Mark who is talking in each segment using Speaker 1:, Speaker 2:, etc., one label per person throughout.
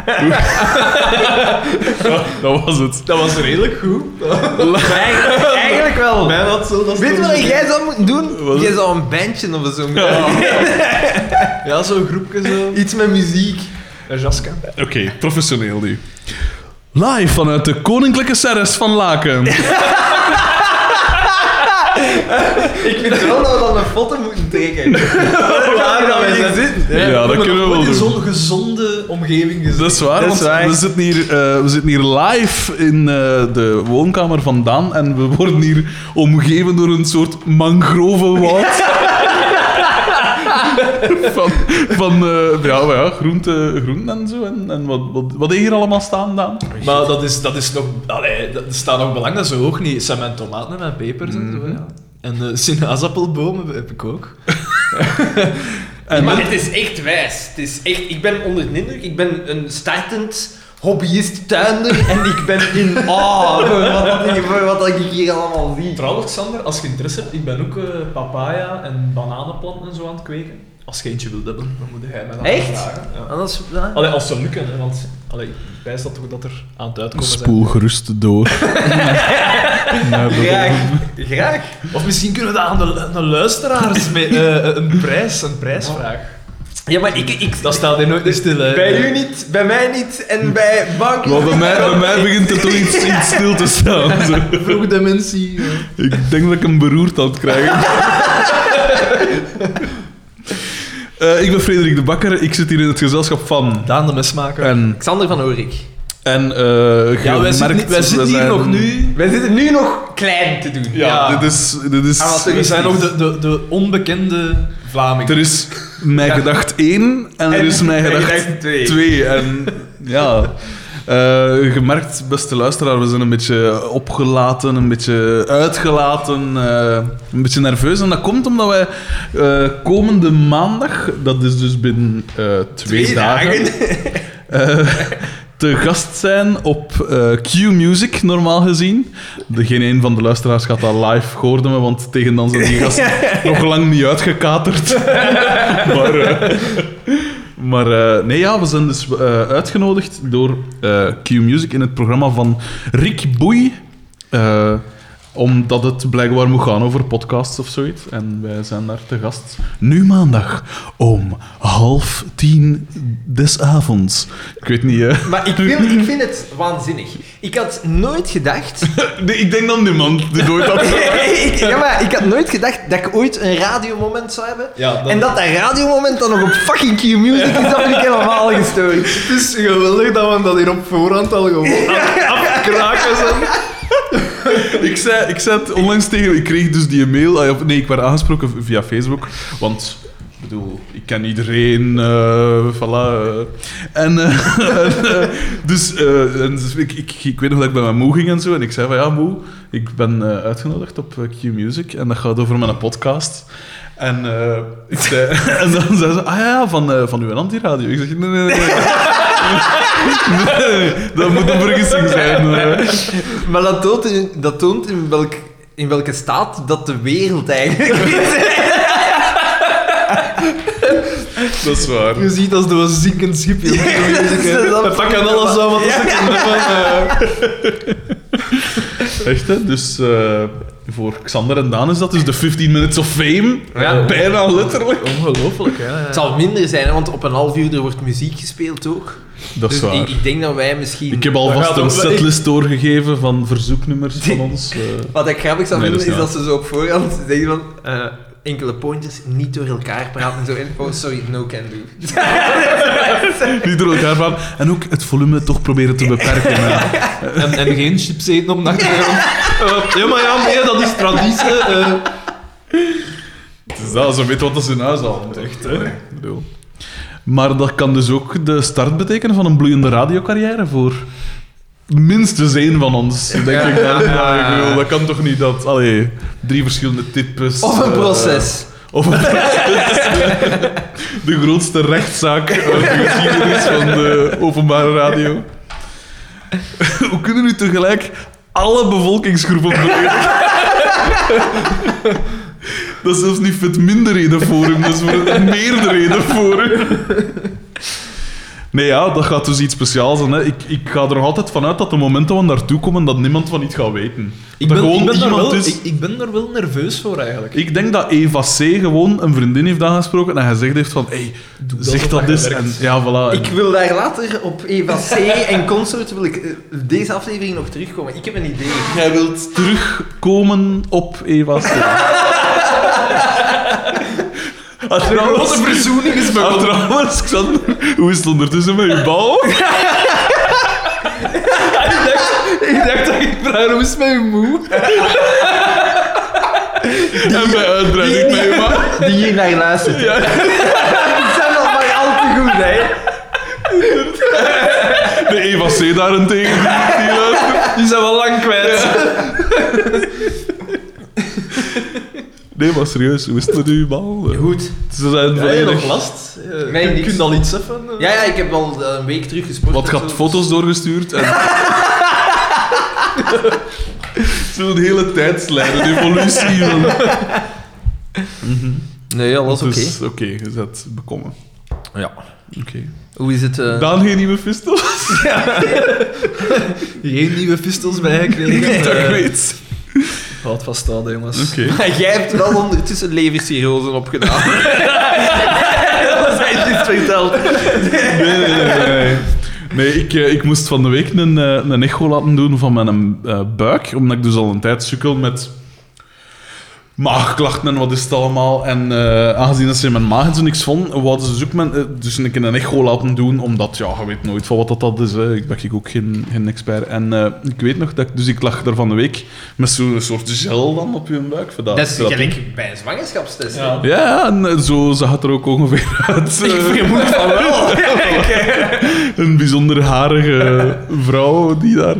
Speaker 1: dat was het.
Speaker 2: Dat was redelijk goed.
Speaker 3: Eigen- Eigenlijk wel.
Speaker 2: Bij dat zo. Dat
Speaker 3: Weet je wat jij zou moeten doen?
Speaker 2: Wat?
Speaker 3: Jij zou een bandje of zo moeten
Speaker 2: Ja, zo'n groepje zo.
Speaker 3: Iets met muziek.
Speaker 2: Een jaska.
Speaker 1: Oké, professioneel nu. Live vanuit de Koninklijke Serres van Laken.
Speaker 3: Ik vind wel dat we dan een foto moeten trekken. Waar dat wij zijn zitten.
Speaker 1: Ja, dat kunnen we wel
Speaker 2: In
Speaker 1: doen.
Speaker 2: zo'n gezonde omgeving gezien.
Speaker 1: Dat is waar,
Speaker 3: Dat is
Speaker 1: want
Speaker 3: waar.
Speaker 1: We, zitten hier, eh, we zitten hier live in eh, de woonkamer van Daan en we worden hier omgeven door een soort mangrovenwoud. van van eh, ja, maar ja, groente, groenten en zo. En, en wat, wat, wat heeft hier allemaal staan, Daan?
Speaker 2: Maar dat is, dat is nog... Allee, dat staat nog belang, dat is zo hoog niet. Zijn mijn tomaten en pepers
Speaker 3: Mhm.
Speaker 2: en zo, ja. En eh, sinaasappelbomen heb ik ook.
Speaker 1: En,
Speaker 4: Maar het is echt wijs. Het is echt, ik ben onder de indruk. Ik ben een startend hobbyist tuinder en ik ben in
Speaker 3: Oh, voor wat, voor wat ik hier allemaal zie.
Speaker 2: Trouwens, Sander, als je interesse hebt, ik ben ook eh, papaya en bananenplanten en zo aan het kweken. Als je eentje wilt hebben, dan moet jij mij dat
Speaker 3: Echt?
Speaker 2: vragen. Ja.
Speaker 3: Anders, ja.
Speaker 2: Allee, als ze lukken, hè, want allee, ik wijs dat toch dat er aan het uitkomen
Speaker 1: spoel gerust door. Ja, dat-
Speaker 3: Graag. Graag.
Speaker 2: zijn. Of misschien kunnen we dat aan de, aan de luisteraars mee, eh, een prijs, een prijsvraag.
Speaker 3: Ja, maar ik... ik
Speaker 2: Dat staat hier nooit meer stil. hè.
Speaker 3: bij u niet, bij mij niet en bij Bank.
Speaker 1: Maar bij mij, bij mij begint het toch iets, iets stil te staan. zo.
Speaker 2: Vroeg dementie. eh.
Speaker 1: Ik denk dat ik hem beroerd aan het krijgen. Eh, ik ben Frederik de Bakker, ik zit hier in het gezelschap van.
Speaker 2: Daan de mesmaker.
Speaker 1: En,
Speaker 3: Xander van Oorik.
Speaker 1: en eh,
Speaker 2: ja, wij zitten,
Speaker 1: gemerkt,
Speaker 2: niet- wij zitten
Speaker 1: we
Speaker 2: hier
Speaker 1: zijn-
Speaker 2: nog nu.
Speaker 3: Wij zitten nu nog klein te doen.
Speaker 1: Ja, dit is. Dit is
Speaker 2: Ah, We zijn nog de, de, de onbekende Vlamingen.
Speaker 1: er is mijn gedacht 1 en, er
Speaker 3: En
Speaker 1: is mijn gedacht
Speaker 3: gedacht twee.
Speaker 1: 2. En ja. eh gemerkt, beste luisteraar, we zijn een beetje opgelaten, een beetje uitgelaten, eh, een beetje nerveus. En dat komt omdat wij eh, komende maandag, dat is dus binnen eh, twee, dagen, eh, te gast zijn op eh, Q Music, normaal gezien. De, geen een van de luisteraars gaat dat live gehoord hebben, want tegen dan zijn die gasten nog lang niet uitgekaterd. maar eh, maar eh, nee, ja, we zijn dus eh, uitgenodigd door eh, Q Music in het programma van Rick Boei. Eh, omdat het blijkbaar moet gaan over podcasts of zoiets. En wij zijn daar te gast. Nu maandag om half tien des avonds. Ik weet niet, eh, hè.
Speaker 3: Maar ik vind, ik vind het waanzinnig. Ik had nooit gedacht...
Speaker 1: Nee, ik denk dat niemand dit ooit had.
Speaker 3: ik, ja, maar ik had nooit gedacht dat ik ooit een radiomoment zou hebben.
Speaker 2: Ja, dat-
Speaker 3: En dat dat radiomoment dan nog op fucking Q-Music is, dat vind ik helemaal gestoord.
Speaker 2: Het is geweldig dat we dat hier op voorhand al gewoon af- afkraken zijn.
Speaker 1: ik, zei, ik zei het onlangs tegen... Ik kreeg dus die mail... eh, of Nee, ik werd aangesproken via Facebook. Want, ik bedoel, ik ken iedereen. eh voilà. eh. En, eh, en, eh, dus, eh, en dus ik, ik, ik weet nog dat ik bij mijn moe ging en zo. En ik zei van, ja, moe, ik ben eh, uitgenodigd op eh, Q Music. En dat gaat over mijn podcast. En, eh, ik zei, en dan zei ze, ah ja, van, eh, van uw antiradio. Ik zeg, nee, nee, nee. nee. nee, dat moet een vergissing zijn. eh.
Speaker 3: Maar dat toont in, dat toont in, welk, in welke staat dat de wereld eigenlijk is.
Speaker 1: dat is waar.
Speaker 2: Je ziet als door een zinkend schipje. We pakken alles aan wat er zit.
Speaker 1: Echt, hè? Dus eh, voor Xander en Daan is dat dus de 15 Minutes of Fame. Eh,
Speaker 3: Ja.
Speaker 1: Bijna letterlijk.
Speaker 2: Ongelooflijk, hè?
Speaker 3: Het zal minder zijn, want op een half uur er wordt muziek gespeeld ook.
Speaker 1: Dat is
Speaker 3: Dus ik,
Speaker 1: waar.
Speaker 3: ik denk dat wij misschien...
Speaker 1: Ik heb alvast
Speaker 2: gaat
Speaker 1: een
Speaker 2: ons-
Speaker 1: setlist doorgegeven van verzoeknummers van ons. eh.
Speaker 3: Wat ik grappig zou
Speaker 1: Nee, dat
Speaker 3: vinden, is,
Speaker 1: is niet
Speaker 3: dat ze zo op voorhand zeggen van... eh, enkele pointjes niet door elkaar praten en zo. En, oh, sorry, no can
Speaker 2: Dus,
Speaker 3: do.
Speaker 1: die door elkaar van. En ook het volume toch proberen te beperken. hè.
Speaker 2: En, en geen chips eten op de achtergrond. Eh, ja, maar ja, nee, dat is traditie. eh.
Speaker 1: Het is dat, ze weten wat dat ze in huis al moet. Echt, hè? Ik bedoel. Maar dat kan dus ook de start betekenen van een bloeiende radiocarrière voor minstens één van ons, denk ik. dan. Ja, ik bedoel, dat kan toch niet dat... Allee, drie verschillende types...
Speaker 3: Of een
Speaker 1: eh,
Speaker 3: proces.
Speaker 1: Of de grootste rechtszaak uit de geschiedenis van de openbare radio. Hoe kunnen nu tegelijk alle bevolkingsgroepen beledigen? Dat is zelfs niet voor het minderhedenforum, dat is voor het meerderhedenforum. Nee, ja, dat gaat dus iets speciaals zijn. Hè. Ik, ik ga er nog altijd vanuit dat de momenten we naartoe komen, dat niemand van iets gaat weten.
Speaker 2: Ik
Speaker 1: dat
Speaker 2: ben, ik, ben daar
Speaker 1: iemand
Speaker 2: wel,
Speaker 1: is-
Speaker 2: ik, ik ben daar wel nerveus voor eigenlijk.
Speaker 1: Ik denk dat Eva C. gewoon een vriendin heeft aangesproken en gezegd heeft van... Hey,
Speaker 2: dat
Speaker 1: zeg
Speaker 2: of
Speaker 1: dat
Speaker 2: dat
Speaker 1: eens.
Speaker 2: je
Speaker 1: En,
Speaker 2: werkt."
Speaker 1: ja, voilà.
Speaker 3: Ik wil daar later op Eva C. en Consort wil ik eh, deze aflevering nog terugkomen. Ik heb een idee.
Speaker 1: Jij wilt terugkomen op Eva C. Als er alles-
Speaker 2: verzoening is
Speaker 1: Ah, trouwens, Xander, hoe is het ondertussen met je bouw?
Speaker 2: Ik dacht dat ik vraag, hoe is mijn moe?
Speaker 1: En bij uitbreiding met je bouw?
Speaker 3: Die hier naar luistert. Ja. Die zijn al maar al te goed, hè?
Speaker 1: De Eva C. daarentegen. Die luistert.
Speaker 2: Die zijn wel lang kwijt.
Speaker 1: Nee, maar serieus, hoe is het met uw bouw?
Speaker 3: Goed.
Speaker 1: Ze zijn
Speaker 2: Heb je nog
Speaker 1: volledig...
Speaker 2: last? Eh,
Speaker 3: Nee,
Speaker 2: kun-
Speaker 3: niks.
Speaker 2: kun je al iets even? eh?
Speaker 3: Ja, ja, ik heb al eh, een week terug gesport.
Speaker 1: Wat gaat
Speaker 3: foto's?
Speaker 1: foto's doorgestuurd en... Zo'n hele tijdslijn, een evolutie. Van...
Speaker 3: Nee, alles oké.
Speaker 1: Dus, oké, je bent bekomen.
Speaker 3: Ja.
Speaker 1: Oké.
Speaker 3: Hoe is het? eh,
Speaker 1: Daan, geen nieuwe pistols?
Speaker 2: Geen nieuwe pistols bijgekregen.
Speaker 1: Ik
Speaker 2: Eh,
Speaker 1: weet.
Speaker 2: Houd vast aan, jongens.
Speaker 1: Oké.
Speaker 3: Jij hebt wel ondertussen levercirrozen opgedaan. dat is echt verteld.
Speaker 1: Nee, nee, nee. nee, nee. Nee, ik, eh, ik moest van de week een, eh, een echo laten doen van mijn eh, buik, omdat ik dus al een tijd sukkel met maagklachten en wat is het allemaal. En eh, aangezien dat ze in mijn maag en zo niks vonden, wouden ze dus, ook mijn, eh, dus een keer een echo laten doen, omdat, ja, je weet nooit van wat dat, dat is. Hè. Ik ben ik ook geen, geen expert. En eh, ik weet nog dat ik, dus ik lag daar van de week met zo'n soort gel dan op je buik. voor
Speaker 5: Dat is
Speaker 1: voor
Speaker 5: gelijk bij een zwangerschapstest.
Speaker 2: Ja.
Speaker 5: hè.
Speaker 1: ja, en eh, zo zag het er ook ongeveer uit. eh.
Speaker 5: Ik vermoed van wel.
Speaker 1: Een bijzonder harige vrouw die daar.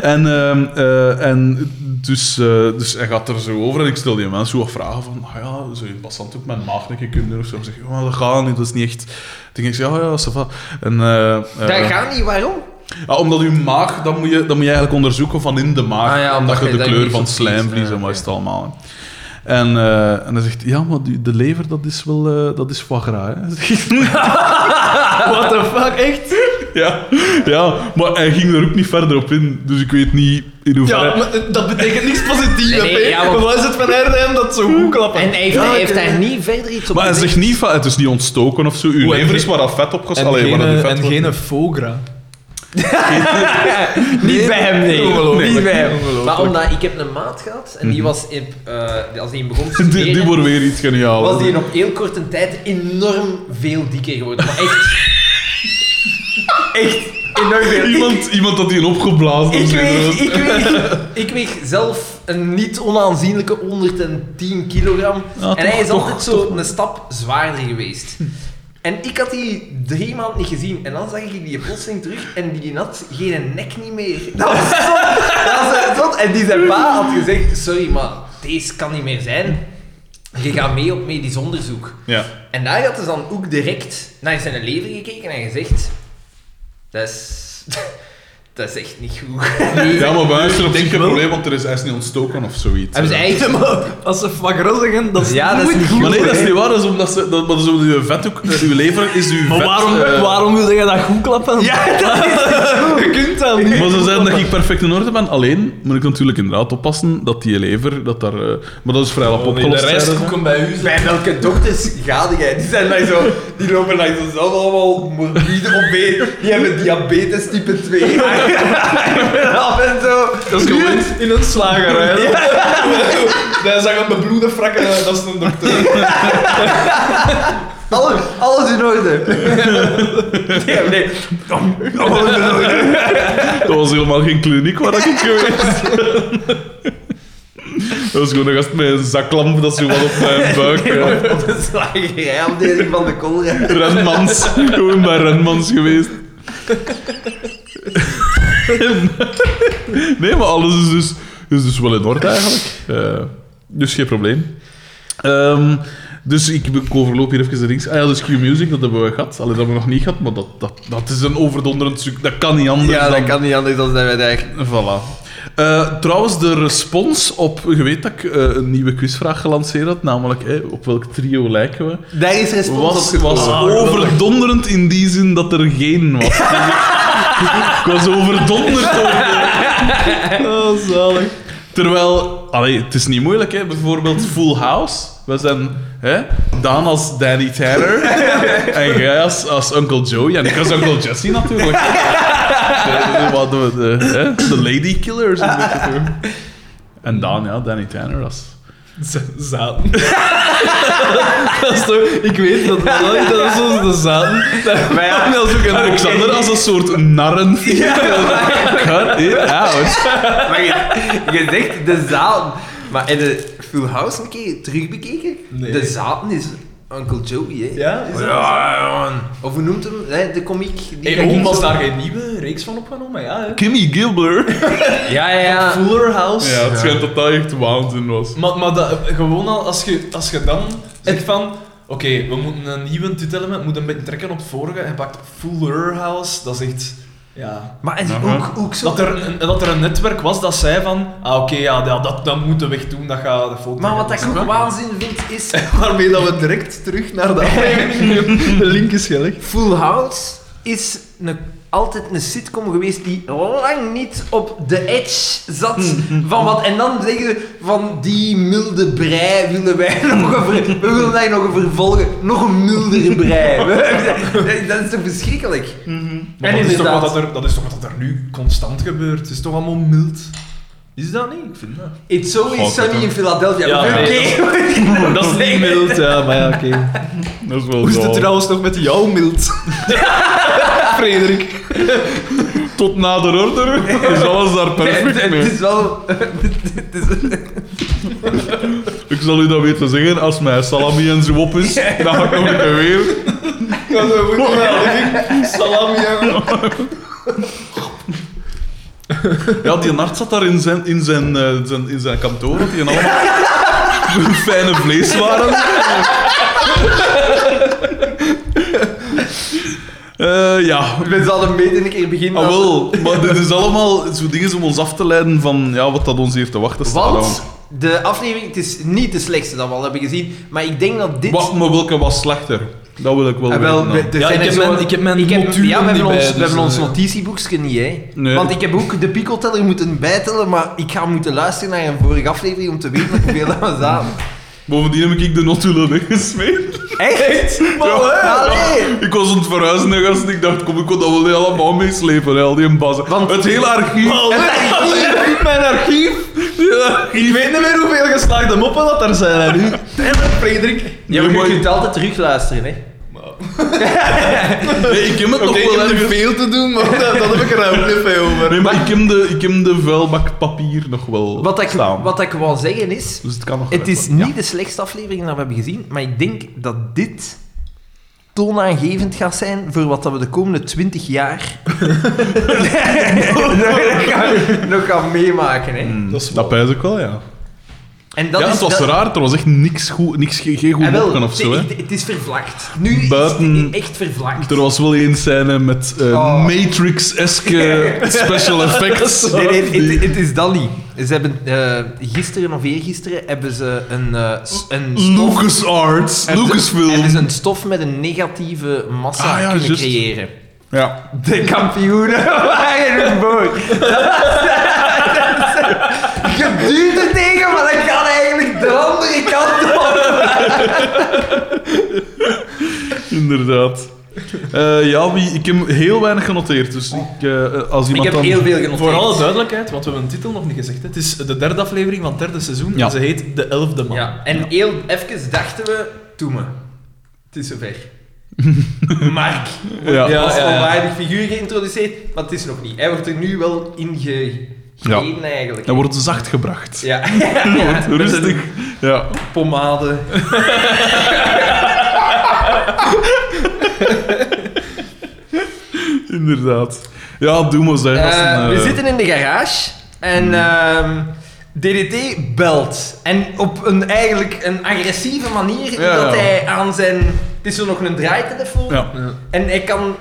Speaker 1: En, ehm, eh, en dus, eh, dus hij gaat er zo over en ik stel die mensen wat vragen van, ah ja, zou je passant ook mijn maag een keer kunnen doen of zo? Ik zeg, ja, maar dat gaat niet, dat is niet echt. Toen ging ik zeggen, ja, ja, ça va. En, eh, eh,
Speaker 5: Dat gaat niet, waarom?
Speaker 1: ja, Ah, omdat je maag, dat moet je, dat moet je eigenlijk onderzoeken van in de maag.
Speaker 3: Ah ja, omdat
Speaker 1: omdat je
Speaker 3: je
Speaker 1: de
Speaker 3: dat
Speaker 1: kleur
Speaker 3: niet
Speaker 1: van
Speaker 3: zo ziet.
Speaker 1: slijmvlies
Speaker 3: Ja,
Speaker 1: en wat
Speaker 3: oké.
Speaker 1: is het allemaal. hè. En, eh, en hij zegt, ja, maar die- de lever, dat is wel, eh, dat is foie gras, hè.
Speaker 2: What the fuck, echt?
Speaker 1: Ja, ja, maar hij ging er ook niet verder op in, dus ik weet niet in hoeverre.
Speaker 2: Ja, maar eh, dat betekent niks positiefs.
Speaker 5: Nee, nee,
Speaker 2: hè?
Speaker 5: ja, want-
Speaker 2: Wat is het van RDM dat zo goed klappen?
Speaker 5: En hij heeft,
Speaker 2: Ja,
Speaker 5: hij
Speaker 2: ik-
Speaker 5: heeft daar niet verder iets op
Speaker 1: maar hij
Speaker 5: gezegd.
Speaker 1: zegt niet van het is niet ontstoken of zo. Uw
Speaker 2: Oeh, en
Speaker 1: lever is
Speaker 2: geen-
Speaker 1: maar al vet opges-
Speaker 2: En
Speaker 1: Allee,
Speaker 2: geen,
Speaker 1: waar dat die
Speaker 2: eh,
Speaker 1: vet
Speaker 2: en
Speaker 1: wordt.
Speaker 2: geen fogra.
Speaker 5: Niet bij hem, nee.
Speaker 2: Ongelooflijk.
Speaker 5: Niet bij hem.
Speaker 3: Maar omdat ik heb een maat gehad en die was, in, eh, als die begon te studeren,
Speaker 1: Dit, dit wordt weer iets geniaals.
Speaker 3: was die in op heel korte tijd enorm veel dikker geworden. Maar echt, echt enorm veel.
Speaker 1: Iemand, iemand dat die een opgeblazen
Speaker 3: Ik, ik,
Speaker 1: is.
Speaker 3: weeg, ik, weeg, ik weeg zelf een niet onaanzienlijke 110 kilogram.
Speaker 1: Ja,
Speaker 3: en hij
Speaker 1: toch,
Speaker 3: is altijd
Speaker 1: toch, Hm.
Speaker 3: zo een stap zwaarder geweest. En ik had die drie maanden niet gezien. En dan zag ik die plotseling terug en die had geen nek niet meer. Dat was zot. Dat was echt zot. En die zijn pa had gezegd, sorry, maar deze kan niet meer zijn. Je gaat mee op medisch onderzoek.
Speaker 1: Ja.
Speaker 3: En daar had ze dan ook direct naar zijn lever gekeken en gezegd... Dat is... Dat is echt niet goed.
Speaker 1: ja, maar bij mij is er op zich geen
Speaker 2: wel-
Speaker 1: probleem, want er is, hij is niet ontstoken of zoiets.
Speaker 3: Hebben ze
Speaker 2: Ja,
Speaker 3: eigenlijk...
Speaker 2: maar als ze fogra zeggen, dat is
Speaker 3: Ja, dat is niet goed.
Speaker 1: Maar nee, dat is niet waar. Dat is omdat ze, dat, maar dat is omdat uw vet ook... eh, uw lever is uw
Speaker 2: Maar
Speaker 1: vet...
Speaker 2: waarom,
Speaker 1: eh,
Speaker 2: waarom wil je dat goed klappen? Ja, dat is Je kunt dat niet.
Speaker 1: Maar ze zeiden dat ik perfect in orde ben. Alleen moet ik natuurlijk inderdaad oppassen dat die lever... Dat daar, eh, maar dat is vrij lap opgelost. zeiden ze.
Speaker 2: bij u.
Speaker 3: Bij welke dokters ga jij? Die zijn daar zo... Die lopen daar zo zelf allemaal morbide op mee. Die hebben diabetes type 2. Af en zo.
Speaker 2: Dat is gewoon in een slagerij. Hij zag een bebloede frak en dat is een dokter.
Speaker 3: Alles, alles in orde. Nee, nee. Alles in orde.
Speaker 1: Dat was helemaal geen kliniek waar ik geweest Dat was gewoon een gast met een zaklamp dat zo wat op mijn buik. eh,
Speaker 3: Op de slagerijafdeling van de kolder.
Speaker 1: Renmans. Gewoon bij Renmans geweest. Nee, maar alles is dus, is dus wel in orde eigenlijk. Eh, dus geen probleem. Ehm, dus ik, ik overloop hier even de links. Ah ja, dus Q-Music, dat hebben we gehad. Alleen dat hebben we nog niet gehad, maar dat, dat, dat is een overdonderend succes. Dat kan niet anders dan...
Speaker 3: niet anders dan dat wij daar...
Speaker 1: Voilà. Eh, trouwens, de respons op... Je weet dat ik eh, een nieuwe quizvraag gelanceerd had, namelijk eh, op welk trio lijken we?
Speaker 3: Daar is respons
Speaker 1: was,
Speaker 3: op gekomen.
Speaker 1: was overdonderend in die zin dat er geen was. Dus ik- ik was overdonderd door de- Oh, zalig. Terwijl, allee, het is niet moeilijk, hè. bijvoorbeeld Full House. We zijn hè, Daan als Danny Tanner en jij als, als Uncle Joey en ik als Uncle Jesse natuurlijk. De, de, wat doen we, de, hè, de Lady Killers. een beetje zo. En Daan, ja, Danny Tanner als...
Speaker 2: Z- Zaten. dat is toch... Ik weet dat wel, dat is ons de zaten. Dat
Speaker 6: Maar ja,
Speaker 2: dat is ook een
Speaker 1: Alexander als een soort narren. eh, Cut it out.
Speaker 3: Maar je, je zegt de zaal. Maar in de Full House een keer terugbekeken?
Speaker 2: Nee.
Speaker 3: De zaal is Uncle Joey, hè?
Speaker 2: Ja? Is dat-
Speaker 3: Of hoe noemt hem? Hè, de komiek. Die
Speaker 2: Hey, waarom
Speaker 3: dat
Speaker 2: was
Speaker 3: zo-
Speaker 2: daar geen nieuwe reeks van opgenomen? Maar Ja, hè.
Speaker 1: Kimmy Gilbert.
Speaker 3: Ja, ja, ja.
Speaker 2: Fuller House.
Speaker 1: Ja, het schijnt dat dat echt waanzin was.
Speaker 2: Maar, maar dat, gewoon al, als je, als je dan zegt van... Oké, we moeten een nieuwe titel hebben, moeten een beetje trekken op het vorige. En pakt Fuller House, dat is echt... Ja.
Speaker 3: Maar het is
Speaker 1: Aha.
Speaker 3: ook, ook zo.
Speaker 2: Dat er, een, dat er een netwerk was dat zei van... Ah, oké, ja, dat, dat, dat moeten we wegdoen, dat gaat de volgende
Speaker 3: Maar wat
Speaker 2: keer
Speaker 3: ik ook waanzin vind is.
Speaker 2: Waarmee dat we direct terug naar de aflevering... de link is gelegd.
Speaker 3: Full House is een, altijd een sitcom geweest die lang niet op de edge zat van wat. En dan zeggen ze van die milde brei willen wij nog een, ver- we willen daar nog een vervolgen, nog een mildere brei. Dat- dat is toch verschrikkelijk?
Speaker 2: Maar
Speaker 3: En
Speaker 2: dat is, toch wat
Speaker 3: inderdaad.
Speaker 2: dat, er, dat is toch wat dat er nu constant gebeurt? Het is toch allemaal mild? Is dat niet? Ik vind dat...
Speaker 3: It's always
Speaker 1: God, dat
Speaker 3: sunny
Speaker 1: ook.
Speaker 3: in Philadelphia.
Speaker 2: Ja,
Speaker 3: Oké.
Speaker 2: nee, Dat is niet mild, ja, maar ja, oké.
Speaker 1: Dat is wel
Speaker 2: Hoe is het
Speaker 1: zalig.
Speaker 2: trouwens nog met jouw mild? Frederik.
Speaker 1: Tot na de order is alles daar perfect
Speaker 3: Het
Speaker 1: mee.
Speaker 3: is wel... het is-
Speaker 1: Ik zal u dat weten zeggen, als mijn salami en zo op is, dan ga ik nog een keer weer.
Speaker 2: Salam, ja.
Speaker 1: Ja, die nart zat daar in zijn, in zijn, eh, zijn, in zijn kantoor, dat die allemaal fijne vleeswaren. Eh ja,
Speaker 3: We zouden beter een keer beginnen.
Speaker 1: Ah,
Speaker 3: als-
Speaker 1: wel, maar dit is allemaal zo dingen om ons af te leiden van ja, wat dat ons hier te wachten staat.
Speaker 3: Want de aflevering, het is niet de slechtste dat we al hebben gezien, maar ik denk dat dit...
Speaker 1: Wat, maar welke was slechter? Dat wil ik wel
Speaker 3: Ah,
Speaker 1: weten.
Speaker 3: wel,
Speaker 1: dan.
Speaker 3: we- er
Speaker 2: Ja,
Speaker 3: zijn
Speaker 2: ik
Speaker 3: er
Speaker 2: heb
Speaker 3: zo-
Speaker 2: mijn- ik heb mijn
Speaker 3: ik
Speaker 2: notulen
Speaker 3: ja, we hebben
Speaker 2: niet
Speaker 3: ons,
Speaker 2: bij,
Speaker 3: we
Speaker 2: dus,
Speaker 3: hebben ons
Speaker 2: eh.
Speaker 3: notitieboekje niet, hè.
Speaker 1: Nee.
Speaker 3: Want ik heb ook de piekelteller moeten bijtellen, maar ik ga moeten luisteren naar een vorige aflevering om te weten op hoeveel dat we zaten.
Speaker 1: Bovendien heb ik de notulen weggesmeed.
Speaker 3: Echt?
Speaker 1: Ja.
Speaker 3: Oh, Allee!
Speaker 1: Ik was aan het verhuizen en gast, ik dacht, kom, ik kon dat wel niet allemaal meeslepen, hè, al die bazen.
Speaker 3: Want- Oh,
Speaker 1: Het hele archief.
Speaker 2: Mijn archief. Ik weet niet meer hoeveel geslaagde moppen dat er zijn hè, nu. Frederik.
Speaker 3: Ja, maar
Speaker 1: maar-
Speaker 3: je kunt altijd terugluisteren, hè.
Speaker 1: Nee, ik heb het
Speaker 2: Oké,
Speaker 1: nog
Speaker 2: ik
Speaker 1: wel
Speaker 2: heb er
Speaker 1: ergens.
Speaker 2: veel te doen, maar dat, dat heb ik er ook niet veel over.
Speaker 1: Nee, maar ik heb, de, ik heb de vuilbak papier nog wel
Speaker 3: Wat ik,
Speaker 1: staan.
Speaker 3: wat ik wil zeggen is,
Speaker 1: Dus het kan nog
Speaker 3: het
Speaker 1: wel.
Speaker 3: is niet de slechtste aflevering dat we hebben gezien, maar ik denk dat dit toonaangevend gaat zijn voor wat dat we de komende 20 jaar nog, gaan, nog gaan meemaken. Hè.
Speaker 1: Dat, is dat pijs ik wel, ja.
Speaker 3: En dat
Speaker 1: ja,
Speaker 3: is,
Speaker 1: het was
Speaker 3: dat-
Speaker 1: raar. Er was echt niks goed, niks, geen geen
Speaker 3: Ah,
Speaker 1: goed
Speaker 3: wel,
Speaker 1: mokken of
Speaker 3: het-
Speaker 1: zo. Hè.
Speaker 3: Het, het is vervlakt. Nu is
Speaker 1: Buiten-
Speaker 3: het echt vervlakt.
Speaker 1: Er was wel één scène met eh,
Speaker 3: Oh.
Speaker 1: Matrix-eske special effects.
Speaker 3: Nee, nee,
Speaker 1: Die-
Speaker 3: het, het is dat niet. Ze hebben eh, gisteren of eergisteren hebben ze een, eh, s- een stof-
Speaker 1: LucasArts,
Speaker 3: hebben ze- hebben ze
Speaker 1: Lucasfilm.
Speaker 3: een stof met een negatieve massa
Speaker 1: Ah, ja,
Speaker 3: kunnen
Speaker 1: juist.
Speaker 3: creëren.
Speaker 1: Ja.
Speaker 3: De kampioenen waren een boot. Je duwt er tegen, maar dat kan eigenlijk de andere kant op.
Speaker 1: Inderdaad. Eh, ja, wie, ik heb heel weinig genoteerd. Dus ik, eh, als
Speaker 3: Ik
Speaker 1: iemand
Speaker 3: heb
Speaker 1: dan...
Speaker 3: heel veel genoteerd.
Speaker 2: Voor alle duidelijkheid, want we hebben een titel nog niet gezegd. hè. Het is de derde aflevering van het derde seizoen
Speaker 1: Ja.
Speaker 2: en ze heet De Elfde Man.
Speaker 3: Ja, en heel even dachten we, toe me. Het is zover. Mark
Speaker 1: Ja.
Speaker 2: Ja.
Speaker 3: als onwaardig figuur geïntroduceerd, maar het is nog niet. Hij wordt er nu wel in ge- gereden eigenlijk.
Speaker 1: Hij wordt zacht gebracht.
Speaker 3: Ja. ja.
Speaker 1: Rustig. Ja.
Speaker 3: Pomade.
Speaker 1: Inderdaad. Ja, doe maar zeg. als
Speaker 3: Eh,
Speaker 1: een,
Speaker 3: we
Speaker 1: eh, Hmm.
Speaker 3: zitten in de garage en ehm, DDT belt. En op een eigenlijk een agressieve manier,
Speaker 1: Ja,
Speaker 3: dat
Speaker 1: ja.
Speaker 3: hij aan zijn... Het is zo nog een draaitelefoon.
Speaker 1: Ja.
Speaker 3: En hij kan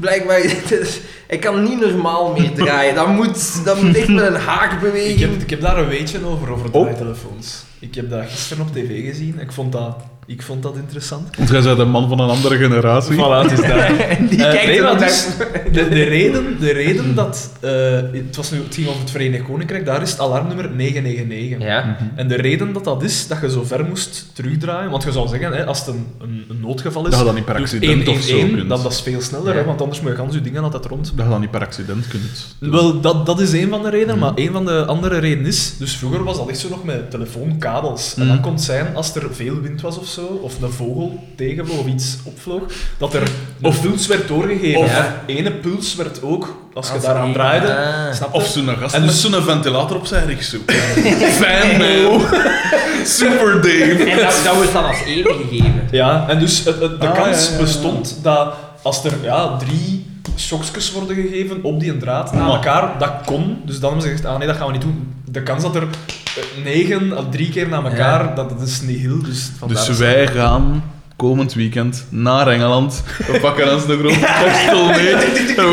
Speaker 3: Blijkbaar, dus, ik kan niet normaal meer draaien. Dat moet, dat moet echt met een
Speaker 2: Ik heb,
Speaker 3: haakbeweging.
Speaker 2: ik heb daar een weetje over, over
Speaker 1: Oh.
Speaker 2: draaitelefoons. Ik heb dat gisteren op tv gezien. Ik vond dat, ik vond dat interessant.
Speaker 1: Want jij bent een man van een andere generatie.
Speaker 2: Voilà, het is daar.
Speaker 3: En die
Speaker 2: Eh,
Speaker 3: kijkt
Speaker 2: nee,
Speaker 3: er
Speaker 2: maar
Speaker 3: altijd-
Speaker 2: dus de, de, reden, de reden dat... eh, het, was nu, het ging over het Verenigd Koninkrijk. Daar is het alarmnummer 999.
Speaker 1: Mhm.
Speaker 7: Ja.
Speaker 2: En de reden dat dat is, dat je zo ver moest terugdraaien. Want je zou zeggen, hè, als het een, een, een noodgeval is...
Speaker 1: Dat je dat niet per
Speaker 3: Dus
Speaker 2: doe
Speaker 1: accident of zo
Speaker 2: 111,
Speaker 1: kunt.
Speaker 2: Dan dat is veel sneller,
Speaker 7: Ja.
Speaker 2: hè, want anders moet je gans je dingen altijd rond.
Speaker 1: Dat je dat niet per accident kunt. doen.
Speaker 2: Wel, dat, dat is één van de
Speaker 1: Mhm.
Speaker 2: redenen, maar één van de andere redenen is... Dus vroeger was dat echt zo nog met telefoonkabels. En
Speaker 1: Mm.
Speaker 2: dan kon het zijn, als er veel wind was of zo, of een vogel tegenvloog of iets opvloog, dat er een
Speaker 1: Of-
Speaker 2: puls werd doorgegeven.
Speaker 1: of-
Speaker 2: Ja. ene puls werd ook, als je
Speaker 3: Als
Speaker 2: daaraan
Speaker 3: één,
Speaker 2: draaide...
Speaker 3: ah.
Speaker 2: Snap je?
Speaker 1: Of zo'n gast
Speaker 2: En
Speaker 1: en
Speaker 2: dus-
Speaker 1: dus zo'n ventilator op zijn rug zo. Fan
Speaker 3: eh,
Speaker 1: man. Super Dave.
Speaker 7: En dat, dat wordt dan als ene gegeven.
Speaker 2: Ja, en dus het- het- de
Speaker 1: Ah,
Speaker 2: kans
Speaker 1: ja, ja, ja.
Speaker 2: bestond dat als er ja, drie schokjes worden gegeven op die draad na
Speaker 1: Maar-
Speaker 2: elkaar, dat kon. Dus dan hebben ze gezegd, ah nee, dat gaan we niet doen. De kans dat er eh, negen, of drie keer na elkaar, dat, dat is niet heel. Dus, vandaar
Speaker 1: Dus
Speaker 2: dat-
Speaker 1: wij gaan komend weekend naar Engeland. We pakken ons de grond tekstel mee. En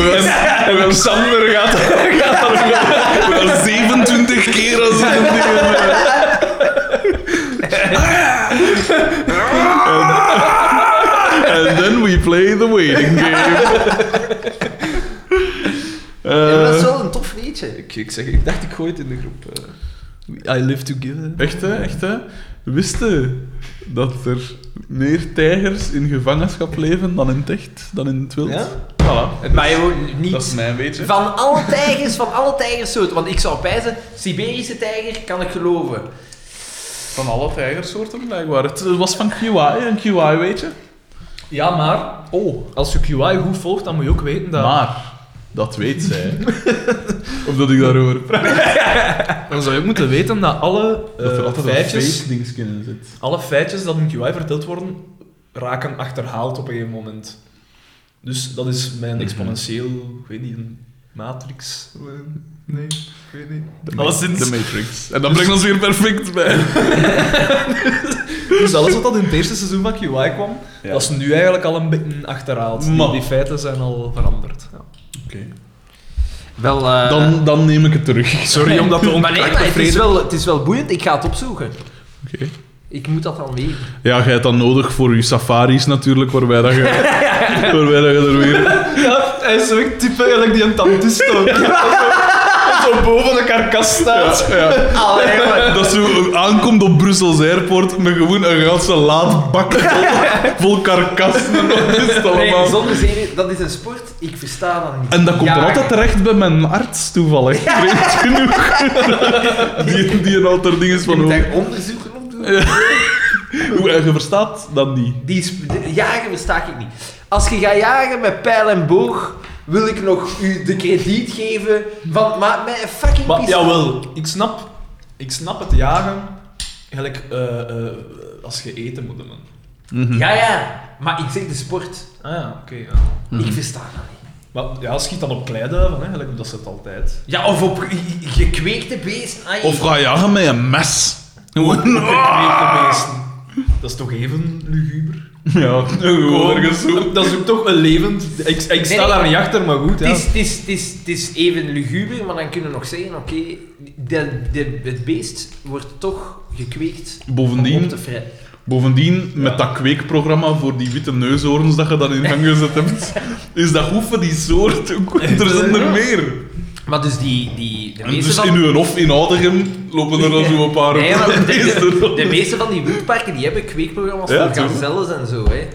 Speaker 1: we gaan, en we gaan Sander gaat, gaat dat doen. We gaan 27 keer als een ding. doen. En and then we play the waiting game.
Speaker 3: Ja, dat
Speaker 1: Eh,
Speaker 3: is wel een tof liedje.
Speaker 2: Ik, ik, zeg, ik dacht, ik gooi het in de groep. eh. I live to give.
Speaker 1: Echt hè, echt hè. Wist je dat er meer tijgers in gevangenschap leven dan in het echt, dan in het wild?
Speaker 2: Ja?
Speaker 1: Voilà.
Speaker 7: Maar gewoon
Speaker 1: Dat is
Speaker 7: niet...
Speaker 1: mijn beetje.
Speaker 3: Van alle tijgers, van alle tijgersoorten. Want ik zou pijzen, Siberische tijger kan ik geloven.
Speaker 1: Van alle tijgersoorten blijkbaar. Het was van QI, een QI weet je.
Speaker 2: Ja, maar oh, als je QI goed volgt, dan moet je ook weten dat...
Speaker 1: Maar, dat weet zij. of dat ik daarover praat.
Speaker 2: Dan zou je ook moeten weten dat alle eh,
Speaker 1: dat er altijd een
Speaker 2: feitjes...
Speaker 1: fake dingetje in zit.
Speaker 2: Alle feitjes dat in QI verteld worden, raken achterhaald op een gegeven moment. Dus dat is
Speaker 3: Mhm.
Speaker 2: mijn exponentieel, ik weet niet, een matrix. Eh, Nee, ik weet niet.
Speaker 1: De,
Speaker 2: Alleszins.
Speaker 1: de Matrix. En dat brengt ons weer perfect bij.
Speaker 2: Dus alles wat dat in het eerste seizoen van QI kwam,
Speaker 1: Ja.
Speaker 2: dat is nu eigenlijk al een beetje achterhaald. Die,
Speaker 1: Maar-
Speaker 2: die feiten zijn al veranderd. Ja.
Speaker 3: Wel, eh,
Speaker 1: Dan, dan neem ik het terug.
Speaker 2: Sorry om dat te
Speaker 3: maar nee, maar
Speaker 2: ontkrachten,
Speaker 3: het, is
Speaker 2: Frederik.
Speaker 3: wel, het is wel boeiend. Ik ga het opzoeken.
Speaker 1: Oké.
Speaker 3: Ik moet dat dan weten.
Speaker 1: Ja, jij hebt dat nodig voor je safaris natuurlijk, waarbij dat je, waarbij dat je er weer...
Speaker 2: Ja, hij is zo'n type eigenlijk die een tandist ook. Dat zo- dat zo boven een karkas staat.
Speaker 1: ja.
Speaker 3: Allee, maar-
Speaker 1: Dat ze aankomt op Brussels Airport met gewoon een ganse laad bak vol, vol karkassen en dat is het
Speaker 3: Nee,
Speaker 1: allemaal.
Speaker 3: zonder zenuw, dat is een sport. Ik versta dat niet.
Speaker 1: En dat komt dan
Speaker 3: Ja.
Speaker 1: altijd terecht bij mijn arts toevallig, vreemd genoeg. Die, die een aantal dingen
Speaker 3: Je
Speaker 1: van
Speaker 3: moet
Speaker 1: hoe,
Speaker 3: daar onderzoeken op doen.
Speaker 1: hoe- en je verstaat dat niet.
Speaker 3: Die sp- de- jagen versta ik niet. Als je gaat jagen met pijl en boog, wil ik nog u de krediet geven van... Maar mijn fucking
Speaker 2: Maar
Speaker 3: piece-
Speaker 2: jawel, ik snap, ik snap het jagen. Eigenlijk eh, eh, als je eten moet doen.
Speaker 3: Ja, ja. Maar ik zeg de sport.
Speaker 2: Ah ja, oké. ja.
Speaker 1: Mhm.
Speaker 3: Ik versta dat niet.
Speaker 2: Maar ja, schiet dan op kleiduiven, hè, eigenlijk, dat ze het altijd.
Speaker 3: Ja, of op ge- gekweekte beesten. Ai.
Speaker 1: Of ga jagen met een mes. Gewoon...
Speaker 2: Gekweekte beesten. Dat is toch even luguber?
Speaker 1: Ja, gewoon ergens zo.
Speaker 2: Dat is ook toch een levend... Ik, ik sta
Speaker 3: Nee, nee.
Speaker 2: daar niet achter, maar goed.
Speaker 3: Het
Speaker 2: Ja.
Speaker 3: is, het, is, het, is, het is even luguber, maar dan kunnen we nog zeggen, oké, de, de, het beest wordt toch gekweekt om op
Speaker 1: Bovendien,
Speaker 3: te fretten.
Speaker 1: Bovendien, met dat kweekprogramma voor die witte neushoorns dat je dan in gang gezet hebt, is dat goed voor die soort. ook. Er zijn er meer.
Speaker 3: Maar dus die, die, de
Speaker 1: En
Speaker 3: meeste
Speaker 1: dus
Speaker 3: van...
Speaker 1: in uw hof in Oudegem lopen er dan zo een paar
Speaker 3: Nee, maar de,
Speaker 1: rond. Is er
Speaker 3: de,
Speaker 1: dan-
Speaker 3: de meeste van die wildparken die hebben kweekprogramma's
Speaker 1: Ja,
Speaker 3: voor
Speaker 1: tuurlijk.
Speaker 3: gazelles en zo. Hè.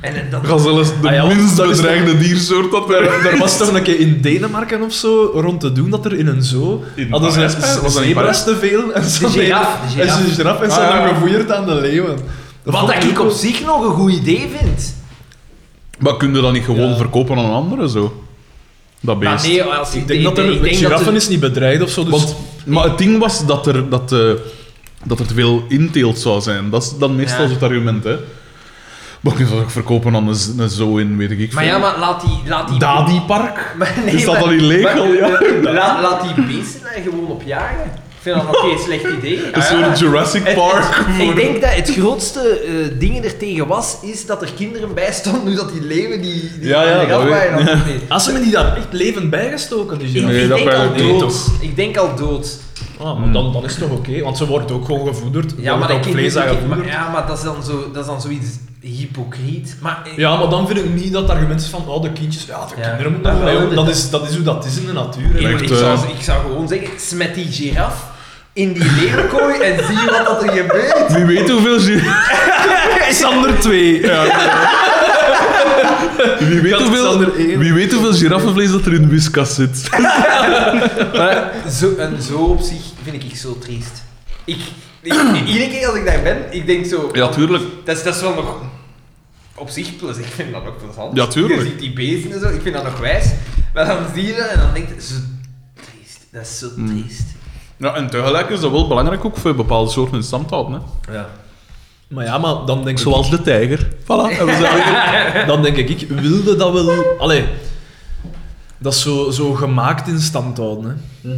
Speaker 3: En, en dat,
Speaker 1: Gazelles, de
Speaker 2: Ah ja, want
Speaker 1: minst
Speaker 2: dat is
Speaker 1: bedreigde diersoort dat wij
Speaker 2: Er er was toch een keer in Denemarken of zo rond te doen dat er in een zoo.
Speaker 1: In
Speaker 2: hadden ze
Speaker 1: Parijs, hè? Was dat in Parijs?
Speaker 2: zebra's te veel en ze hadden-
Speaker 3: giraf, de giraf.
Speaker 2: En ze, giraf, en ze
Speaker 1: Ah,
Speaker 2: hadden
Speaker 1: ja.
Speaker 2: gevoeierd aan de leeuwen. Dat
Speaker 3: wat
Speaker 2: vond
Speaker 3: dat ik
Speaker 2: ook
Speaker 3: op zich nog een goed idee vind.
Speaker 1: Maar kun je dat niet gewoon
Speaker 2: Ja.
Speaker 1: verkopen aan een andere zo? Dat beest.
Speaker 3: Maar nee, als
Speaker 2: Ik denk dat er
Speaker 3: ik denk dat
Speaker 2: giraffen
Speaker 3: er-
Speaker 2: is niet bedreigd of zo. Dus
Speaker 1: Want, maar het ding was dat er, dat, eh, dat er te veel inteelt zou zijn. Dat is dan meestal
Speaker 3: Ja.
Speaker 1: het argument, hè. Maar kun je dat ook verkopen aan een, z- een zoo in, weet ik
Speaker 3: Maar
Speaker 1: veel.
Speaker 3: ja, maar laat die... Laat die
Speaker 1: Dadi Park?
Speaker 3: Maar nee,
Speaker 1: is dat
Speaker 3: maar-
Speaker 1: al illegal?
Speaker 3: maar-
Speaker 1: ja.
Speaker 3: La- laat die beesten daar gewoon op jagen. vind dat nog geen slecht idee. Ah,
Speaker 1: Een soort Jurassic
Speaker 3: Het-
Speaker 1: Park.
Speaker 3: het-
Speaker 1: voor-
Speaker 3: ik denk dat het grootste eh ding er tegen was, is dat er kinderen bij stonden nu dat die leeuwen die, die
Speaker 1: Ja, ja,
Speaker 3: aan de
Speaker 1: dat
Speaker 3: gang waren.
Speaker 1: weet-
Speaker 3: dat niet.
Speaker 8: Als ze me die daar echt levend bijgestoken, dus
Speaker 3: Ik,
Speaker 1: Nee,
Speaker 3: ik
Speaker 1: dat
Speaker 3: denk
Speaker 1: waren
Speaker 3: al
Speaker 1: die
Speaker 3: dood.
Speaker 8: toch.
Speaker 3: Ik denk al dood.
Speaker 8: Ah, maar dan, dan is het toch oké, want ze wordt ook gewoon gevoederd.
Speaker 3: Ja, maar,
Speaker 8: dan
Speaker 3: dat kind-
Speaker 8: vlees aan
Speaker 3: ik- maar,
Speaker 8: gevoederd.
Speaker 3: ja, maar dat, is dan zo, dat is dan zoiets hypocriet. Maar eh, ik-
Speaker 8: Ja, maar dan vind ik niet dat argument is van, oh, de kindjes, ja, de
Speaker 3: Ja.
Speaker 8: kinderen moeten
Speaker 3: Ja,
Speaker 8: dat wel.
Speaker 3: wel,
Speaker 8: Dat is, dat is hoe dat is in de natuur. hè.
Speaker 1: Ja,
Speaker 3: ik,
Speaker 1: echt,
Speaker 3: ik zou,
Speaker 1: eh.
Speaker 3: ik zou gewoon zeggen, smet die giraf in die leeuwenkooi en zie wat dat er gebeurt.
Speaker 1: Wie weet hoeveel... ju-
Speaker 8: Sander 2.
Speaker 1: Ja, Wie weet,
Speaker 8: Kat
Speaker 1: hoeveel,
Speaker 8: Sander één.
Speaker 1: wie weet hoeveel giraffenvlees dat er in de whiskas zit.
Speaker 3: Maar zo, en zo op zich vind ik zo triest. Ik, ik, iedere keer als ik daar ben, ik denk zo...
Speaker 1: Ja, tuurlijk.
Speaker 3: Dat is, dat is wel nog op zich plus. Ik vind dat ook plezant.
Speaker 1: Ja, tuurlijk.
Speaker 3: Je ziet die beesten en zo, ik vind dat nog wijs. Maar dan zie je dat en dan denk je, zo triest. Dat is zo
Speaker 1: Hmm.
Speaker 3: triest.
Speaker 1: Ja, en tegelijk is dat wel belangrijk ook voor bepaalde soorten in stand te houden. Hè.
Speaker 3: Ja.
Speaker 8: Maar ja, maar dan denk, ik,
Speaker 1: Zoals de tijger. Voilà. En we zijn weer-
Speaker 8: dan denk ik, ik wilde dat wel... Allee, dat is zo, zo gemaakt in stand houden. Hè.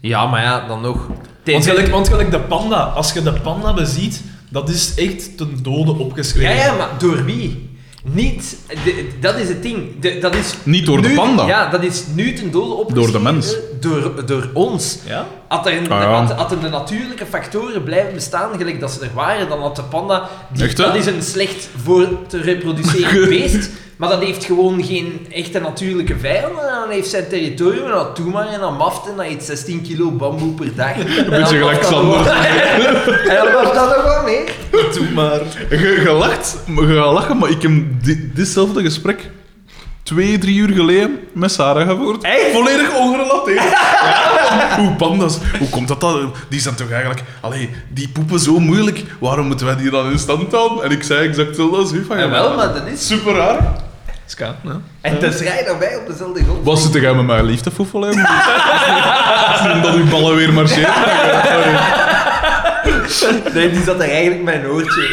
Speaker 3: ja, maar ja, dan nog.
Speaker 8: Want gelijk, want gelijk de panda, als je de panda beziet, dat is echt ten dode
Speaker 3: Ja,
Speaker 8: opgeschreven.
Speaker 3: ja, maar door wie? Niet, de- dat is het ding. De- dat is
Speaker 1: Niet door de
Speaker 3: nu-
Speaker 1: panda.
Speaker 3: Ja, dat is nu ten dode op.
Speaker 1: Door de mens.
Speaker 3: Door, door ons.
Speaker 8: Ja?
Speaker 3: Had er,
Speaker 1: Ah, ja.
Speaker 3: had, had er de natuurlijke factoren blijven bestaan, gelijk dat ze er waren, dan had de panda... Die,
Speaker 1: Echt, hè?
Speaker 3: dat is een slecht voor te reproduceren beest, maar dat heeft gewoon geen echte natuurlijke vijand. En dan heeft zijn territorium, en dat doe maar, en dan maft, en dat eet 16 kilo bamboe per dag. Een
Speaker 1: beetje gelijk Sander.
Speaker 3: en dan was dat nog wel meer.
Speaker 8: Doe maar.
Speaker 1: Je, je lacht, maar je gaat lachen, maar ik heb di- ditzelfde gesprek twee, drie uur geleden met Sarah gevoerd.
Speaker 3: Echt?
Speaker 1: Volledig ongerelateerd. Ja. Hoe pandas, hoe komt dat dan? Die zijn toch eigenlijk, allee, die poepen zo moeilijk, waarom moeten wij die dan in stand houden? En ik zei exact hetzelfde als u van
Speaker 3: Ja, wel, maar dat is...
Speaker 1: Super raar.
Speaker 8: Ska, ja.
Speaker 3: En dan schrij je daarbij op dezelfde grond.
Speaker 1: Was het jij met mijn liefdefoefel hebben? dat uw ballen weer marcheren.
Speaker 3: Nee, die zat er eigenlijk met een oortje.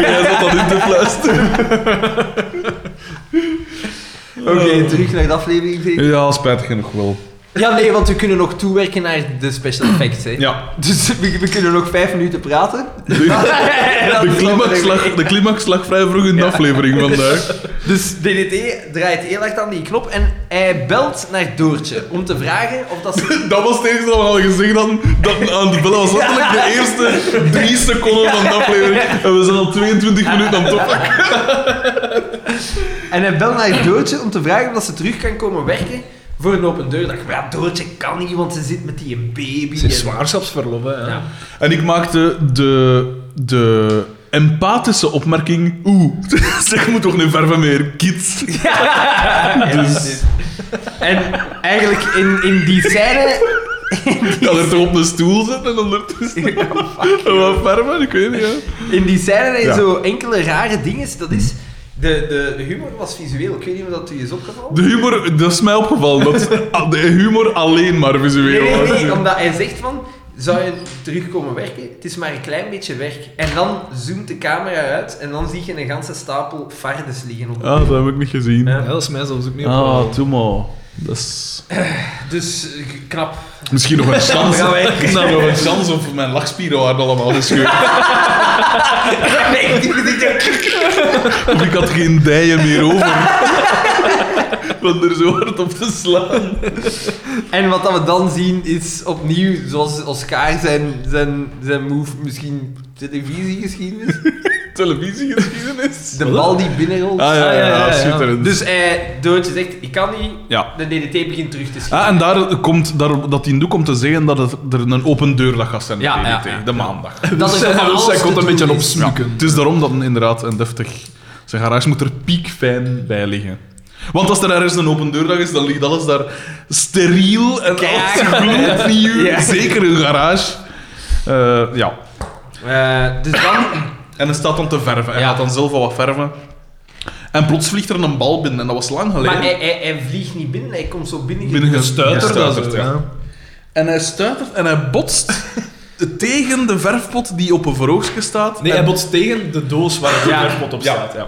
Speaker 1: Jij zat dat in te fluisteren.
Speaker 3: Oké, terug naar de aflevering. Veef.
Speaker 1: Ja, spijtig genoeg wel.
Speaker 3: Ja, nee, want we kunnen nog toewerken naar de special effects, hè.
Speaker 1: Ja.
Speaker 3: Dus we, we kunnen nog vijf minuten praten.
Speaker 1: De climax, lag, de climax lag vrij vroeg in de aflevering vandaag.
Speaker 3: Dus DDT draait heel hard aan die knop en hij belt naar Doortje om te vragen of dat ze...
Speaker 1: Dat was het eerste dat we al gezegd hadden. Dat aan de bellen was letterlijk de eerste drie seconden van de aflevering. En we zijn al 22 minuten aan het oppakken.
Speaker 3: En hij belt naar Doortje om te vragen of dat ze terug kan komen werken voor een open deurdag. Maar ja, Doortje kan niet, want ze zit met die baby.
Speaker 8: Het is
Speaker 3: en-
Speaker 8: zwangerschapsverlof, hè.
Speaker 3: Ja.
Speaker 1: En ik maakte de, de empathische opmerking. Oeh, zeg moet toch niet ver van meer, kids. Dus
Speaker 3: En eigenlijk in, in die scène...
Speaker 1: ik had er toch op een stoel zitten en ondertussen. Wat ver van, ik weet niet. Ja.
Speaker 3: In die scène zijn
Speaker 1: Ja.
Speaker 3: zo enkele rare dingen. Dat is... De, de humor was visueel. Ik weet niet of dat u is opgevallen.
Speaker 1: De humor, dat is mij opgevallen. Dat ah, de humor alleen maar visueel
Speaker 3: Nee,
Speaker 1: was.
Speaker 3: nee, nee, omdat hij zegt van, zou je terugkomen werken? Het is maar een klein beetje werk. En dan zoomt de camera uit en dan zie je een ganse stapel vardes liggen op de
Speaker 1: Ah, dat heb ik niet gezien.
Speaker 3: Ja.
Speaker 8: Ja, dat is mij zelfs ook niet
Speaker 1: Ah,
Speaker 8: opgevallen.
Speaker 1: doe maar. Dat is...
Speaker 3: Dus eh, knap.
Speaker 1: Misschien nog een
Speaker 3: Dan
Speaker 1: kans.
Speaker 3: gaan wij-
Speaker 1: Misschien nog een kans of mijn lachspieren waren allemaal gescheurd.
Speaker 3: Nee, die- die- die-
Speaker 1: Of ik had geen dijen meer over. Van er zo hard op te slaan.
Speaker 3: en wat dat we dan zien is opnieuw, zoals Oscar zijn, zijn, zijn move misschien televisiegeschiedenis.
Speaker 1: Televisiegeschiedenis.
Speaker 3: De bal die binnenrolt.
Speaker 1: Ah ja, ja,
Speaker 8: ja, ja,
Speaker 1: ja,
Speaker 8: ja.
Speaker 1: schitterend.
Speaker 3: Dus hij, Doodje zegt, ik kan niet.
Speaker 1: Ja.
Speaker 3: De DDT begint terug te schieten.
Speaker 1: Ah, en daar komt daar, dat hij nu komt te zeggen dat het, er een open deurdag gaat zijn. op
Speaker 3: Ja, ja,
Speaker 1: TNT,
Speaker 3: ja.
Speaker 1: De maandag. Dus
Speaker 3: dat
Speaker 8: zij-
Speaker 3: van
Speaker 8: zij
Speaker 3: alles
Speaker 8: kon
Speaker 3: te
Speaker 8: een beetje
Speaker 3: doen
Speaker 8: op
Speaker 3: is.
Speaker 1: Ja,
Speaker 8: Snoeken.
Speaker 1: het is daarom dat een- inderdaad een deftig... Zijn garage moet er piekfijn bij liggen. Want als er ergens een open deurdag is, dan ligt alles daar steriel en alles
Speaker 3: Kijk.
Speaker 1: gloednieuw.
Speaker 3: Ja.
Speaker 1: Zeker een garage. Eh, ja.
Speaker 3: Eh, dus dan
Speaker 1: En hij staat dan te verven. Hij
Speaker 3: Ja.
Speaker 1: gaat dan zelf al wat verven. En plots vliegt er een bal binnen. En dat was lang geleden.
Speaker 3: Maar hij, hij, hij vliegt niet binnen, hij komt zo binnen.
Speaker 1: Binnen gestuiterd,
Speaker 8: Ja,
Speaker 1: dat
Speaker 8: stuiterd,
Speaker 1: is het, ja.
Speaker 8: ja.
Speaker 1: En hij stuitert en hij botst tegen de verfpot die op een verhoogstje staat.
Speaker 8: Nee,
Speaker 1: en...
Speaker 8: hij botst tegen de doos waar de
Speaker 3: Ja.
Speaker 8: verfpot op
Speaker 1: Ja.
Speaker 8: staat. Ja.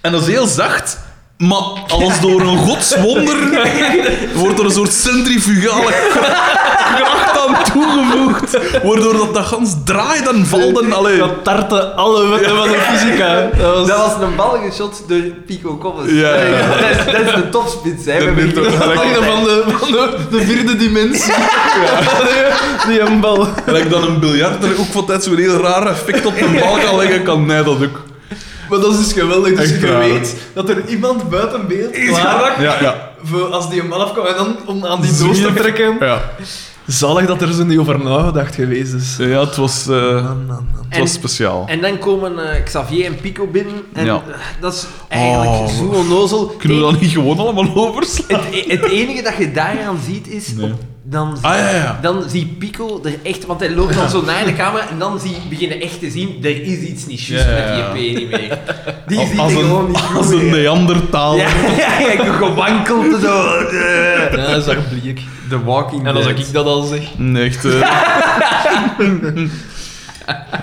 Speaker 1: En dat is heel zacht. Maar als door een godswonder wordt er een soort centrifugale kracht aan toegevoegd, waardoor dat, dat gans draait en valt en allee.
Speaker 2: Dat tartte alle wetten van de fysica. Dat was...
Speaker 9: Dat was een bal geschot door Pico Collins.
Speaker 1: Ja, ja, ja.
Speaker 9: Dat, is, dat is de topspits, hè. We
Speaker 1: Dat
Speaker 9: hebben
Speaker 1: is de
Speaker 9: hier-
Speaker 1: top-
Speaker 2: Einde van de, van de, de vierde dimensie. Die een bal.
Speaker 1: Gelijk dan een biljart er ook van tijd zo'n heel raar effect op de bal kan leggen, kan mij dat ook.
Speaker 2: Maar dat is dus geweldig. Dus
Speaker 1: Echt
Speaker 2: je
Speaker 1: waar.
Speaker 2: weet dat er iemand buiten beeld klaar lag
Speaker 1: Ja, ja.
Speaker 2: voor als die een bal afkwam en dan om aan die
Speaker 1: Zie
Speaker 2: doos te
Speaker 1: je.
Speaker 2: trekken.
Speaker 1: Ja,
Speaker 2: Zalig dat er zo niet over nagedacht geweest is.
Speaker 1: ja het, was, eh, het was
Speaker 3: En-
Speaker 1: speciaal.
Speaker 3: En dan komen eh, Xavier en Pico binnen. En
Speaker 1: Ja.
Speaker 3: eh, dat is eigenlijk
Speaker 1: Oh.
Speaker 3: zo onnozel.
Speaker 1: Kunnen we
Speaker 3: Het-
Speaker 1: dat niet gewoon allemaal overslaan?
Speaker 3: het, het enige dat je daaraan ziet is...
Speaker 1: Nee.
Speaker 3: op- dan,
Speaker 1: Ah, ja, ja.
Speaker 3: dan zie Pico er echt... Want hij loopt dan zo naar de camera en dan zie, beginnen echt te zien... Er is iets niet juist
Speaker 1: Ja, ja, ja.
Speaker 3: met die EP niet meer. Die ziet er
Speaker 1: als
Speaker 3: gewoon
Speaker 1: een,
Speaker 3: niet goed
Speaker 1: als
Speaker 3: meer.
Speaker 1: een Neandertaal.
Speaker 3: Ja, ja, ja, ik gewankeld zo.
Speaker 2: Ja, dat is echt bleek.
Speaker 9: The Walking
Speaker 2: En als
Speaker 9: Dead.
Speaker 2: ik dat al zeg.
Speaker 1: Nee, echt. eh.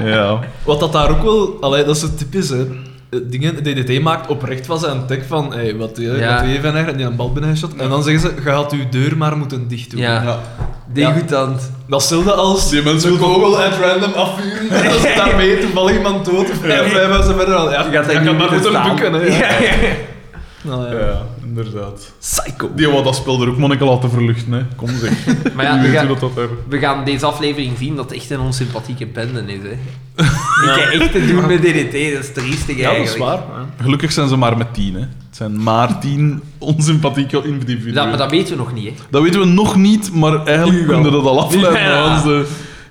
Speaker 1: ja.
Speaker 2: Wat dat daar ook wel, allee, dat is zo typisch hè. Eh, Dingen, DDT maakt oprecht van zijn tek van, hey, wat doe je
Speaker 3: Ja.
Speaker 2: wat doe je van haar? En die een bal binnengeschot. En dan zeggen ze, je had uw deur maar moeten dicht doen.
Speaker 3: Ja, degoetant.
Speaker 2: Dat is hetzelfde als
Speaker 1: Die mensen
Speaker 2: een
Speaker 1: moeten
Speaker 2: kogel at random afvuren. En als daarmee toevallig iemand dood of vijf mensen verder al. Ja, je
Speaker 3: gaat daar niet
Speaker 2: maar moeten
Speaker 3: moeten staan.
Speaker 2: bukken. Hè, ja.
Speaker 3: Ja, ja.
Speaker 2: Nou, ja.
Speaker 1: Ja, inderdaad.
Speaker 2: Psycho.
Speaker 1: Die wat dat spel er ook monniken laten verluchten, hè. Kom zeg.
Speaker 3: Maar ja,
Speaker 1: Wie
Speaker 3: we
Speaker 1: weet
Speaker 3: gaan,
Speaker 1: hoe dat dat er...
Speaker 3: we gaan deze aflevering zien dat het echt een onsympathieke bende is. Hè. Die echt te doen met DDT, dat is triestig eigenlijk.
Speaker 2: Ja, dat is waar. ja.
Speaker 1: Gelukkig zijn ze maar met tien, hè. Het zijn maar tien onsympathieke individuen.
Speaker 3: Dat, maar dat weten we nog niet. Hè.
Speaker 1: Dat weten we nog niet, maar eigenlijk
Speaker 3: Nu wel.
Speaker 1: kunnen we dat al afleiden
Speaker 3: Ja.
Speaker 1: aan de,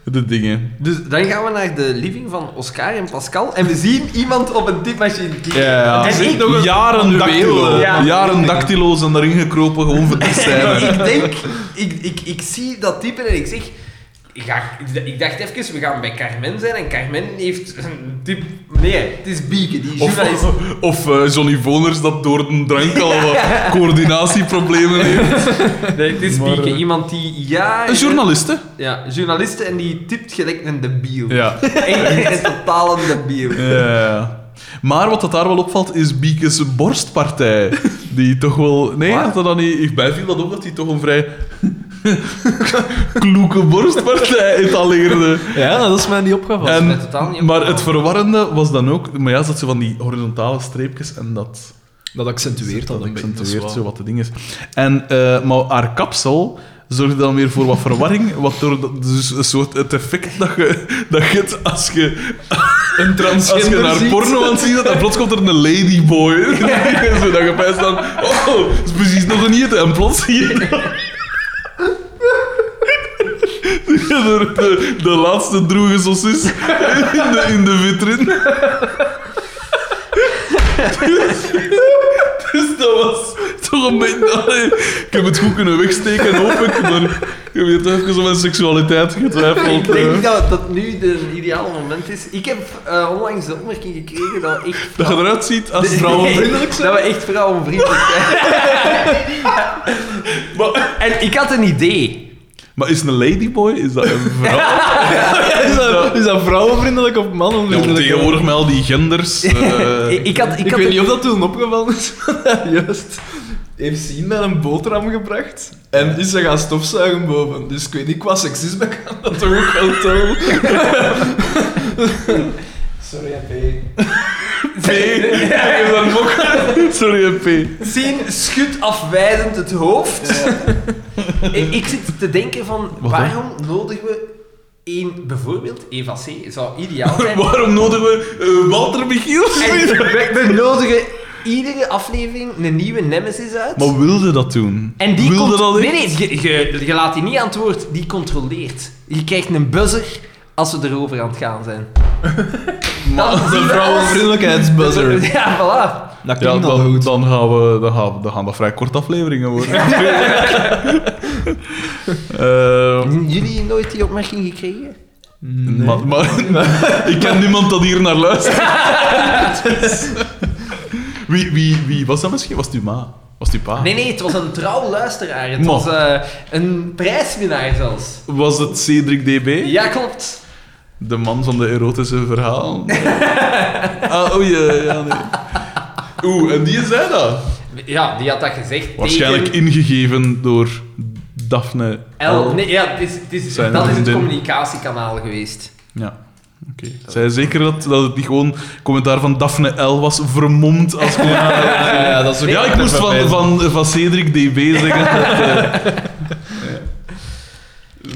Speaker 1: de dingen.
Speaker 3: Dus dan gaan we naar de living van Oscar en Pascal en we zien iemand op een tipmachine klikken.
Speaker 1: Ja, ja.
Speaker 3: En ik,
Speaker 1: Jaren dactylo.
Speaker 3: Ja.
Speaker 1: Jaren dactylo zijn daarin gekropen, gewoon voor de scène.
Speaker 3: ik denk, ik, ik, ik zie dat type en ik zeg... Ga, ik- ik dacht even, we gaan bij Carmen zijn en Carmen heeft een type... Nee, het is Bieke, die
Speaker 1: Of,
Speaker 3: journalist.
Speaker 1: of eh, Johnny Voners dat door een drank al wat coördinatieproblemen heeft.
Speaker 3: Nee, het is
Speaker 1: Maar,
Speaker 3: Bieke,
Speaker 1: eh,
Speaker 3: iemand die... Ja,
Speaker 1: Een journalist, hè?
Speaker 3: Ja, journaliste en die tipt gelijk een debiel.
Speaker 1: Ja.
Speaker 3: Echt een totale debiel.
Speaker 1: Ja. Maar wat dat daar wel opvalt, is Biekes borstpartij. Die toch wel... Nee, had dat dan niet... Ik bij viel dat op dat hij toch een vrij... kloeke borstpartij etaleerde.
Speaker 2: Ja, dat is mij niet opgevallen.
Speaker 1: En-
Speaker 3: mij totaal
Speaker 1: maar
Speaker 3: niet opgevallen.
Speaker 1: het verwarrende was dan ook... Maar ja, dat ze van die horizontale streepjes en dat...
Speaker 2: dat accentueert dat,
Speaker 1: dat
Speaker 2: een beetje.
Speaker 1: accentueert
Speaker 2: dat
Speaker 1: zo
Speaker 2: is waar.
Speaker 1: wat de ding is. En, eh, maar haar kapsel zorgde dan weer voor wat verwarring, wat door dat- dus een soort het effect dat je, dat je het als je, als
Speaker 2: Een
Speaker 1: je
Speaker 2: transgender
Speaker 1: naar
Speaker 2: ziet.
Speaker 1: porno aan het zien bent, dan plots komt er een ladyboy. Zo dat je bijst dan, oh, dat is precies nog een hitte. En plots zie je dat- zie je er de, de laatste droege sausis in de, in de vitrine. Dus dat was toch een beetje... allee, ik heb het goed kunnen wegsteken, hoop ik, maar ik heb hier toch even om mijn seksualiteit getwijfeld.
Speaker 3: Ik denk
Speaker 1: eh.
Speaker 3: dat dat nu de ideale moment is. Ik heb eh, onlangs de opmerking gekregen dat we echt...
Speaker 1: Dat je eruit ziet als vrouwenvriendelijk.
Speaker 3: Dat we echt vrouwenvriendelijk zijn.
Speaker 1: Maar,
Speaker 3: En ik had een idee.
Speaker 1: maar is een ladyboy, is dat een vrouw?
Speaker 2: Is dat, is dat vrouwenvriendelijk of
Speaker 1: Ja, want
Speaker 2: mannenvriendelijk?
Speaker 1: tegenwoordig met al die genders... eh,
Speaker 3: ik, ik had, ik
Speaker 2: Ik,
Speaker 3: had
Speaker 2: weet
Speaker 3: een-
Speaker 2: niet of dat toen opgevallen is. Juist. Heeft zien met een boterham gebracht en is ze gaan stofzuigen boven. Dus ik weet niet, qua seksisme kan dat toch ook wel toon. Sorry, AP.
Speaker 1: Nee, hij heeft een mok. Sorry, P.
Speaker 3: Sien schudt afwijzend het hoofd. ik, ik zit te denken van,
Speaker 1: dan?
Speaker 3: waarom nodigen we één, bijvoorbeeld Eva C. zou ideaal zijn.
Speaker 1: Waarom nodigen we eh, Walter Michiels?
Speaker 3: En we, we nodigen iedere aflevering een nieuwe nemesis uit.
Speaker 1: Maar wilde dat doen?
Speaker 3: en die
Speaker 1: wilde
Speaker 3: cont-
Speaker 1: dat echt?
Speaker 3: Nee, nee, je, je, je laat die niet aan het woord. Die controleert. Je krijgt een buzzer als we erover aan het gaan zijn. Dan zien
Speaker 2: De
Speaker 3: we
Speaker 2: vrouwenvriendelijkheidsbuzzer.
Speaker 3: alles. Ja, voilà.
Speaker 2: Dat
Speaker 1: Ja,
Speaker 2: klinkt al
Speaker 1: dan,
Speaker 2: goed.
Speaker 1: dan, gaan we, dan, gaan, we- dan gaan dat vrij korte afleveringen worden. Eh,
Speaker 3: Jullie nooit die opmerking gekregen?
Speaker 1: maar, maar- ik ken niemand dat hier naar luistert. wie, wie, wie was dat misschien? Was het uw ma? Was het uw pa?
Speaker 9: Ah.
Speaker 3: Nee, nee, het was een trouw luisteraar. Het
Speaker 1: Mo.
Speaker 3: was eh, een prijswinnaar zelfs.
Speaker 1: Was het Cedric DB?
Speaker 3: Ja, klopt.
Speaker 1: De man van de erotische verhalen? ah, oei, eh, ja, nee. Oeh, en die zei dat?
Speaker 3: Ja, die had dat gezegd.
Speaker 1: Waarschijnlijk
Speaker 3: tegen
Speaker 1: ingegeven door Daphne
Speaker 3: L. Nee, ja, het is, het is,
Speaker 1: Zijn
Speaker 3: dat is het
Speaker 1: vriendin.
Speaker 3: communicatiekanaal geweest.
Speaker 1: Ja. Oké. Zij zeker dat, dat het niet gewoon commentaar van Daphne L was vermomd als commentaar.
Speaker 2: Ja, ja, dat is ook
Speaker 1: ja, ik moest van, van, van Cedric DB zeggen. dat, eh, ja.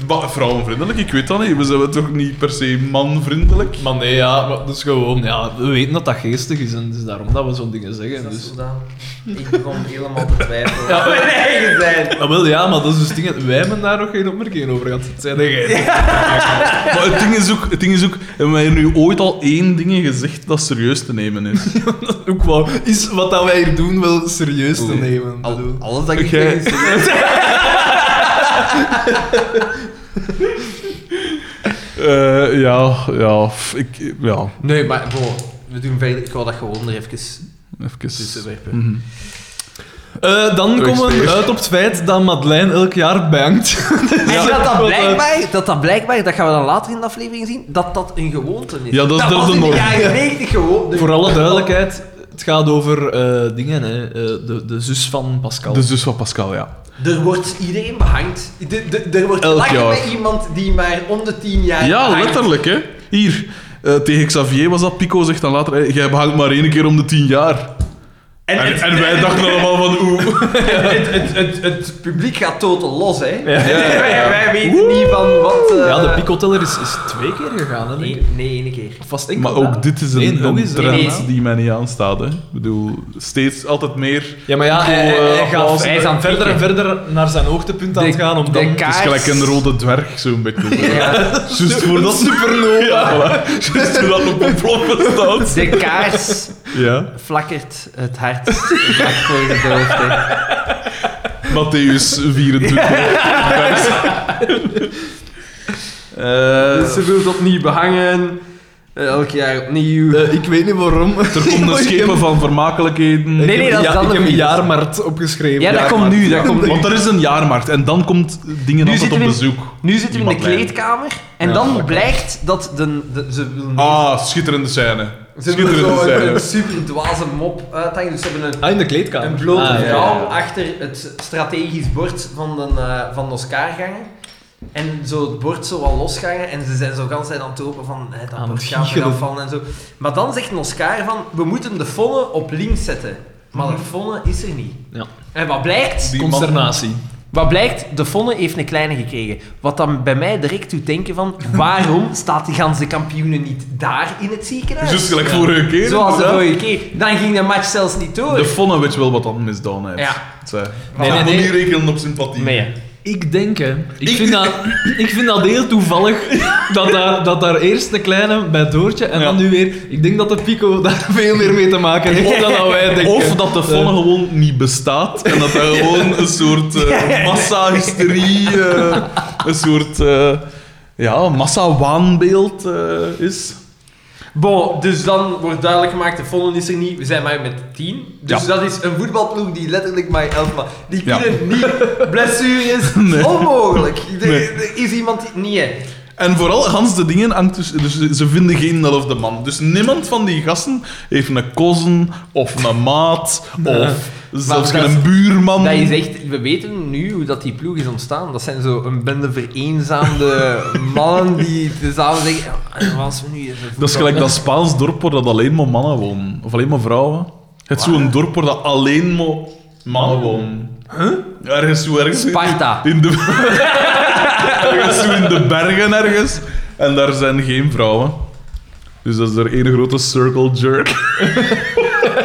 Speaker 1: Maar vrouwenvriendelijk, ik weet dat niet. We zijn toch niet per se manvriendelijk?
Speaker 2: Maar nee, ja, maar dus gewoon, ja, we weten dat dat geestig is en het is daarom dat we zo'n dingen zeggen.
Speaker 3: Dat is
Speaker 2: Dus.
Speaker 3: zodanig. Ik begon helemaal te twijfelen.
Speaker 2: Ja,
Speaker 3: mijn eigen zijn.
Speaker 2: Ah, wel, ja, maar dat is dus dingen, wij hebben daar nog geen opmerkingen over gehad. Het zijn er geen.
Speaker 1: Maar het ding is ook, het ding is ook hebben wij nu ooit al één ding gezegd dat serieus te nemen is?
Speaker 2: Ook wel, is wat dat wij hier doen wel serieus te
Speaker 1: Oeh.
Speaker 2: nemen. bedoel.
Speaker 9: Alles dat ik
Speaker 1: Jij-
Speaker 9: zeg is-
Speaker 1: Eh, ja, ja, f- ik, ja,
Speaker 9: Nee, maar bon, we doen verder. Ik wou dat gewoon er even tussen
Speaker 1: even.
Speaker 9: werpen.
Speaker 1: Mhm.
Speaker 2: Eh, dan
Speaker 1: Terug
Speaker 2: komen we
Speaker 1: steeds.
Speaker 2: uit op het feit dat Madeleine elk jaar bangt.
Speaker 9: En
Speaker 2: Ja.
Speaker 9: dat, dat,
Speaker 2: Wat, eh,
Speaker 9: blijkbaar, dat dat blijkbaar, dat gaan we dan later in de aflevering zien, dat dat een gewoonte is.
Speaker 1: Ja, dat is de-
Speaker 9: was
Speaker 1: de
Speaker 9: in de
Speaker 1: norm.
Speaker 9: jaren 90 gewoon. de-
Speaker 2: Voor alle duidelijkheid, het gaat over eh, dingen, hè. Eh, de, de zus van Pascal.
Speaker 1: De zus van Dus, Pascal, ja.
Speaker 3: Er wordt iedereen behangd. De- de- er wordt
Speaker 1: Elk
Speaker 3: gelachen
Speaker 1: jaar.
Speaker 3: met iemand die maar om de 10 jaar
Speaker 1: Ja,
Speaker 3: behangt.
Speaker 1: letterlijk, hè. Hier, eh, tegen Xavier was dat. Pico zegt dan later, hey, jij behangt maar één keer om de tien jaar. En, en, wij dachten allemaal van, oeh.
Speaker 3: Het, het, het, het publiek gaat totaal los, hè.
Speaker 1: ja, ja.
Speaker 3: Wij, wij weten niet van wat... eh,
Speaker 2: ja, de picoteller is, is twee keer gegaan, hè, denk
Speaker 3: Nee,
Speaker 2: ik.
Speaker 3: nee, één keer.
Speaker 2: Of was het enkel
Speaker 1: Maar ook
Speaker 2: daar?
Speaker 1: dit is een,
Speaker 2: Nee, nog
Speaker 1: een
Speaker 2: eens, hè.
Speaker 1: trend
Speaker 3: Nee.
Speaker 1: die mij niet aanstaat, hè. Ik bedoel, steeds altijd meer...
Speaker 2: Ja, maar ja, hij, hij-
Speaker 1: eh,
Speaker 2: hij gaat
Speaker 1: applaus.
Speaker 3: Hij is aan het
Speaker 2: verder en verder naar zijn hoogtepunt aan het gaan om dan...
Speaker 1: Het is gelijk een rode dwerg, zo'n beetje.
Speaker 3: Ja.
Speaker 1: Juist voor dat...
Speaker 2: supernova.
Speaker 1: Ja, voilà. Juist voor dat op een ploppen staat.
Speaker 3: De kaars
Speaker 1: Ja.
Speaker 3: flakkert het hart vlak voor de dood, hè.
Speaker 1: Matthäus 24. Eh,
Speaker 3: Dus ze wordt opnieuw behangen. eh, Elk jaar opnieuw.
Speaker 2: Eh, ik weet niet waarom.
Speaker 1: Er komt een schepen van vermakelijkheden.
Speaker 3: Nee, nee, dat is
Speaker 2: ja,
Speaker 3: dan
Speaker 2: ik
Speaker 3: nog
Speaker 2: heb
Speaker 3: niet.
Speaker 2: jaarmarkt opgeschreven.
Speaker 3: Ja, dat
Speaker 2: Jaarmarkt.
Speaker 3: komt nu, dat komt nu.
Speaker 1: Want er is een jaarmarkt en dan komt dingen
Speaker 3: Nu
Speaker 1: altijd
Speaker 3: zitten
Speaker 1: op
Speaker 3: we in-
Speaker 1: bezoek.
Speaker 3: Nu zitten we in de
Speaker 1: Iemand lijn.
Speaker 3: kleedkamer en dan blijkt dat de, de- ze willen
Speaker 1: Ah, schitterende scène.
Speaker 3: ze willen
Speaker 1: Schitterende
Speaker 3: zo een,
Speaker 1: scène.
Speaker 3: een super dwaze mop uithangen. Dus ze hebben een,
Speaker 2: Ah, in de kleedkamer.
Speaker 3: een blote
Speaker 2: Ah, ja, ja, ja.
Speaker 3: vrouw achter het strategisch bord van de, eh, van de Oscar gangen. En zo het bord zo wat losgangen en ze zijn zo gans tijd aan het roepen van eh, dat
Speaker 2: Aan
Speaker 3: bord
Speaker 2: het
Speaker 3: gaat
Speaker 2: giechelen.
Speaker 3: eraf vallen en zo. Maar dan zegt een Oscar van, we moeten de fonne op links zetten. Maar
Speaker 2: Mhm.
Speaker 3: de fonne is er niet.
Speaker 2: Ja.
Speaker 3: En wat blijkt?
Speaker 1: Die man-
Speaker 2: Consternatie.
Speaker 3: Wat blijkt, de Fonne heeft een kleine gekregen. Wat dan bij mij direct doet denken van, waarom staat die ganse kampioenen niet daar in het ziekenhuis?
Speaker 1: Juist gelijk vorige keer.
Speaker 3: Zoals de
Speaker 1: inderdaad.
Speaker 3: vorige keer. Dan ging de match zelfs niet door.
Speaker 1: De Fonne weet wel wat dan misdaan heeft.
Speaker 3: Ja.
Speaker 1: Zij.
Speaker 3: Nee,
Speaker 1: Ze
Speaker 2: nee,
Speaker 1: kon
Speaker 2: nee.
Speaker 1: niet rekenen op sympathie.
Speaker 2: Ik denk, hè. Ik, vind dat, ik vind dat heel toevallig dat daar, dat daar eerst de kleine bij Doortje en
Speaker 1: Ja.
Speaker 2: dan nu weer... Ik denk dat de Pico daar veel meer mee te maken heeft dan dat wij denken.
Speaker 1: Of dat de Fonne
Speaker 2: Eh,
Speaker 1: gewoon niet bestaat en dat hij gewoon een soort eh, massa-hysterie, eh, een soort eh, ja, massa-waanbeeld eh, is.
Speaker 3: Bon, dus dan wordt duidelijk gemaakt, de Fonne is er niet. We zijn maar met tien. Dus
Speaker 1: Ja.
Speaker 3: dat is een voetbalploeg die letterlijk maar elf man... Die
Speaker 1: Ja.
Speaker 3: kunnen niet... Blessure is
Speaker 1: Nee.
Speaker 3: onmogelijk. Er-
Speaker 1: Nee.
Speaker 3: er is iemand die... Nee. hè.
Speaker 1: En vooral Hans de Dingen hangt dus, dus ze- ze vinden geen elfde man. Dus niemand van die gasten heeft een kozen of een maat of zelfs
Speaker 3: dat
Speaker 1: geen buurman.
Speaker 3: Dat is echt, we weten nu hoe dat die ploeg is ontstaan. Dat zijn zo een bende vereenzaamde mannen die tezamen zeggen: "Ja, was we nu even
Speaker 1: Dat is
Speaker 3: voetbal?"
Speaker 1: gelijk dat Spaans dorp waar dat alleen maar mannen wonen. Of alleen maar vrouwen. Het is zo'n dorp waar dat alleen maar mannen wonen. Huh? Ergens zo ergens. in-
Speaker 3: Sparta.
Speaker 1: In de, ergens zo in de bergen ergens. En daar zijn geen vrouwen. Dus dat is er één grote circle jerk.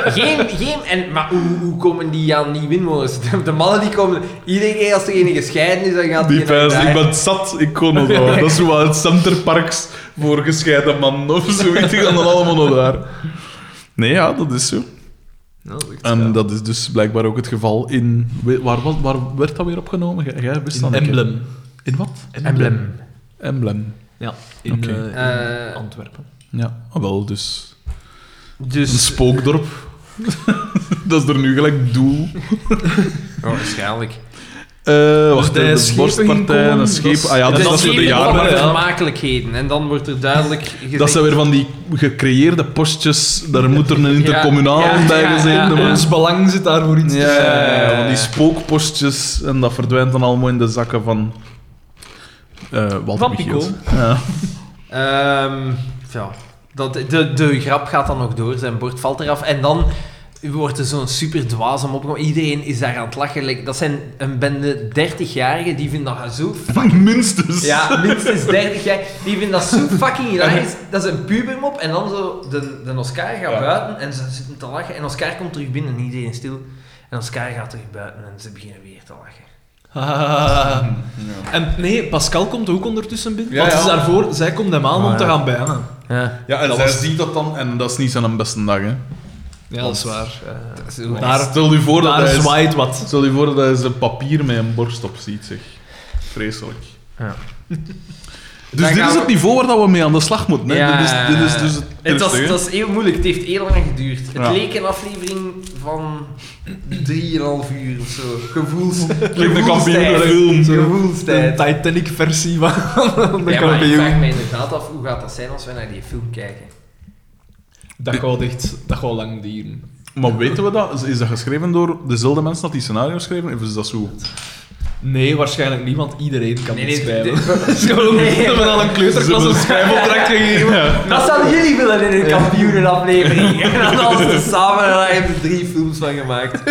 Speaker 3: Geen, geen, en, maar hoe, hoe komen die aan die windmolens? De, de mannen die komen, iedere keer als er een gescheiden is, dan gaat
Speaker 1: Die pijs,
Speaker 3: naar
Speaker 1: ik
Speaker 3: daar.
Speaker 1: ben zat, ik kon nog wel. Dat is zo wat het centerparks voor gescheiden mannen of zoiets. Die gaan dan allemaal nog daar. Nee, ja, dat is zo.
Speaker 2: nou, dat is
Speaker 1: En dat is dus blijkbaar ook het geval in... we- Waar, was- waar werd dat weer opgenomen? Jij- Jij wist dat
Speaker 2: een
Speaker 1: niet, hè?
Speaker 2: emblem.
Speaker 1: In wat?
Speaker 3: Emblem.
Speaker 1: Emblem.
Speaker 2: Ja, in,
Speaker 1: Oké.
Speaker 2: eh, in
Speaker 3: Eh,
Speaker 2: Antwerpen.
Speaker 1: Ja, ah, wel, dus... Een
Speaker 3: Dus,
Speaker 1: spookdorp. dat is er nu gelijk doel.
Speaker 3: oh, waarschijnlijk.
Speaker 1: Eh wacht,
Speaker 8: de
Speaker 1: de
Speaker 8: schepen
Speaker 1: borstpartij,
Speaker 8: inkomen,
Speaker 1: een scheep.
Speaker 8: dat is-
Speaker 1: Ah ja,
Speaker 3: Dus
Speaker 8: en
Speaker 1: dat,
Speaker 8: dan
Speaker 1: is voor
Speaker 8: zie
Speaker 1: de
Speaker 8: je
Speaker 1: jaarmarkt.
Speaker 8: ja.
Speaker 3: vermakelijkheden. En dan wordt er duidelijk gezegd...
Speaker 1: Dat zijn weer van die gecreëerde postjes. Daar moet er een intercommunaal
Speaker 3: Ja, ja,
Speaker 1: bij
Speaker 3: ja,
Speaker 1: gezeten
Speaker 3: ja.
Speaker 1: worden.
Speaker 2: Ons belang zit daar voor iets.
Speaker 1: Ja,
Speaker 2: tussen.
Speaker 1: ja, ja, van die spookpostjes. En dat verdwijnt dan allemaal in de zakken van... eh Walter
Speaker 8: Van
Speaker 1: Michiels.
Speaker 8: Pico.
Speaker 1: Ja.
Speaker 3: Ehm, ja. Dat, de, de grap gaat dan nog door, zijn bord valt eraf. En dan wordt er zo'n super dwaze mop. gemaakt. Iedereen is daar aan het lachen. Like, Dat zijn een bende 30-jarigen, die vinden dat zo
Speaker 1: Minstens.
Speaker 3: Ja, minstens 30 jaar. Die vinden dat zo fucking hilarisch. Dat is een pubermop. En dan zo, de, de Oscar gaat
Speaker 8: Ja.
Speaker 3: buiten en ze zitten te lachen. En Oscar komt terug binnen en iedereen stil. En Oscar gaat terug buiten en ze beginnen weer te lachen.
Speaker 2: Ah.
Speaker 8: En nee, Pascal komt ook ondertussen binnen.
Speaker 1: Ja,
Speaker 8: want het is
Speaker 1: ja.
Speaker 8: daarvoor, zij komt hem aan
Speaker 3: Ah,
Speaker 8: om te
Speaker 3: ja.
Speaker 8: gaan bijnen.
Speaker 3: Ja.
Speaker 1: Ja, en
Speaker 8: Dat
Speaker 1: zij
Speaker 8: was-
Speaker 1: ziet dat dan, en dat is niet zijn beste dag, hè.
Speaker 8: Ja, dat is waar. Eh,
Speaker 1: Maar
Speaker 8: daar
Speaker 1: stel je voor dat
Speaker 8: daar
Speaker 1: hij...
Speaker 8: zwaait wat.
Speaker 1: Stel je voor dat hij zijn papier met een borst op ziet, zeg. Vreselijk.
Speaker 3: Ja.
Speaker 1: Dus
Speaker 3: Dan
Speaker 1: dit
Speaker 3: gaan
Speaker 1: is
Speaker 3: we-
Speaker 1: het niveau waar dat we mee aan de slag moeten, hè.
Speaker 3: Ja.
Speaker 1: Dit, is, dit is dus het
Speaker 3: Het was,
Speaker 1: eerste,
Speaker 3: het
Speaker 1: hè.
Speaker 3: was heel moeilijk, het heeft heel lang geduurd. Het
Speaker 1: Ja.
Speaker 3: leek een aflevering van 3,5 uur of zo. Gevoels,
Speaker 1: de
Speaker 3: gevoelstijd.
Speaker 1: kampioen film.
Speaker 2: De
Speaker 3: Gevoelstijd.
Speaker 2: Titanic-versie van van de
Speaker 3: Ja, maar ik
Speaker 2: kampioen.
Speaker 3: vraag me inderdaad af hoe gaat dat zijn als we naar die film kijken.
Speaker 8: Dat gaat echt dat gaat lang duren.
Speaker 1: Maar weten we dat? Is- Is dat geschreven door dezelfde mensen dat die scenario schreven? Of is dat zo?
Speaker 8: Nee, waarschijnlijk niet, want iedereen kan
Speaker 3: Nee,
Speaker 8: dit
Speaker 3: nee,
Speaker 8: schrijven.
Speaker 3: dit-
Speaker 8: Het is gewoon
Speaker 3: Nee.
Speaker 8: we hebben al een kleuterklas een schrijfopdracht gegeven.
Speaker 3: Dat zouden jullie willen in een kampioenenaflevering. En dan hadden ze samen en daar hebben ze drie films van gemaakt.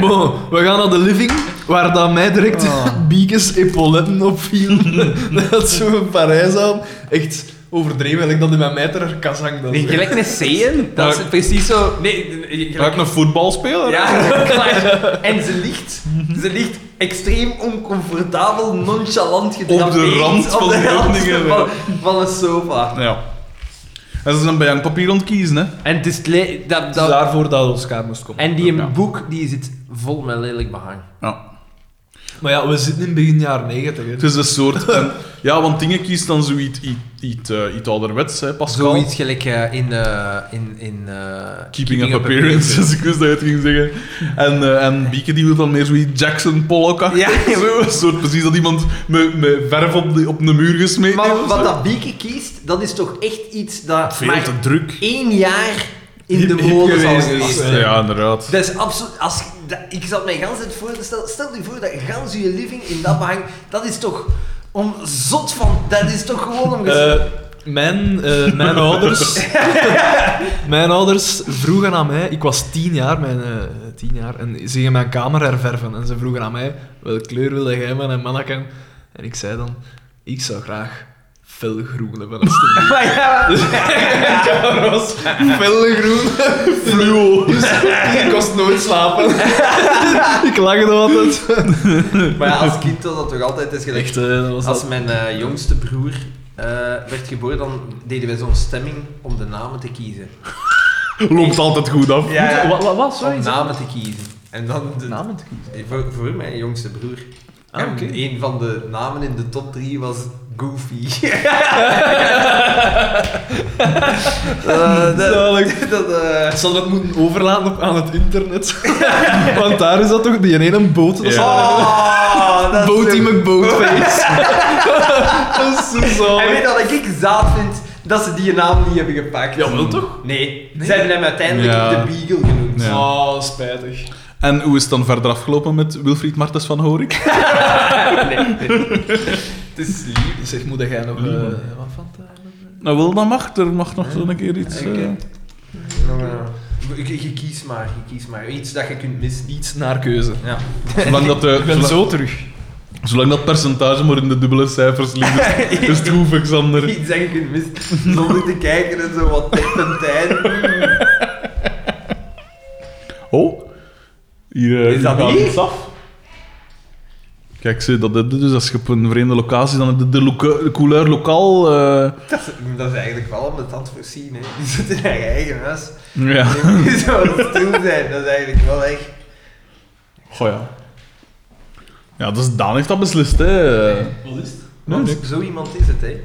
Speaker 2: Bon, we gaan naar de living, waar dan mij direct biekes epauletten opviel. dat zo in Parijs aan. Echt overdreven, gelijk dat in mijn mijter kazang dan.
Speaker 3: Nee, gelijk een zeeën. Dat is precies zo... Nee,
Speaker 1: Gelijk
Speaker 3: gelijk...
Speaker 1: een voetbalspeler?
Speaker 3: Ja, klaar. En ze ligt, ze ligt extreem oncomfortabel, nonchalant gedrapeerd.
Speaker 1: rand van
Speaker 3: op de
Speaker 1: de
Speaker 3: rand
Speaker 1: opening,
Speaker 3: van, van een sofa.
Speaker 1: Ja. En ze zijn bij een papier ontkiezen, hè?
Speaker 3: En het is... le- Dat,
Speaker 8: Dat...
Speaker 3: dat,
Speaker 8: Daarvoor dat Oscar moest komen.
Speaker 3: en die
Speaker 1: Ja.
Speaker 3: boek die zit vol met lelijk behang.
Speaker 1: Ja.
Speaker 2: Maar ja, we zitten in begin jaren 90. hè. dus-
Speaker 1: Het is een soort... en- ja, want dingen kiest dan zoiets iets, iets, eh, iets ouderwets, hè, Pascal.
Speaker 3: Zoiets gelijk eh, in... eh, in, in eh,
Speaker 1: Keeping, up appearances, ik wist dat je het ging zeggen. En, eh, en Bieke die wil dan meer zoiets Jackson Pollock
Speaker 3: Ja,
Speaker 1: zo, een soort precies dat iemand met, met verf op de, op de muur gesmeten
Speaker 3: Maar
Speaker 1: heeft.
Speaker 3: wat dat Bieke kiest, dat is toch echt iets dat
Speaker 1: Veel
Speaker 3: maar
Speaker 1: te druk.
Speaker 3: één jaar in
Speaker 2: Hip-
Speaker 3: de
Speaker 2: hip
Speaker 3: mode zal
Speaker 2: geweest is.
Speaker 3: geweest zijn.
Speaker 1: Ja, inderdaad.
Speaker 3: Dat is absoluut... Als, dat- ik zat mij gans het voor te stellen... Stel je voor dat je gans je living in dat behang... Dat is toch om zot van... Dat is toch gewoon om... ges-
Speaker 2: Eh, mijn, eh, mijn ouders... mijn ouders vroegen aan mij... Ik was tien jaar, mijn, eh, tien jaar, en ze gingen mijn kamer herverven. En ze vroegen aan mij, welke kleur wilde jij met een manneken? En ik zei dan, ik zou graag felgroen hebben. alsjeblieft."
Speaker 3: Maar ja,
Speaker 2: Dat was felgroen. Fluo. Dus ik kost nooit slapen. ik lag er altijd.
Speaker 3: maar ja, als kind was dat toch altijd... Het is gelijk
Speaker 2: Echt, eh, dat was
Speaker 3: Als
Speaker 2: dat.
Speaker 3: mijn eh, jongste broer eh, werd geboren, dan deden wij zo'n stemming om de namen te kiezen.
Speaker 1: Loopt altijd goed af.
Speaker 2: Wat, wat, wat?
Speaker 3: Om
Speaker 2: Sorry.
Speaker 3: namen te kiezen. En dan de,
Speaker 2: Namen te kiezen.
Speaker 3: Eh, Voor, voor mijn jongste broer.
Speaker 2: Ah,
Speaker 3: En
Speaker 2: oké.
Speaker 3: Een van de namen in de top 3 was Goofy. Eh, dat-
Speaker 2: Zalig.
Speaker 3: dat, eh,
Speaker 2: Ik zal dat moeten overlaten op, aan het internet. Want daar is dat toch die ene boot. Dat is
Speaker 1: Ja.
Speaker 3: Oh, dat is
Speaker 2: Boaty
Speaker 3: zo-
Speaker 2: McBoatface. dat is zo
Speaker 3: En
Speaker 2: zalig.
Speaker 3: weet je wat ik zaad vind? Dat ze die naam niet hebben gepakt. Ja,
Speaker 1: Jawel, toch?
Speaker 3: Nee, ze hebben hem uiteindelijk
Speaker 1: Ja.
Speaker 3: de Beagle genoemd.
Speaker 1: Ja.
Speaker 2: Oh, spijtig.
Speaker 1: En hoe is het dan verder afgelopen met Wilfried Martens van Horik?
Speaker 3: Ah, Nee, nee.
Speaker 2: Het is lief. Zeg, moet jij nog... eh,
Speaker 1: Lief.
Speaker 2: wat van te-
Speaker 1: Nou, wel, dat mag. Er mag nog zo'n keer iets... eh,
Speaker 3: Nou, ja. Je, je kies maar, je kies maar. Iets dat je kunt missen.
Speaker 2: Iets naar keuze.
Speaker 3: Ja.
Speaker 1: Zolang dat, de,
Speaker 2: eh, Ik ben
Speaker 1: zola-
Speaker 2: zo terug.
Speaker 1: zolang dat percentage maar in de dubbele cijfers ligt, is- is Dus het goed, Xander.
Speaker 3: Iets dat je kunt missen zonder te kijken en zo wat tijd en tijd.
Speaker 1: Oh, hier, eh,
Speaker 3: Is dat
Speaker 1: hier gaat
Speaker 3: niet?
Speaker 1: iets af. Kijk, zie, dat heb je dus als je op een vreemde locatie, dan heb je de, loca- de couleur lokaal... eh,
Speaker 3: Dat is, dat is eigenlijk wel om het aan te voorzien. Hè. Die zitten in haar eigen huis.
Speaker 1: ja.
Speaker 3: Die moeten zo stil zijn. Dat is eigenlijk wel echt...
Speaker 1: Goh, ja. Ja, dus Daan heeft dat beslist, hè.
Speaker 8: Wat is het?
Speaker 1: Nee, nee.
Speaker 3: Zo iemand is het, hè.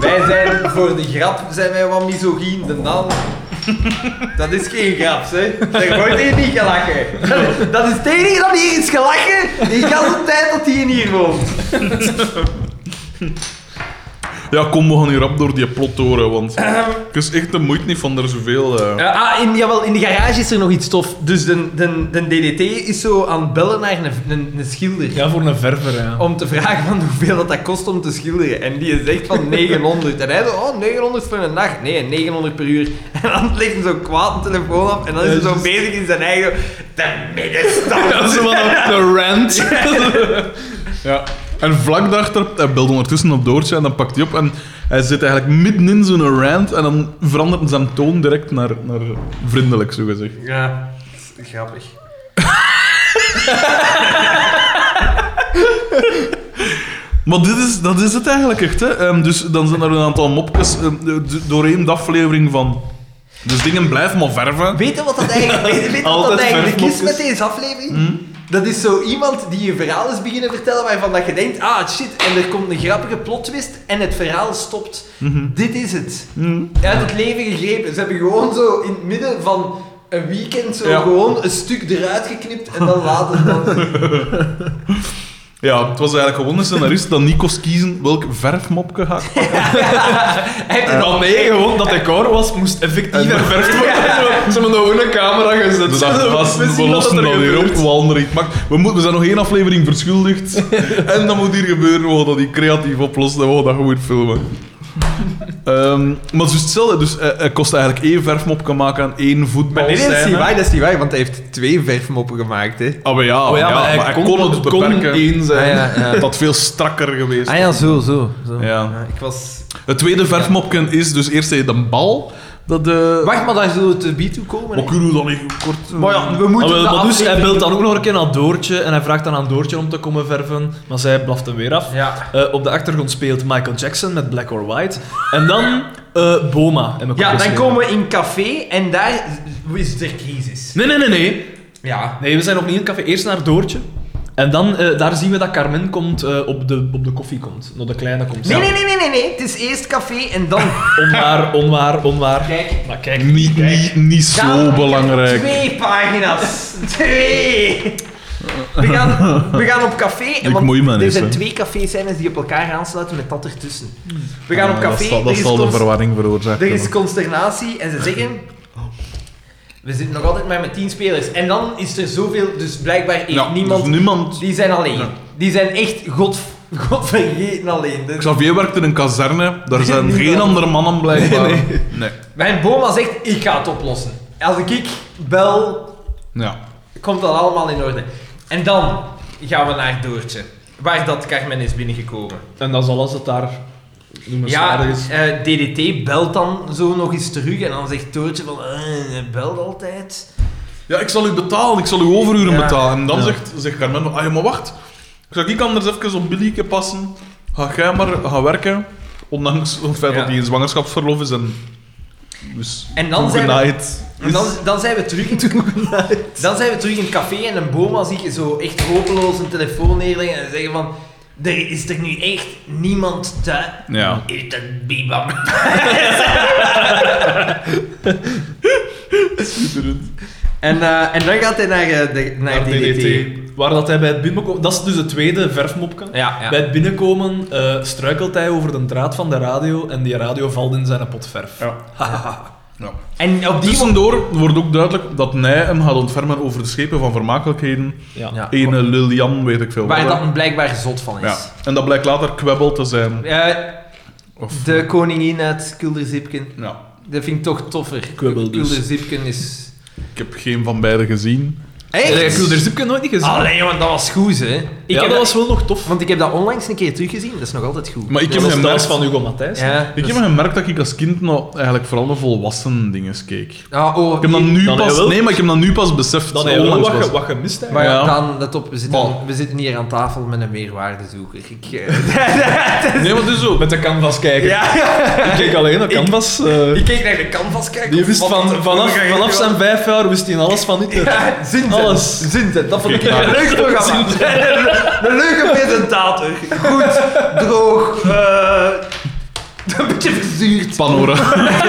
Speaker 3: Wij zijn, voor de grap, zijn wij wat misogyn. De Daan
Speaker 9: Dat is geen grap, hè. Daar wordt hier niet gelachen. Dat is het enige dat hier is gelachen, die hele tijd dat hij hier woont.
Speaker 1: Ja, kom, we gaan hier rap door die plot horen, want het is echt de moeite niet van er zoveel... eh.
Speaker 3: Eh, ah, in, jawel, in de garage is er nog iets tof. Dus de, de, de DDT is zo aan het bellen naar een, een, een schilder.
Speaker 2: Ja, voor een verver, ja.
Speaker 3: Om te vragen van hoeveel dat, dat kost om te schilderen. En die zegt van 900. En hij zegt, oh, 900 voor een dag. Nee, 900 per uur. En dan legt hij zo kwaad een telefoon af. En dan is hij zo bezig in zijn eigen... De middenstand.
Speaker 2: Dat is wel een rant.
Speaker 1: Ja. En vlak daarachter, hij belt ondertussen op Doortje en dan pakt hij op en hij zit eigenlijk midden in zo'n rant en dan verandert zijn toon direct naar, naar vriendelijk, zogezegd.
Speaker 9: Ja, dat is grappig.
Speaker 1: Maar dit is, dat is het eigenlijk echt, hè. Ehm, dus dan zijn er een aantal mopjes ehm, d- doorheen de aflevering van... Dus dingen blijven maar verven.
Speaker 3: Weet je wat dat eigenlijk, weet, weet je wat dat
Speaker 1: Altijd
Speaker 3: eigenlijk is met
Speaker 1: verfmopjes.
Speaker 3: deze aflevering? Dat is zo iemand die je verhaal is beginnen vertellen waarvan dat je denkt, ah shit, en er komt een grappige plot twist en het verhaal stopt. Dit is het. Uit het leven gegrepen. Ze hebben gewoon zo in het midden van een weekend zo
Speaker 1: Ja.
Speaker 3: gewoon een stuk eruit geknipt en dan later dan...
Speaker 1: Ja, het was eigenlijk gewoon een scenarist dat niet kost kiezen welk verfmopje gaat.
Speaker 3: Hij heeft het al
Speaker 2: nee, gewoon dat decor was, moest effectief ververfd worden. Ze hebben nog een camera gezet.
Speaker 1: Dus dat was,
Speaker 2: We zien
Speaker 1: we
Speaker 2: wat
Speaker 1: lossen
Speaker 2: er
Speaker 1: dat hier op,
Speaker 2: gebeurt.
Speaker 1: we halen er iets mak- We, moeten, we zijn nog één aflevering verschuldigd. en dat moet hier gebeuren, we gaan dat hier creatief oplossen en we gaan dat gewoon filmen. Ehm, maar het is hetzelfde, dus hij, hij kost eigenlijk één verfmop kan maken aan één voetbal.
Speaker 9: Nee, dat is niet waar, dat is niet waar, want hij heeft twee verfmoppen gemaakt, hè.
Speaker 1: Ah, maar ja,
Speaker 2: Oh ja, maar hij kon-
Speaker 1: het
Speaker 2: kon
Speaker 1: beperken.
Speaker 2: één
Speaker 1: zijn.
Speaker 9: Ah, ja, ja.
Speaker 1: Dat had veel strakker geweest.
Speaker 3: Ah, ja, zo, zo. zo.
Speaker 1: ja.
Speaker 9: Ik was...
Speaker 1: Het tweede verfmopje is dus eerst heb je de bal. Dat de...
Speaker 3: Wacht, maar daar zullen we te bied toe komen.
Speaker 1: Maar
Speaker 3: hè.
Speaker 1: kunnen we dan niet kort...
Speaker 3: Maar ja, we
Speaker 2: Ah,
Speaker 3: moeten...
Speaker 2: wel,
Speaker 3: de
Speaker 2: maar dus, hij
Speaker 3: aflevering-
Speaker 2: belt dan ook nog een keer naar Doortje en hij vraagt dan aan Doortje om te komen verven, maar zij blaft hem weer af.
Speaker 3: Ja.
Speaker 2: Eh, op de achtergrond speelt Michael Jackson met Black or White. En dan eh, Boma. heb ik
Speaker 3: Ja, dan
Speaker 1: Dus,
Speaker 2: opgeschreven.
Speaker 3: komen we in café en daar is er crisis.
Speaker 2: Nee, nee, nee, nee.
Speaker 3: Ja.
Speaker 2: Nee, we zijn opnieuw in het café. Eerst naar Doortje. En dan, eh, daar zien we dat Carmen komt, eh, op, de, op de koffie komt. Nog de kleine komt.
Speaker 3: Nee,
Speaker 2: Ja.
Speaker 3: nee, nee, nee, nee, nee. Het is eerst café en dan...
Speaker 2: Onwaar, onwaar, onwaar.
Speaker 3: Kijk.
Speaker 2: Maar kijk.
Speaker 1: Niet, niet, niet zo
Speaker 3: Gaan-
Speaker 1: belangrijk.
Speaker 3: Twee pagina's. Twee. We gaan, we gaan op café. En
Speaker 1: Ik
Speaker 3: want
Speaker 1: moei me
Speaker 3: er
Speaker 1: niet,
Speaker 3: zijn
Speaker 1: hè.
Speaker 3: twee caféscènes die op elkaar aansluiten met dat ertussen. We gaan op
Speaker 1: Ah,
Speaker 3: café.
Speaker 1: Dat zal, dat
Speaker 3: er, is
Speaker 1: zal de
Speaker 3: const-
Speaker 1: verwarring veroorzaken.
Speaker 3: er is consternatie en ze zeggen... We zitten nog altijd maar met tien spelers. En dan is er zoveel... Dus blijkbaar heeft
Speaker 1: Ja,
Speaker 3: niemand...
Speaker 1: dus niemand.
Speaker 3: Die zijn alleen.
Speaker 1: Ja.
Speaker 3: Die zijn echt god, godvergeten alleen. Dus
Speaker 1: Xavier werkt in een kazerne, daar zijn
Speaker 3: niemand.
Speaker 1: geen andere mannen blijkbaar. Nee,
Speaker 3: Mijn boma zegt, ik ga het oplossen. Als ik ik bel,
Speaker 1: Ja.
Speaker 3: komt dat allemaal in orde. En dan gaan we naar Doortje, waar dat Carmen is binnengekomen.
Speaker 2: En dat is alles dat daar
Speaker 3: Ja,
Speaker 2: noemenswaardig is.
Speaker 3: eh, DDT belt dan zo nog eens terug en dan zegt Doortje van, eh, je belt altijd.
Speaker 1: ja, ik zal u betalen, ik zal u overuren
Speaker 3: Ja.
Speaker 1: betalen. En dan
Speaker 2: Ja.
Speaker 1: zegt, zegt Carmen, ah ja, maar wacht. Ik Zal ik anders even op Billyke passen? Ga jij maar gaan werken, ondanks het feit
Speaker 3: Ja.
Speaker 1: dat hij in zwangerschapsverlof is en... Dus
Speaker 3: En dan zijn we-
Speaker 1: toegenaaid
Speaker 3: En
Speaker 1: is.
Speaker 3: dan, dan zijn we terug in Dan zijn we terug in het café en een boma zie je zo echt hopeloos een telefoon neerleggen en zeggen van... Er is er nu echt niemand thuis.
Speaker 1: Ja.
Speaker 3: Is dat bibam? En, eh, en dan gaat hij naar, eh, de, naar,
Speaker 2: Naar
Speaker 3: DDT.
Speaker 2: DDT. Waar dat hij bij het binnenkomen... Dat is dus het tweede verfmopje.
Speaker 3: Ja, ja.
Speaker 2: Bij het binnenkomen eh, struikelt hij over de draad van de radio en die radio valt in zijn pot verf.
Speaker 1: Ja.
Speaker 3: En op die moment...
Speaker 1: Dus Tussendoor wordt ook duidelijk dat hij hem gaat ontfermen over de schepen van vermakelijkheden.
Speaker 2: Ja.
Speaker 3: Ja.
Speaker 1: Ene Lilian, weet ik veel.
Speaker 3: Waar
Speaker 1: wat.
Speaker 3: dat een blijkbaar zot van
Speaker 1: Ja,
Speaker 3: is.
Speaker 1: en dat blijkt later kwebbel te zijn.
Speaker 3: Eh,
Speaker 1: Of,
Speaker 3: de koningin uit Kulderzipken.
Speaker 1: ja,
Speaker 3: Dat vind ik toch toffer.
Speaker 2: Kwebbel dus.
Speaker 3: Kulderzipken is...
Speaker 1: ik heb geen van beide gezien.
Speaker 2: Ik
Speaker 3: Echt?
Speaker 2: heb er zoeken nooit niet gezien.
Speaker 3: Allee, want dat was goed, hè. Ik
Speaker 2: ja,
Speaker 3: heb
Speaker 2: dat was wel nog tof.
Speaker 3: Want ik heb dat onlangs een keer teruggezien, dat is nog altijd goed.
Speaker 1: Maar ik
Speaker 2: Dat
Speaker 1: heb
Speaker 2: was
Speaker 1: hem
Speaker 2: thuis
Speaker 1: net-
Speaker 2: van Hugo Matthijs.
Speaker 3: Ja.
Speaker 1: Ik heb gemerkt dat ik als kind nog eigenlijk vooral de volwassen dingen keek. Ik
Speaker 3: Ah, oh,
Speaker 1: heb dat nu
Speaker 2: Dan
Speaker 1: pas...
Speaker 2: hij wel-
Speaker 1: Nee, maar ik heb dat nu pas beseft.
Speaker 2: Dat hij wel
Speaker 1: onlangs
Speaker 2: wat,
Speaker 1: was.
Speaker 2: ge, wat gemist
Speaker 3: Maar
Speaker 2: eigenlijk.
Speaker 3: ja,
Speaker 1: Ja.
Speaker 3: Dan, let op, we zitten,
Speaker 1: Bon.
Speaker 3: we zitten hier aan tafel met een meerwaardezoeker. Ik, eh,
Speaker 2: Nee, maar dus zo. Met de canvas kijken. Ik keek alleen naar canvas. eh,
Speaker 3: ik keek naar de canvas kijken.
Speaker 2: die
Speaker 3: of
Speaker 2: wist
Speaker 3: wat
Speaker 2: van,
Speaker 3: er
Speaker 2: vanaf,
Speaker 3: vroeger
Speaker 2: vanaf
Speaker 3: gedaan
Speaker 2: zijn vijf jaar wist hij alles van dit.
Speaker 3: Ja, Zinzet.
Speaker 2: Alles.
Speaker 3: Zinzet, dat vond ik
Speaker 1: Oké,
Speaker 3: een
Speaker 1: maar-
Speaker 3: leuk programma. Een leuke presentator. Goed, droog, eh, een beetje verzuurd.
Speaker 1: Panora.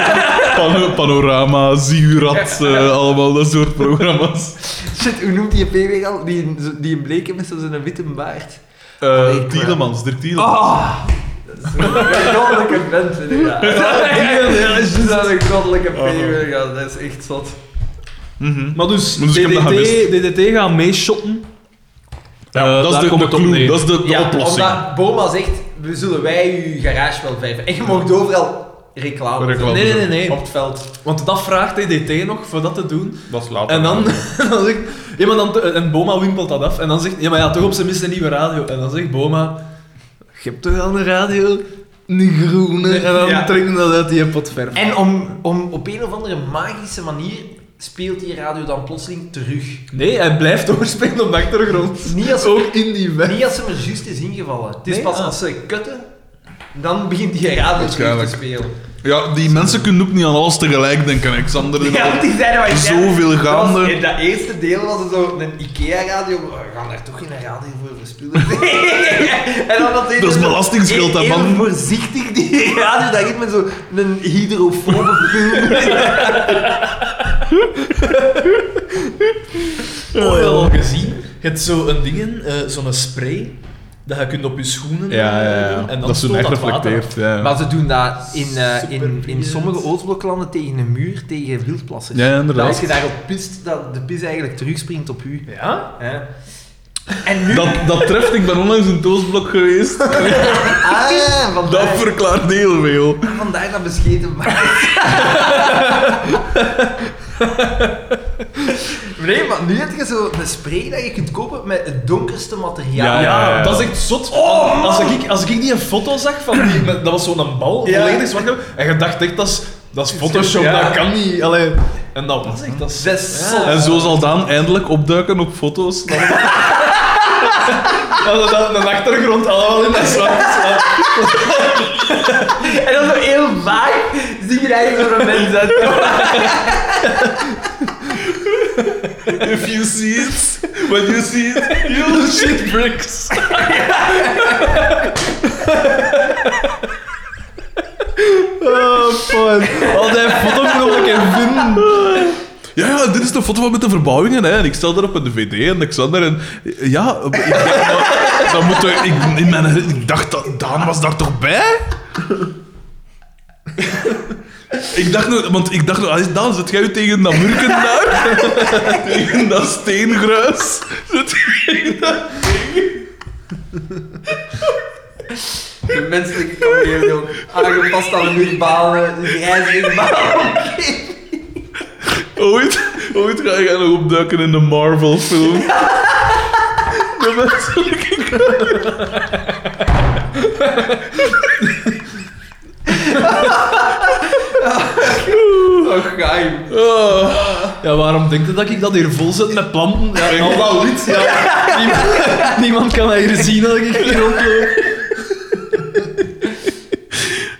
Speaker 1: Pano- panorama, Ziegurat, eh, allemaal dat soort programma's.
Speaker 3: Shit, hoe noemt die P weer al? Die, die een bleke met zo'n zijn witte baard.
Speaker 1: Eh Tielemans, Dirk
Speaker 2: Ah.
Speaker 1: Tielemans.
Speaker 3: Oh! Een goddelijke vent, vind ik dat. Dat is een goddelijke P weer gaan, dat is echt zot.
Speaker 1: Mhm.
Speaker 2: Maar dus,
Speaker 1: Maar dus ik heb dat gemist.
Speaker 2: DDT, DDT gaan meeshotten.
Speaker 1: Ja, Eh, dat,
Speaker 2: Eh, daar
Speaker 1: is de,
Speaker 2: komt
Speaker 1: de
Speaker 2: het op
Speaker 1: clue,
Speaker 2: neer.
Speaker 1: dat is de, de
Speaker 3: ja,
Speaker 1: oplossing.
Speaker 3: omdat Boma zegt, we zullen wij uw garage wel vijven. En je mag overal reclame,
Speaker 1: Reclame
Speaker 2: Nee, nee, nee,
Speaker 1: doen.
Speaker 2: nee.
Speaker 3: op het veld.
Speaker 2: Want dat vraagt DDT nog voor dat te doen.
Speaker 1: Dat is later.
Speaker 2: En dan, dan zegt... Ja, maar dan, en Boma wimpelt dat af. En dan zegt... Ja, maar ja, toch op zijn minst een nieuwe radio. En dan zegt Boma... Je hebt toch al een radio? Een groene. En dan
Speaker 3: Ja.
Speaker 2: trekken dat uit die potverf.
Speaker 10: En
Speaker 3: En om, om, op een of andere magische manier speelt die radio dan plotseling terug.
Speaker 2: Nee, hij blijft overspelen op de achtergrond.
Speaker 3: Niet als,
Speaker 2: Ook in die weg.
Speaker 3: niet als ze maar juist is ingevallen. Het is
Speaker 2: Nee?
Speaker 3: pas
Speaker 2: Ah.
Speaker 3: als ze kutten, dan begint die radio terug te
Speaker 1: Waarschijnlijk.
Speaker 3: spelen.
Speaker 1: Ja, die mensen kunnen ook niet aan alles tegelijk denken, Alexander. En
Speaker 3: Ja,
Speaker 1: al-
Speaker 3: want die zeiden wat
Speaker 1: Zoveel gaande.
Speaker 3: In dat eerste deel was het zo een IKEA-radio. maar We gaan daar toch geen radio voor verspillen. en dan dat
Speaker 1: Dat is belastingsgeld, dat man.
Speaker 3: Heel voorzichtig die radio. Daar geeft men zo een hydrofobe film.
Speaker 2: Oh, je al gezien? Je hebt zo'n dingen, eh, zo'n spray, dat je kunt op je schoenen
Speaker 1: Ja, ja, ja.
Speaker 2: doen en dan
Speaker 1: dat is toen
Speaker 2: stoot
Speaker 1: echt
Speaker 2: dat water af.
Speaker 1: reflecteerd. Ja, ja.
Speaker 10: Maar ze doen dat in, eh, in, in
Speaker 2: Superbriljant.
Speaker 10: sommige Oostbloklanden tegen een muur, tegen wildplassen.
Speaker 1: Ja, ja, inderdaad.
Speaker 10: Dat als je daarop pist, dat de pis eigenlijk terugspringt op u.
Speaker 2: Ja?
Speaker 10: Hè? En nu...
Speaker 1: Dat, dat treft, ik ben onlangs in Toosblok geweest.
Speaker 3: Ah, vandaar,
Speaker 1: Dat verklaart heel veel.
Speaker 3: vandaar dat bescheten maar. Nee, maar nu heb je zo een spray dat je kunt kopen met het donkerste materiaal.
Speaker 1: Ja,
Speaker 2: Ja,
Speaker 1: ja, ja.
Speaker 2: dat is echt zot. als, ik, als ik die een foto zag van die, met- dat was zo'n bal,
Speaker 3: Ja.
Speaker 2: volledig zwart, en je dacht echt, dat is, dat is Photoshop,
Speaker 3: Ja.
Speaker 2: dat kan niet. Allee. En dat was echt, dat is...
Speaker 3: Dat is
Speaker 2: Ja.
Speaker 3: zot.
Speaker 1: En zo zal Daan eindelijk opduiken op foto's.
Speaker 2: Dat, dat, de achtergrond allemaal in dat zwart.
Speaker 3: En dan zo heel vaag zie je daar zo'n mens uit.
Speaker 1: If you see it, when you see it, you'll shit bricks.
Speaker 2: Oh, fun. Al die foto's nog een keer vinden.
Speaker 1: Ja, ja, dit is de foto van met de verbouwingen. Hè. En ik stel daarop een DVD en Alexander. En ja, ik, dacht, maar, dan moeten we- ik, in mijn, ik dacht, dat, Daan was daar toch bij? Ik dacht nog, want ik dacht nog, ah, Daan, zit jij tegen dat murken daar? tegen dat steengruis? Zit jij tegen dat-
Speaker 3: De menselijke kameel, aangepast aan de muurbanen, grijze muurbanen.
Speaker 1: Ooit, ooit ga ik nog opduiken in de Marvel-film. De menselijke
Speaker 3: Oh, geheim.
Speaker 1: Ah.
Speaker 2: Ja, waarom denk je dat ik dat hier vol zit met planten? Ja, al dat wit. Ja. Niemand, niemand kan mij hier zien dat ik hier rondloop.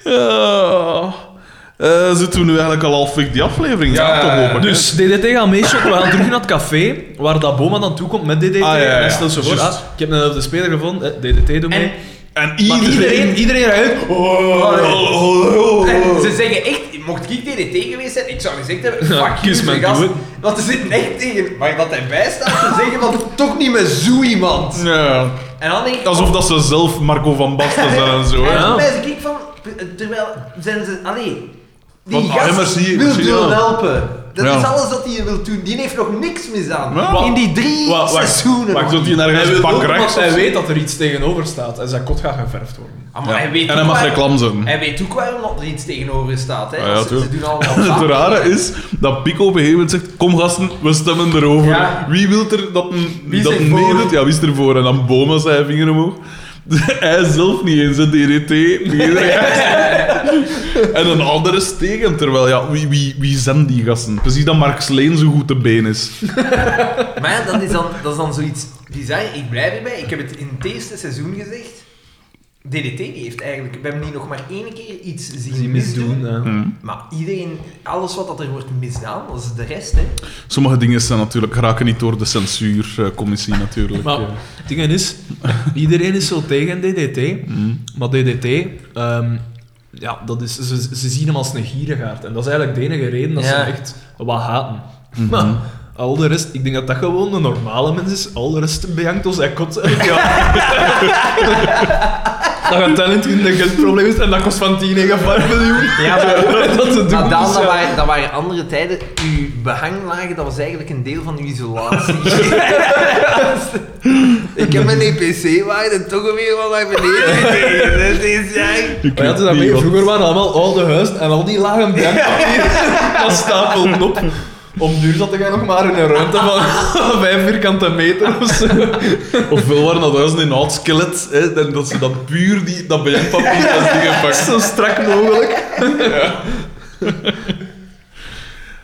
Speaker 2: nou.
Speaker 1: Ja. Eh, zitten we nu eigenlijk al halfweg die aflevering? Ja,
Speaker 3: Ja,
Speaker 1: toch open.
Speaker 2: Dus DDT gaat meeshoppen. We gaan terug naar het café waar dat Boma dan toe komt met DDT.
Speaker 1: ja, ja,
Speaker 2: En hij
Speaker 1: ja.
Speaker 2: stelt zo voor,
Speaker 1: Juist.
Speaker 2: ah, ik heb net de speler gevonden, eh, DDT doet mee.
Speaker 1: En
Speaker 2: Maar
Speaker 1: iedereen... Oh,
Speaker 2: iedereen, iedereen ruikt...
Speaker 3: En ze zeggen echt, mocht ik DDT geweest zijn, ik zou gezegd hebben, fuck you,
Speaker 2: kies mijn
Speaker 3: mijn gast.
Speaker 2: doel.
Speaker 3: Want ze zitten echt tegen, maar dat hij bijstaat, ze zeggen van, toch niet met zo iemand.
Speaker 1: Ja.
Speaker 3: En dan denk ik, oh,
Speaker 1: Alsof dat ze zelf Marco van Basten zijn en zo.
Speaker 3: en
Speaker 1: Hè?
Speaker 2: Ja.
Speaker 3: dan wijs ik van, terwijl zijn ze, allee, die
Speaker 1: Want
Speaker 3: gast
Speaker 1: Heimer zie-
Speaker 3: wil
Speaker 1: zie-
Speaker 3: Dylan
Speaker 1: ja.
Speaker 3: helpen. Dat
Speaker 1: Ja.
Speaker 3: is alles dat hij wil doen, die heeft nog niks misdaan.
Speaker 1: Ja.
Speaker 3: In die drie
Speaker 1: Wacht, wacht.
Speaker 3: seizoenen.
Speaker 1: Wacht,
Speaker 3: man.
Speaker 1: zult hij
Speaker 2: Hij
Speaker 1: nergens
Speaker 2: wil
Speaker 1: pak
Speaker 2: ook, want
Speaker 1: rechts?
Speaker 2: hij
Speaker 1: of-
Speaker 2: weet dat er iets tegenover staat en zijn kot gaat geverfd worden.
Speaker 3: Ah, maar
Speaker 1: Ja.
Speaker 3: hij weet
Speaker 1: En hij
Speaker 3: ook
Speaker 1: mag
Speaker 3: waar-
Speaker 1: reclame zijn.
Speaker 3: Hij weet ook waarom dat er iets tegenover staat. Hè.
Speaker 1: Ah, ja,
Speaker 3: ze, ze
Speaker 1: tuurlijk.
Speaker 3: doen allemaal
Speaker 1: Het
Speaker 3: zaken.
Speaker 1: rare is dat Pico op een gegeven moment zegt: Kom gasten, we stemmen erover.
Speaker 3: Ja.
Speaker 1: Wie wil er dat een,
Speaker 3: Wie is
Speaker 1: dat een
Speaker 3: ervoor?
Speaker 1: meedoet? Ja, wie is ervoor? En dan Boma zijn vinger omhoog. Hij zelf niet eens, hè, DDT. Iedereen- en een andere is tegen, terwijl ja, wie, wie, wie zijn die gasten? Precies dat Mark Sleen zo goed te been is.
Speaker 3: Maar ja, dat is, dan, dat is dan zoiets bizar. Ik blijf erbij. Ik heb het in het eerste seizoen gezegd. DDT die heeft eigenlijk... We hebben die nog maar één keer iets zien, misdoen. Maar iedereen... Alles wat dat er wordt misdaan, dat is de rest, hè.
Speaker 1: Sommige dingen zijn natuurlijk, raken niet door de censuurcommissie natuurlijk.
Speaker 2: Maar
Speaker 1: Ja.
Speaker 2: het ding is, iedereen is zo tegen DDT, maar DDT ehm, ja, dat is, ze, ze zien hem als een gierigaard. En dat is eigenlijk de enige reden dat ze
Speaker 3: Ja.
Speaker 2: hem echt wat haten. Maar al de rest, ik denk dat dat gewoon een normale mens is. Al de rest bejankt als hij kot elk jaar. dat gaat talent in de geldprobleem is en dat kost van 10 naar 5 miljoen.
Speaker 3: Ja, maar-
Speaker 2: dat te doen.
Speaker 3: Maar Daan,
Speaker 2: Dus
Speaker 3: dat,
Speaker 2: ja.
Speaker 3: waren, dat waren andere tijden. Uw behanglagen, dat was eigenlijk een deel van uw isolatie. ik heb mijn EPC-waarde toch weer wat naar beneden gekregen. Dat is jij.
Speaker 2: Maar ja, toen dat mee, vroeger waren allemaal oude huizen en al die lagen bankpapier dat stapelden op. Om duur zat jij nog maar in een ruimte van 5 vierkante meter of zo.
Speaker 1: Of veel waren dat huizen in oud skelet, hè, en dat ze dat puur die, dat bejaardpapier als dingen pakken.
Speaker 2: Zo strak mogelijk.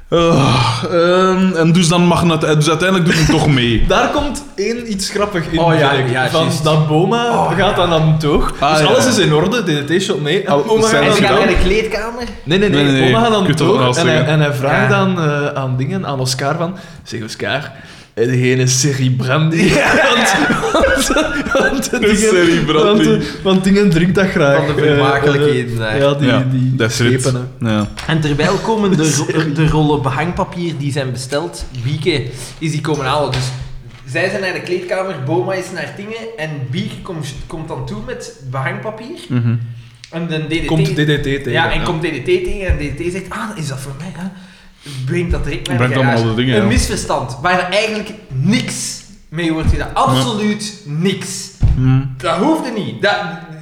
Speaker 1: Ah, ehm, en dus dan mag het, dus uiteindelijk doet hij toch mee.
Speaker 2: Daar komt één iets grappig in.
Speaker 3: Oh ja,
Speaker 2: vind ik.
Speaker 3: ja,
Speaker 2: van
Speaker 3: juist.
Speaker 2: dat Boma gaat dan aan het toog.
Speaker 1: Oh, Ah,
Speaker 2: dus
Speaker 1: ja.
Speaker 2: alles is in orde, DDT-shot mee. En
Speaker 1: Al-
Speaker 2: Boma
Speaker 1: zijn
Speaker 2: gaat
Speaker 3: En
Speaker 2: aan
Speaker 3: ze
Speaker 1: ze
Speaker 2: het
Speaker 3: gaan
Speaker 1: dan?
Speaker 3: naar de kleedkamer.
Speaker 2: Nee, nee, nee.
Speaker 1: Nee, nee, nee.
Speaker 2: Oma gaat aan
Speaker 1: Je
Speaker 2: het
Speaker 1: kunt dat wel
Speaker 2: toog en, hij-
Speaker 1: zeggen.
Speaker 2: en hij vraagt
Speaker 3: Ja.
Speaker 2: dan eh, aan dingen, aan Oscar van... Zeg Oscar, eh, heb je geen serie brandy? want, want, want de dingen,
Speaker 1: serie brandy.
Speaker 2: Want, eh, want dingen drinkt dat graag.
Speaker 3: Van de
Speaker 2: eh,
Speaker 3: vermakelijkheden,
Speaker 2: eh,
Speaker 3: hè.
Speaker 2: ja, die,
Speaker 1: ja,
Speaker 2: die
Speaker 1: dat is het.
Speaker 2: schepen, hè.
Speaker 1: Ja.
Speaker 3: En terwijl komen de, ro- de rollen behangpapier die zijn besteld, Bieke is die komen halen. Dus zij zijn naar de kleedkamer, Boma is naar Tingen en Bieke komt komt dan toe met behangpapier.
Speaker 1: Mhm.
Speaker 3: En de DDT...
Speaker 2: Komt DDT tegen.
Speaker 3: ja, en komt DDT tegen en DDT zegt, ah, is dat voor mij? Hè? Breng dat direct naar de
Speaker 1: Brengt allemaal
Speaker 3: garage.
Speaker 1: de dingen,
Speaker 3: Een
Speaker 1: ja.
Speaker 3: misverstand, waar er eigenlijk niks mee wordt gedaan. Absoluut niks. Dat hoefde niet. Dat,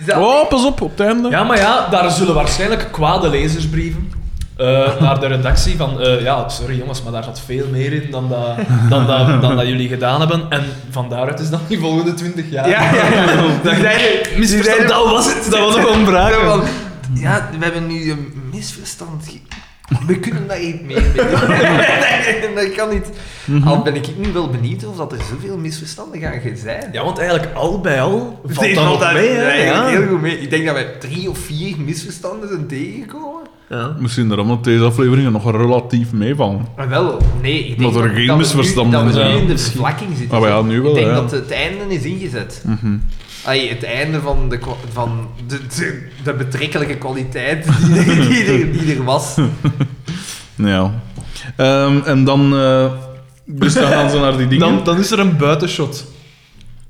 Speaker 3: dat-
Speaker 1: Oh, pas op, op het einde.
Speaker 2: Ja, maar ja, daar zullen waarschijnlijk kwade lezersbrieven eh, naar de redactie van... eh, ja, sorry jongens, maar daar zat veel meer in dan dat, dan, dat, dan dat jullie gedaan hebben. En van daaruit is dan die volgende twintig jaar.
Speaker 3: Ja, ja, ja. Die zeiden- die
Speaker 2: Misverstand,
Speaker 3: zeiden-
Speaker 2: dat was het. Dat was nog een vraag.
Speaker 3: Zo van, Ja, we hebben nu een misverstand. ge- We kunnen daar niet meer mee doen. dat kan niet.
Speaker 1: Mhm.
Speaker 3: Al ben ik nu wel benieuwd of dat er zoveel misverstanden gaan ge- zijn.
Speaker 2: Ja, want eigenlijk al bij al valt
Speaker 3: Die
Speaker 2: dat
Speaker 3: valt
Speaker 2: nog
Speaker 3: daar
Speaker 2: mee, hè.
Speaker 3: eigenlijk
Speaker 2: Ja.
Speaker 3: heel goed mee. Ik denk dat we drie of vier misverstanden zijn tegengekomen.
Speaker 2: Ja.
Speaker 1: Misschien daarom dat deze afleveringen nog relatief meevallen.
Speaker 3: Maar wel, nee. Ik denk
Speaker 1: Omdat er
Speaker 3: dat-
Speaker 1: geen
Speaker 3: dat we nu-
Speaker 1: misverstanden
Speaker 3: Dat we nu
Speaker 1: zijn.
Speaker 3: in de vervlakking zitten.
Speaker 1: Ah, maar ja, nu wel,
Speaker 3: Ik denk
Speaker 1: ja. Mhm.
Speaker 3: dat het einde is ingezet. Ai, het einde van de, kwa- van de, de, de betrekkelijke kwaliteit die, er- die, er, die er was.
Speaker 1: Ja. Ehm, en dan... eh, dus dan gaan ze naar die dingen.
Speaker 2: Dan, dan is er een buitenshot.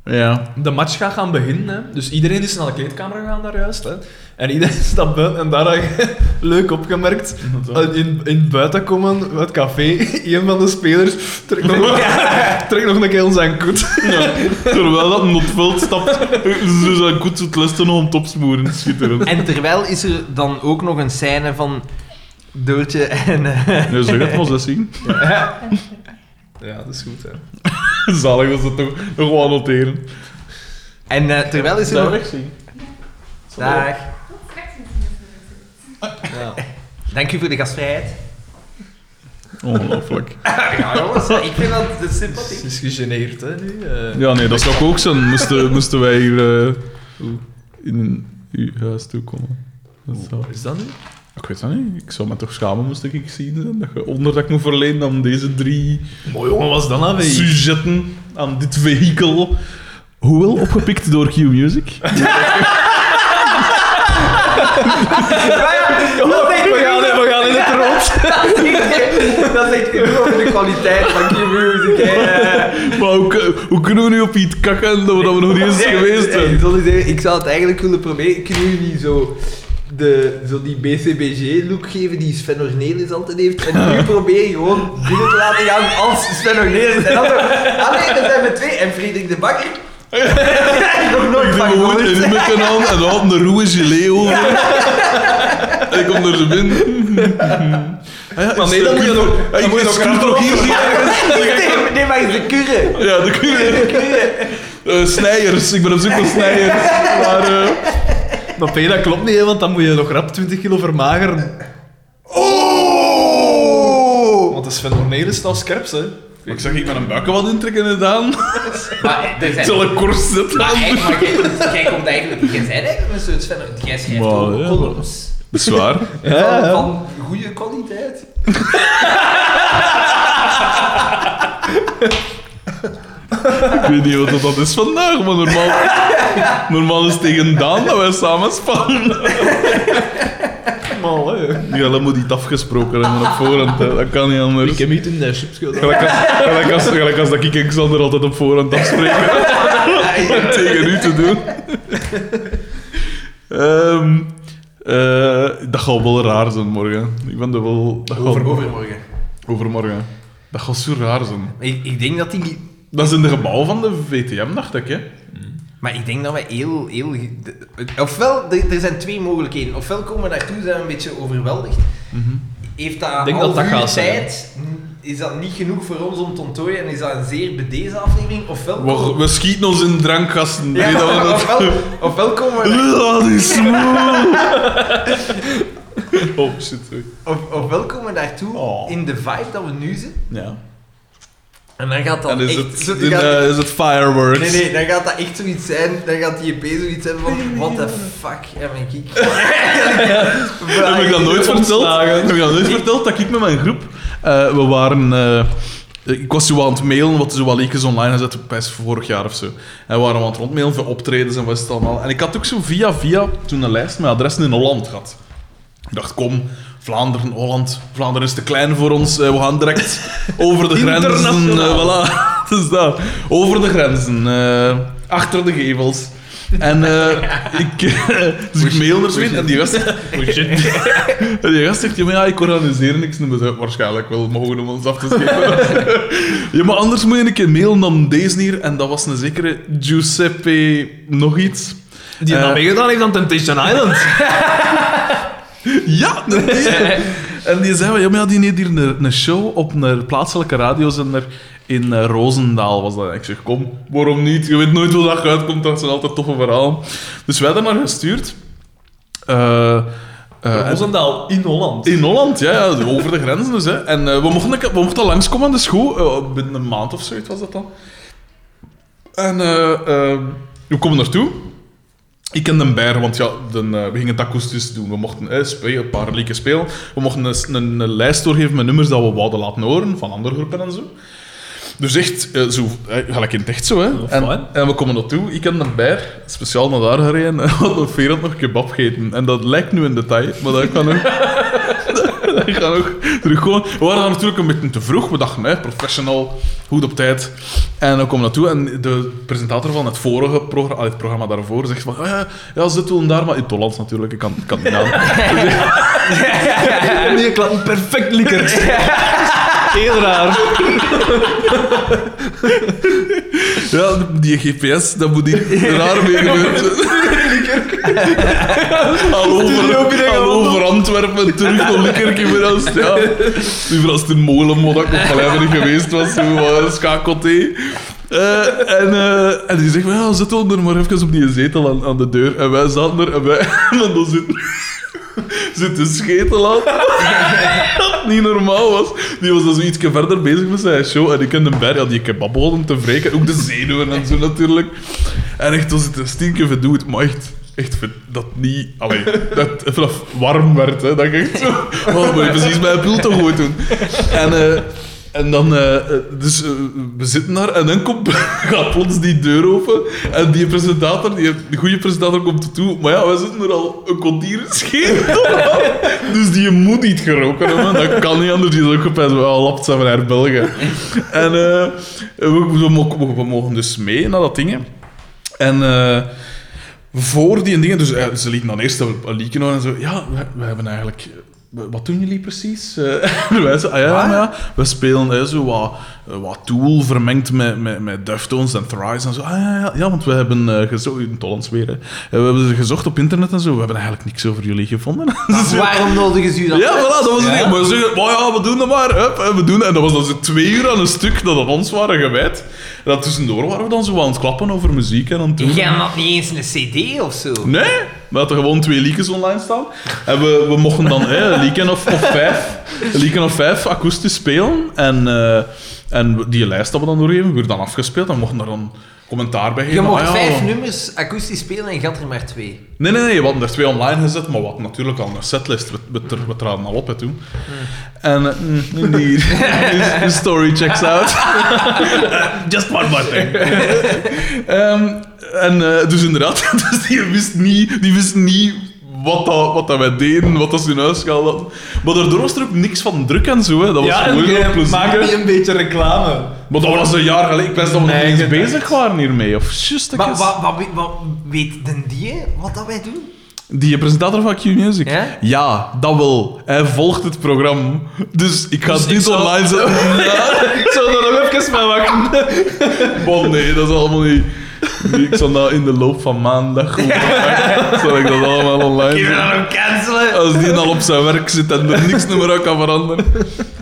Speaker 1: Ja.
Speaker 2: De match gaat gaan beginnen, hè. dus iedereen is naar de kleedkamer gegaan daar juist. Hè. En iedereen stapt buiten en daar had je leuk opgemerkt. Eh, In, in buiten komen, het café, een van de spelers trekt nog, trekt nog een keer zijn koet.
Speaker 1: ja. Terwijl dat notveld stapt, ze zijn goed het lusten om het opsmoeren. Schitterend.
Speaker 3: En terwijl is er dan ook nog een scène van Doortje en... eh,
Speaker 1: Ja, zeg het maar, ze zien.
Speaker 2: Ja, dat is goed. Hè.
Speaker 1: Zalig dat ze het nog, nog wel noteren.
Speaker 3: en eh, terwijl is er nog...
Speaker 1: zien.
Speaker 3: Dag.
Speaker 11: Tot straks misschien.
Speaker 2: Ja.
Speaker 3: Dank u voor de gastvrijheid.
Speaker 1: Ongelooflijk.
Speaker 3: Ja, jongens, ik vind dat dat is
Speaker 2: Het
Speaker 3: sympathiek.
Speaker 2: is gegeneerd, hè, nu. eh.
Speaker 1: Ja, nee, dat zou ik ook zijn. Moesten, moesten wij hier eh, in uw huis toe komen. Dat zou...
Speaker 2: Wat is dat nu?
Speaker 1: Ik weet dat niet. Ik zou me toch schamen moest ik zien zijn, dat je onder dat ik moet verlenen aan deze drie
Speaker 2: Mooi jongen, was nou dan aan
Speaker 1: sujetten, aan dit vehikel. Hoewel opgepikt door Q Music.
Speaker 3: Dat zegt
Speaker 2: We gaan, we gaan in het rood.
Speaker 3: dat zegt genoeg over de kwaliteit van die music. hè.
Speaker 1: Maar hoe, k- hoe kunnen we nu op iets kakken dat we, dat we nog niet eens geweest
Speaker 3: Eh,
Speaker 1: zijn?
Speaker 3: zal ik zeggen, Ik zou het eigenlijk willen proberen. Kunnen jullie zo, de, zo die BCBG-look geven die Sven Ornelis altijd heeft? En nu probeer je gewoon binnen te laten gaan als Sven Ornelis. En dan zo, ah nee, dat zijn we twee. En Frederik de Bakker. Nog nooit
Speaker 1: Ik
Speaker 3: van
Speaker 1: doe gewoon
Speaker 3: gehoord.
Speaker 1: een mukken aan en dan een roe gilet over. En ik kom er zo binnen.
Speaker 2: Maar nee, dan moet je nog- dan moet je nog
Speaker 1: scoot nog hier.
Speaker 3: Nee, Nee, maar de kurre.
Speaker 1: Ja, dan kun je...
Speaker 3: De kurre.
Speaker 1: Eh, snijers, ik ben op zoek naar snijers. Maar, eh,
Speaker 2: Maar P, dat klopt niet, hè, want dan moet je nog rap 20 kilo vermageren. Oh! Want de Sven Cornelis staat scherp, hè.
Speaker 1: ik zag ik met een buiken wat intrekken gedaan.
Speaker 3: Maar eh, er
Speaker 1: Ik
Speaker 3: zijn
Speaker 1: zal een korst zetten.
Speaker 3: Maar eigenlijk, maar jij, jij komt eigenlijk, jij bent eigenlijk een soort van, jij schrijft
Speaker 1: Maar,
Speaker 3: ook
Speaker 1: ja.
Speaker 3: columns
Speaker 1: Dat is waar.
Speaker 3: van, van goede kwaliteit.
Speaker 1: Ik weet niet wat dat is vandaag, maar normaal, normaal is het tegen Daan dat wij samen spannen.
Speaker 2: allemaal, hè.
Speaker 1: Jelle moet iets afgesproken hebben op voorhand. hè. Dat kan niet anders.
Speaker 2: Ik heb niet in de chips gedaan.
Speaker 1: Gelijk als, gelijk als, gelijk als dat ik en Xander altijd op voorhand afspreken. Om tegen u te doen. Ehm, eh, dat gaat wel raar zijn morgen. Ik ben er wel... Dat gaat,
Speaker 3: Overmorgen.
Speaker 1: overmorgen. Dat gaat zo raar zijn.
Speaker 3: Ik, ik denk dat die...
Speaker 1: Dat is in de gebouw van de VTM, dacht ik. Hè?
Speaker 3: Maar ik denk dat wij heel, heel... ge- de- Ofwel, er er zijn twee mogelijkheden. Ofwel komen we daartoe, zijn we een beetje overweldigd. Heeft dat
Speaker 2: Mhm. Ik denk dat
Speaker 3: half
Speaker 2: dat
Speaker 3: uur
Speaker 2: gaat zijn.
Speaker 3: tijd, is dat niet genoeg voor ons om te ontdooien en is dat een zeer bedezen aflevering? Ofwel,
Speaker 1: We, we schieten ons in drankgasten.
Speaker 3: Ja,
Speaker 1: Nee, dat we dat...
Speaker 3: ofwel, ofwel komen we...
Speaker 1: Ah, die smoel. Oh, shit. oei.
Speaker 3: Of, ofwel komen we daartoe
Speaker 1: Oh.
Speaker 3: in de vibe dat we nu zitten.
Speaker 1: Ja.
Speaker 3: En dan gaat dat
Speaker 1: En is
Speaker 3: echt...
Speaker 1: het,
Speaker 3: zo-
Speaker 1: in,
Speaker 3: gaat-
Speaker 1: eh, is het fireworks?
Speaker 3: Nee, nee, dan gaat dat echt zoiets zijn. Dan gaat die EP zoiets hebben van... What the fuck heb ik... ik-
Speaker 1: Heb ik dat nooit verteld? Heb ik dat nooit verteld dat ik met mijn groep... eh, we waren... eh, ik was zo aan het mailen, wat zo wel leakjes online gezet, best vorig jaar of zo. En we waren aan het rondmailen voor optredens en wat is het allemaal. En ik had ook zo via via toen een lijst met adressen in Holland gehad. Ik dacht, kom, Vlaanderen, Holland. Vlaanderen is te klein voor ons. eh, we gaan direct over de grenzen. eh, voilà, het is dat. Over de grenzen. eh, achter de gevels. En eh, ik... dus ik mail naar Sven en die gast... en die gast zegt, ja, maar ja, ik organiseer niks. En we zeggen, waarschijnlijk wel mogen om ons af te schepen. ja, maar anders moet je een keer mailen dan deze hier. En dat was een zekere Giuseppe nog iets.
Speaker 2: Die
Speaker 1: Eh,
Speaker 2: dat meegedaan heeft aan Temptation Island.
Speaker 1: Ja, dat is het. En die zei, ja, maar ja, die deed hier een, een show op een plaatselijke radiozender in eh, Roosendaal was dat. Ik zeg, kom, waarom niet? Je weet nooit hoe dat uitkomt, dat zijn altijd toffe verhalen. Dus wij daar naar gestuurd. Eh, eh, en-
Speaker 2: Roosendaal in Holland.
Speaker 1: in Holland, ja, ja, over de grenzen dus. Hè. En eh, we, mochten, een keer- we mochten langskomen aan de school, eh, binnen een maand of zoiets was dat dan. En eh, eh, we komen naartoe. Ik en den Beir, want ja, den, eh, we gingen het akoestisch doen. We mochten eh, spelen, een paar liedjes spelen. We mochten een, een, een lijst doorgeven met nummers dat we wouden laten horen, van andere groepen en zo. Dus echt, eh, zo, eh, gelijk in het echt zo. Hè.
Speaker 2: fijn.
Speaker 1: en, en we komen naartoe, ik en den Beir, speciaal naar daar gereden, en hadden op Verand nog kebab gegeten. En dat lijkt nu in detail, maar dat kan ook... Ik ga ook terug gewoon. We waren daar natuurlijk een beetje te vroeg. We dachten, hè, professional, goed op tijd. En dan komen we naartoe en de presentator van het vorige programma, allee, het programma daarvoor, zegt van, "Ah, ja, ja, zit wel daar, maar in het Hollands natuurlijk, ik kan, ik kan het niet aan.
Speaker 2: Nee, ik laat hem perfect likker. Heel raar.
Speaker 1: Ja, die GPS, dat moet hier raar mee gebeuren. al over, al over Antwerpen, terug naar Likkerke weer als ja. Liever als het een molenmodder of gelijk niet geweest was, zo wat schakelthee. Eh, en, eh, en die zegt, ja, zet onder maar even op die zetel aan, aan de deur. En wij zaten er en wij... En dan zit, zit de schetel aan. Dat niet normaal was. Die was dus iets verder bezig met zijn show. En ik en de Ber, ja, die kebab hadden te wreken. Ook de zenuwen en zo natuurlijk. En echt, was het een stinkje verdoet. Maar echt, echt ver- dat niet... Allee, dat het vanaf warm werd, hè. Dat ik echt zo... Oh, maar je precies mijn pul toch goed doen. En... eh, en dan, eh, eh, dus eh, we zitten daar en dan komt, gaat plots die deur open. En die presentator, die die goede presentator komt toe. Maar ja, wij zitten er al een kwartier scheef. Dus die moet niet geroken hebben. Dat kan niet anders. Die is ook gepest. We lapt zijn naar België. En eh, we, we, mogen, we mogen dus mee naar dat ding. hè. En eh, voor die dingen... Dus eh, ze lieten dan eerst een een liedje horen en zo. Ja, we, we hebben eigenlijk... eh, Wat doen jullie precies? Eh, en wij zeiden, ah ja, maar ja, we spelen eh, zo wat, eh, wat Tool vermengd met, met, met Deftones en Thrice en zo. Ah ja, ja, ja want we hebben eh, gezocht... In het Hollands weer, hè. Eh, We hebben ze gezocht op internet en zo. We hebben eigenlijk niks over jullie gevonden. Dus, eh,
Speaker 3: Waarom nodigen ze u dan
Speaker 1: ja, voilà, dat was het ding. Maar ze zeggen, maar ja, we doen dat maar. Hup, en we doen. dat. En dat was dan zo twee uur aan een stuk dat aan ons waren gewijd. En dat tussendoor waren we dan zo aan het klappen over muziek en aan het doen.
Speaker 3: Jij had niet eens een cd of zo.
Speaker 1: Nee, we hadden gewoon twee liedjes online staan. En we, we mochten dan hè, een liedje of, of vijf, een liedje of vijf akoestisch spelen. En, eh, en we- die lijst hadden we dan doorgeven. We werden dan afgespeeld en mochten daar dan commentaar bij geven.
Speaker 3: Je mocht
Speaker 1: Ah, ja,
Speaker 3: vijf
Speaker 1: we-
Speaker 3: nummers akoestisch spelen en je had er maar twee.
Speaker 1: Nee, nee, nee, we hadden er twee online gezet, maar wat natuurlijk al een setlist. We, we, we, we traden al op hè, toen. En eh, mm, indeed, His- his story checks out. Just one more thing. Ehm, en eh, dus inderdaad, dus die wist niet, die wist niet wat, dat, wat dat wij deden, wat dat ze in huis gehaald hadden. Maar daardoor was er ook niks van druk en zo. Hè. Dat was
Speaker 8: Ja, en
Speaker 1: gewoon
Speaker 8: jij
Speaker 1: heel
Speaker 2: eh,
Speaker 8: maakt
Speaker 1: plezier.
Speaker 8: niet een beetje reclame.
Speaker 1: Maar dat was een jaar geleden. Ik wist dat we nog niet eens
Speaker 8: Eigen
Speaker 1: bezig waren hiermee. Of just
Speaker 3: Maar wat, wat, we- wat weet den die wat dat wij doen?
Speaker 1: Die presentator van Q-Music?
Speaker 3: Ja?
Speaker 1: dat wel. Hij volgt het programma. Dus ik ga dit online zetten.
Speaker 8: Ik zou er nog even mee wachten.
Speaker 1: Bon, nee, dat is allemaal niet... Nee, ik zal dat in de loop van maandag... Zal ik dat allemaal online zetten.
Speaker 3: hem cancelen.
Speaker 1: Als die al op zijn werk zit en er niks meer aan kan veranderen.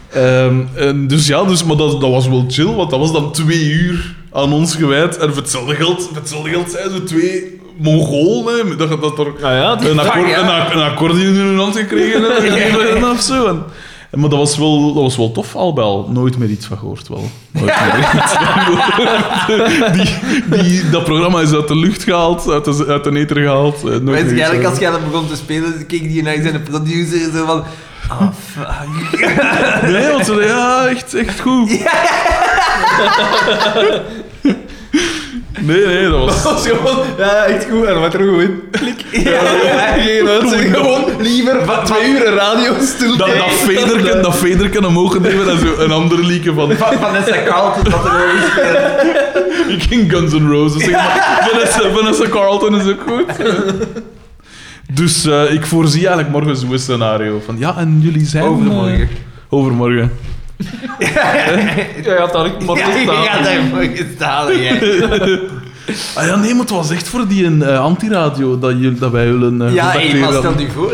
Speaker 1: Ehm, en dus ja, dus, maar dat, dat was wel chill, want dat was dan twee uur aan ons gewijd. En voor hetzelfde geld, voor hetzelfde geld zijn ze twee Mongolen. hè. Dat, dat er
Speaker 2: Ah ja,
Speaker 1: een, akkoord,
Speaker 3: ja.
Speaker 1: een, ak- een accordeon in hun hand gekregen hebben of zo. En, en- maar dat was, wel, dat was wel tof, al bij al. Nooit meer iets van gehoord, wel. Nooit meer iets van gehoord. die, die, dat programma is uit de lucht gehaald, uit de, uit de ether gehaald. eh, nooit meer iets
Speaker 3: Waarschijnlijk
Speaker 1: van
Speaker 3: als jij dat begon te spelen, keek die naar zijn producer en zo van... Ah, fuck.
Speaker 1: Nee, want ze ja, echt, echt goed. Nee, nee, dat was...
Speaker 8: Dat was gewoon, ja, echt goed. En wat er ook in. Ja, geen uitzending. Gewoon liever van twee uur een radio stil.
Speaker 1: Dat, dat vederken, dat vederken omhoog nemen en zo een ander liedje van...
Speaker 9: Van Vanessa Carlton dat er wel is.
Speaker 1: Ik ging Guns N' Roses zingen, maar Vanessa, Vanessa Carlton is ook goed. Dus eh, ik voorzie eigenlijk morgen zo'n scenario van... Ja, en jullie zijn... eh,
Speaker 3: Overmorgen.
Speaker 1: overmorgen.
Speaker 2: Jij had daar ook maar
Speaker 3: Ja, je
Speaker 2: staan.
Speaker 3: gaat daarvoor gestaan, jij.
Speaker 1: Ah ja, nee, maar het was echt voor die eh, antiradio dat, jullie, dat wij willen eh,
Speaker 3: Ja, hey,
Speaker 1: contacteren
Speaker 3: maar
Speaker 1: hadden.
Speaker 3: stel nu voor.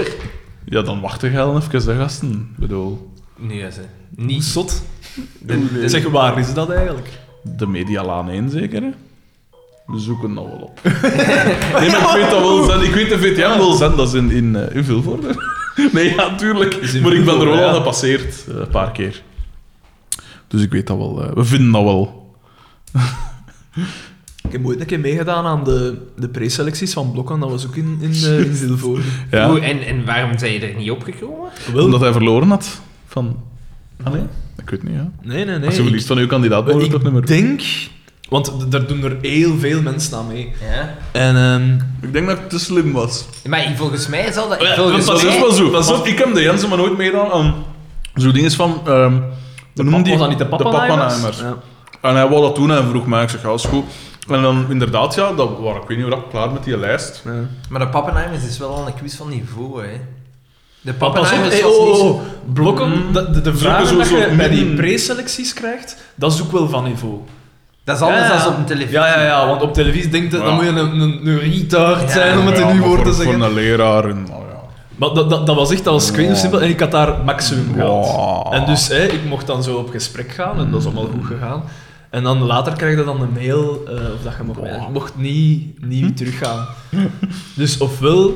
Speaker 1: Ja, dan wacht ik wel even, de gasten. Ik bedoel,
Speaker 3: Nee, ze. Niet.
Speaker 2: Zot.
Speaker 3: De- de-
Speaker 2: Zeg, waar is dat eigenlijk?
Speaker 1: de Medialaan 1 zeker, hè? We zoeken dat wel op. nee, maar ik weet dat wel zijn. Ik weet de VTM wel zijn, dat is in, in, eh, in Vilvoorde. nee, ja, tuurlijk.
Speaker 2: in
Speaker 1: Maar ik ben er
Speaker 2: Vilvoorde,
Speaker 1: wel
Speaker 2: ja.
Speaker 1: aan gepasseerd, eh, een paar keer. Dus ik weet dat wel. eh, we vinden dat wel.
Speaker 2: Ik heb ooit een keer meegedaan aan de, de preselecties van Blokken. Dat was ook in, in, eh, in Vilvoorde.
Speaker 1: Ja,
Speaker 3: Hoe, en, en waarom zijn je er niet opgekomen?
Speaker 1: Omdat hij verloren had van... Ah nee? Ik weet niet, ja.
Speaker 2: Nee, nee, nee.
Speaker 1: Als je
Speaker 2: ik-
Speaker 1: verliest van uw kandidaat, moet je
Speaker 2: ik
Speaker 1: toch niet meer...
Speaker 2: denk... Want d- daar doen er heel veel mensen aan mee.
Speaker 3: Ja.
Speaker 2: En ehm,
Speaker 1: Ik denk dat ik te slim was.
Speaker 3: Maar volgens mij zal dat...
Speaker 1: Ja,
Speaker 3: volgens
Speaker 1: dat
Speaker 3: mij-
Speaker 1: is wel zo.
Speaker 2: Pas
Speaker 1: Want ik heb de Jensen maar nooit meegedaan aan zo'n ding is van... ehm hoe noemde die?
Speaker 2: was dat niet de Pappenheimers?
Speaker 1: Pappenheimers.
Speaker 2: Ja.
Speaker 1: En hij wou dat doen en vroeg mij, ik zeg, ja, is goed. En dan inderdaad, ja, dat, waren, ik weet niet hoe rap klaar met die lijst.
Speaker 3: Maar de Pappenheimers is wel al een quiz van niveau, hè. De
Speaker 2: Maar pas op,
Speaker 3: Pappenheimers
Speaker 2: hey,
Speaker 3: was
Speaker 2: oh,
Speaker 3: niet
Speaker 2: oh,
Speaker 3: zo...
Speaker 2: oh. Blokken,
Speaker 1: Mm.
Speaker 2: de, de, de
Speaker 1: Zoeken
Speaker 2: vragen
Speaker 1: zo-
Speaker 2: dat
Speaker 1: zo
Speaker 2: je bij die
Speaker 1: midden.
Speaker 2: preselecties krijgt, dat is ook wel van niveau.
Speaker 3: Dat is anders
Speaker 2: Ja, ja.
Speaker 3: dan op een televisie.
Speaker 2: Ja, ja, ja, want op televisie denk je,
Speaker 1: Ja.
Speaker 2: dan moet je een, een, een retard zijn om het in
Speaker 1: Ja,
Speaker 2: uw
Speaker 1: maar
Speaker 2: woord te
Speaker 1: voor-
Speaker 2: zeggen.
Speaker 1: Voor een leraar en... Oh, ja.
Speaker 2: Maar dat, dat, dat was echt als
Speaker 1: Ja.
Speaker 2: Queen simpel en ik had daar maximum
Speaker 1: Ja.
Speaker 2: gehad. En dus hè, ik mocht dan zo op gesprek gaan en dat is allemaal goed gegaan. En dan later krijg je dan een mail eh, of dat je mocht,
Speaker 1: Ja.
Speaker 2: mocht niet,
Speaker 1: Hm?
Speaker 2: niet teruggaan. Dus ofwel,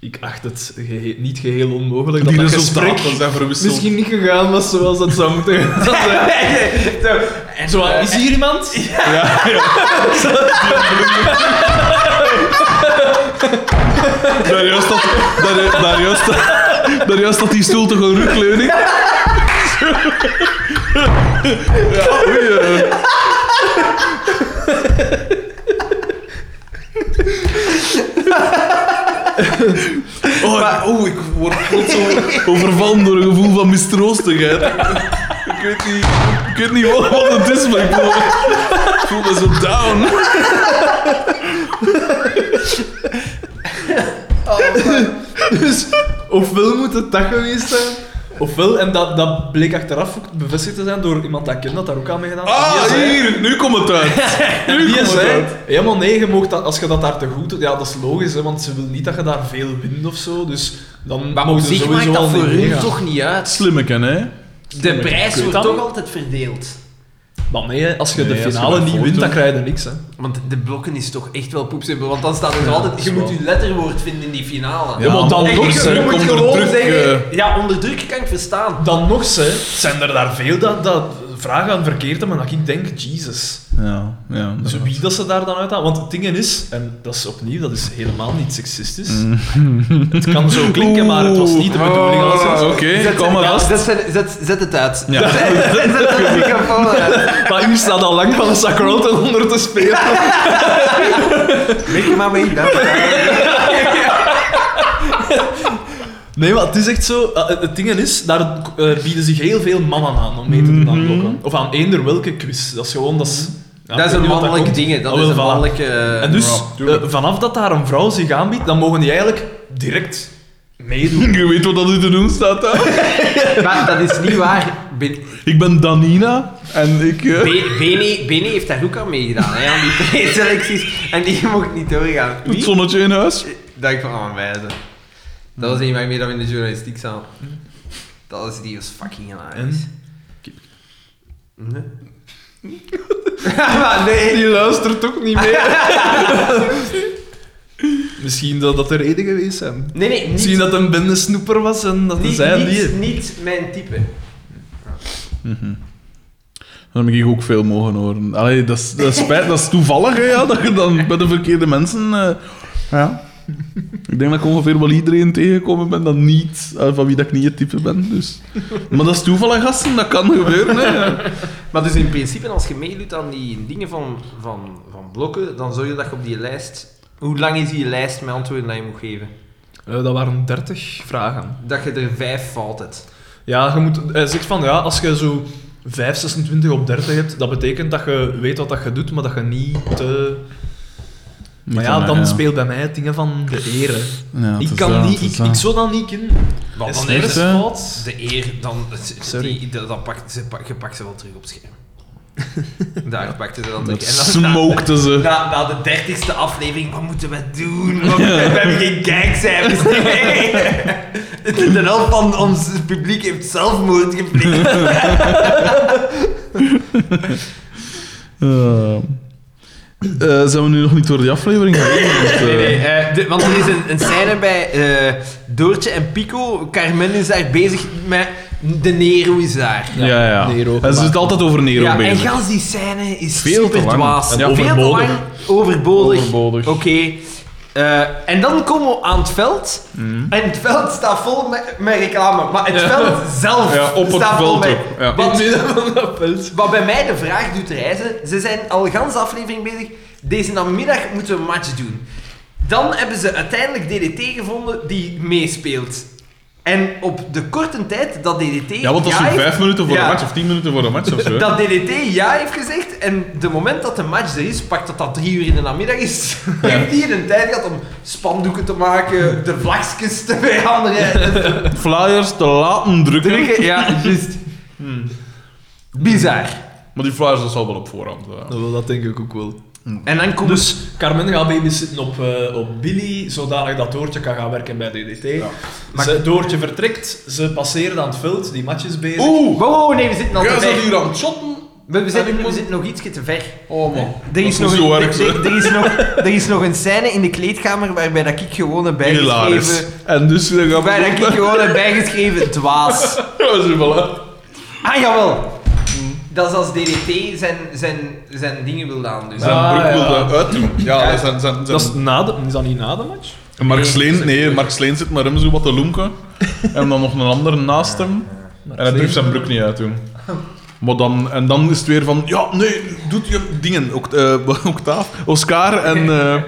Speaker 2: ik acht het gehe- niet geheel onmogelijk dat
Speaker 1: Die
Speaker 2: dat
Speaker 1: resultaten
Speaker 2: gesprek
Speaker 1: zijn verwisseld.
Speaker 2: misschien niet gegaan was zoals dat zou moeten gaan zijn. Zo, wat, is hier iemand?
Speaker 1: Ja, ja. Daar juist dat... Daar, daar juist dat... Daar juist dat die stoel toch een rugleuning... Ja, oei... eh. Oh, ik- oh, ik word plots over- overvallen door een gevoel van mistroostigheid. Ik weet niet, ik weet niet wat, wat het is, maar ik voel, ik voel me zo down.
Speaker 2: Dus ofwel moet het dat geweest zijn, ofwel, en dat, dat bleek achteraf ook bevestigd te zijn door iemand dat ik ken dat daar ook aan meegedaan had. En die
Speaker 1: Ah,
Speaker 2: zei-
Speaker 1: hier, nu komt het uit.
Speaker 2: En
Speaker 1: Nu
Speaker 2: die
Speaker 1: komt het
Speaker 2: zei,
Speaker 1: uit.
Speaker 2: helemaal nee, je moogt dat, als je dat daar te goed doet, ja, dat is logisch, hè, want ze wil niet dat je daar veel wint of zo, dus dan
Speaker 3: Maar op
Speaker 2: mogen ze
Speaker 3: zich
Speaker 2: sowieso
Speaker 3: maakt
Speaker 2: al
Speaker 3: dat voor
Speaker 2: niet
Speaker 3: hun
Speaker 2: meegaan.
Speaker 3: toch niet uit.
Speaker 1: Slimmeken, hè?
Speaker 3: De prijs wordt
Speaker 2: dat
Speaker 3: toch
Speaker 2: niet?
Speaker 3: altijd verdeeld.
Speaker 2: Maar nee, hè, als je
Speaker 1: Nee,
Speaker 2: de
Speaker 1: als je
Speaker 2: finale
Speaker 1: dat
Speaker 2: niet
Speaker 1: voordoet.
Speaker 2: wint, dan krijg je niks, hè.
Speaker 3: Want de blokken is toch echt wel poepsimpel. Want dan staat er altijd... Je moet je letterwoord vinden in die finale.
Speaker 1: Ja, maar dan
Speaker 3: En je-
Speaker 1: nog
Speaker 3: je,
Speaker 2: eh,
Speaker 1: zijn,
Speaker 3: moet
Speaker 1: komt er
Speaker 3: gewoon
Speaker 1: druk...
Speaker 3: zeggen...
Speaker 1: eh,
Speaker 3: Ja, onder druk kan ik verstaan.
Speaker 2: Dan nog, hè, zijn er daar veel dat, dat vragen aan verkeerd hebben, dat ik denk, Jesus.
Speaker 1: Ja, ja.
Speaker 2: Dus
Speaker 1: inderdaad.
Speaker 2: wie dat ze daar dan uit Want het ding is, en dat is opnieuw, dat is helemaal niet seksistisch.
Speaker 1: Mm.
Speaker 2: Het kan zo klinken, maar het was niet de bedoeling. als het-
Speaker 1: Ah, Oké, kom maar vast.
Speaker 3: Zet, zet, zet, zet het uit.
Speaker 1: Ja.
Speaker 3: Zet de microfoon uit.
Speaker 2: Maar u staat al lang van een Sacroton onder te spelen.
Speaker 3: Mik je maar mee. dank je.
Speaker 8: Nee, maar het is echt zo. eh, het ding is, daar eh, bieden zich heel veel mannen aan om mee te doen aan blokken. Of aan eender welke quiz. Dat is gewoon. Dat is, ja,
Speaker 3: dat
Speaker 8: ik weet
Speaker 3: is een
Speaker 8: niet wat
Speaker 3: mannelijk
Speaker 8: komt.
Speaker 3: ding, hè. dat
Speaker 8: Ah,
Speaker 3: is
Speaker 8: wel,
Speaker 3: een
Speaker 8: voilà.
Speaker 3: mannelijke...
Speaker 8: En dus,
Speaker 1: Ja, tuurlijk.
Speaker 8: eh, vanaf dat daar een vrouw zich aanbiedt, dan mogen die eigenlijk direct
Speaker 3: eh,
Speaker 8: meedoen.
Speaker 1: Je weet wat dat u te doen staat, hè?
Speaker 3: Maar dat is niet waar. Ben-
Speaker 1: Ik ben Danina en ik... eh,
Speaker 3: Be- Beni, Beni heeft daar ook aan meegedaan, hè, aan die preselecties. En die mocht niet doorgaan.
Speaker 1: het zonnetje in huis.
Speaker 3: Dat ik van aan wijzen. Dat was een van meer dan in de journalistiek zaal. Dat is die was fucking hilarisch. Nee. maar nee.
Speaker 2: Die luistert toch niet meer.
Speaker 8: Misschien dat dat de reden geweest zijn.
Speaker 3: Nee, nee, niet,
Speaker 2: Misschien dat een bende snoeper was en dat
Speaker 3: niet,
Speaker 2: zij
Speaker 3: niet,
Speaker 2: die...
Speaker 3: niet mijn type.
Speaker 1: Dan heb ik ook veel mogen horen. Allee, dat is, dat is spijt, dat is toevallig, hè, ja, dat je dan bij de verkeerde mensen... eh, ja. Ik denk dat ik ongeveer wel iedereen tegengekomen ben dat niet, eh, van wie dat ik niet het type ben. Dus. Maar dat is toevallig, gasten, dat kan gebeuren. Hè.
Speaker 3: Maar dus in principe, als je meedoet aan die dingen van, van, van blokken, dan zorg je dat je op die lijst... Hoe lang is die lijst met antwoorden dat je moet geven?
Speaker 2: Eh, dat waren 30 vragen.
Speaker 3: Dat je er vijf fout hebt.
Speaker 2: Ja, je moet... Hij zegt van, ja, als je zo 5, 26 op 30 hebt, dat betekent dat je weet wat dat je doet, maar dat je niet te... Maar ja, dan
Speaker 1: eh,
Speaker 2: speelt bij mij dingen van de eer. hè. ik kan niet... Ik, ik zou dat niet kunnen.
Speaker 3: Want
Speaker 2: Is
Speaker 3: dan
Speaker 1: echt,
Speaker 2: nergens
Speaker 1: hè?
Speaker 2: fout.
Speaker 3: De eer, dan,
Speaker 2: Sorry.
Speaker 3: Die, dat, dat pakt, ze, pak- je pakt ze wel terug op scherm. Daar pakte ze dan
Speaker 1: Dat
Speaker 3: terug. En dan,
Speaker 1: smokte ze.
Speaker 3: na, na de dertigste aflevering, wat moeten we doen? Wat- We hebben geen kijkcijfers meer. De de helft van ons publiek heeft zelfmoord gepleegd.
Speaker 1: Eh, eh, zijn we nu nog niet door die aflevering gegaan? Want, eh,
Speaker 3: Nee, nee, eh, de- want er is een, een scène bij eh, Doortje en Pico. Carmen is daar bezig met... De Nero is daar.
Speaker 1: Ja, ja.
Speaker 2: Nero
Speaker 1: Hij zit altijd over Nero
Speaker 3: ja,
Speaker 1: bezig.
Speaker 3: En gans die scène is
Speaker 1: Veel te
Speaker 3: super
Speaker 1: lang.
Speaker 3: dwaas.
Speaker 1: En
Speaker 3: Veel te
Speaker 1: overbodig.
Speaker 3: lang, overbodig.
Speaker 1: Overbodig.
Speaker 3: Oké. Eh, en dan komen we aan het veld.
Speaker 1: Mm.
Speaker 3: En het veld staat vol met, met reclame. Maar het veld zelf
Speaker 1: Ja, op het
Speaker 3: staat vol
Speaker 1: veld
Speaker 3: met...
Speaker 1: ook, ja.
Speaker 3: Wat,
Speaker 2: Dat veld.
Speaker 3: wat bij mij de vraag doet reizen... Ze zijn al gans de aflevering bezig. Deze namiddag moeten we een match doen. Dan hebben ze uiteindelijk DDT gevonden die meespeelt. En op de korte tijd dat DDT...
Speaker 1: Ja, want dat is zo'n
Speaker 3: live-
Speaker 1: vijf minuten voor
Speaker 3: Ja.
Speaker 1: de match of tien minuten voor de match of zo. hè.
Speaker 3: dat DDT ja heeft gezegd en de moment dat de match er is, pak dat dat drie uur in de namiddag is, heeft hij een tijd gehad om spandoeken te maken, de vlagjes te veranderen.
Speaker 1: Flyers te laten drukken.
Speaker 3: Drukken, ja, juist. Hmm. Bizar.
Speaker 1: Maar die flyers, dat zal wel op voorhand. eh.
Speaker 2: Nou, wel, dat denk ik ook wel.
Speaker 3: En dan komt
Speaker 2: Dus Carmen gaat babysitten op, eh, op Billy, zodanig dat Doortje kan gaan werken bij DDT. Ze, Doortje vertrekt, ze passeren aan het veld, die match is bezig.
Speaker 1: Oeh,
Speaker 3: Wow, wow, Oh, nee, we zitten al
Speaker 1: jij
Speaker 3: te
Speaker 1: zat
Speaker 3: ver.
Speaker 1: hier aan het shotten.
Speaker 3: We, we
Speaker 1: en ik
Speaker 3: zitten, we
Speaker 1: moet-
Speaker 3: zitten nog ietsje te ver. Eh,
Speaker 1: Oh man.
Speaker 3: Er is, nog
Speaker 1: zo
Speaker 3: een,
Speaker 1: werk,
Speaker 3: er,
Speaker 1: ze.
Speaker 3: er- er is nog, er is nog een scène in de kleedkamer waarbij dat ik gewoon heb
Speaker 1: Hilarisch.
Speaker 3: bijgeschreven...
Speaker 1: En dus dan gaan
Speaker 3: Waarbij dat ik
Speaker 1: we...
Speaker 3: gewoon heb bijgeschreven dwaas.
Speaker 1: Ja, ze voilà.
Speaker 3: Ah, jawel. Dat is als DDT zijn, zijn, zijn dingen wil aan. Dus.
Speaker 1: Zijn broek wilde uitdoen. Ja, dat zijn... zijn,
Speaker 2: Dat
Speaker 1: zijn...
Speaker 2: is, na de, is dat niet na de match?
Speaker 1: Mark Sleen, nee, Mark Sleen zit met hem zo wat te loemken. en dan nog een ander naast hem. En hij durft zijn broek niet uit doen. Maar dan, en dan is het weer van, ja, nee, doet je dingen. Ook, Octaaf, Oscar en... eh,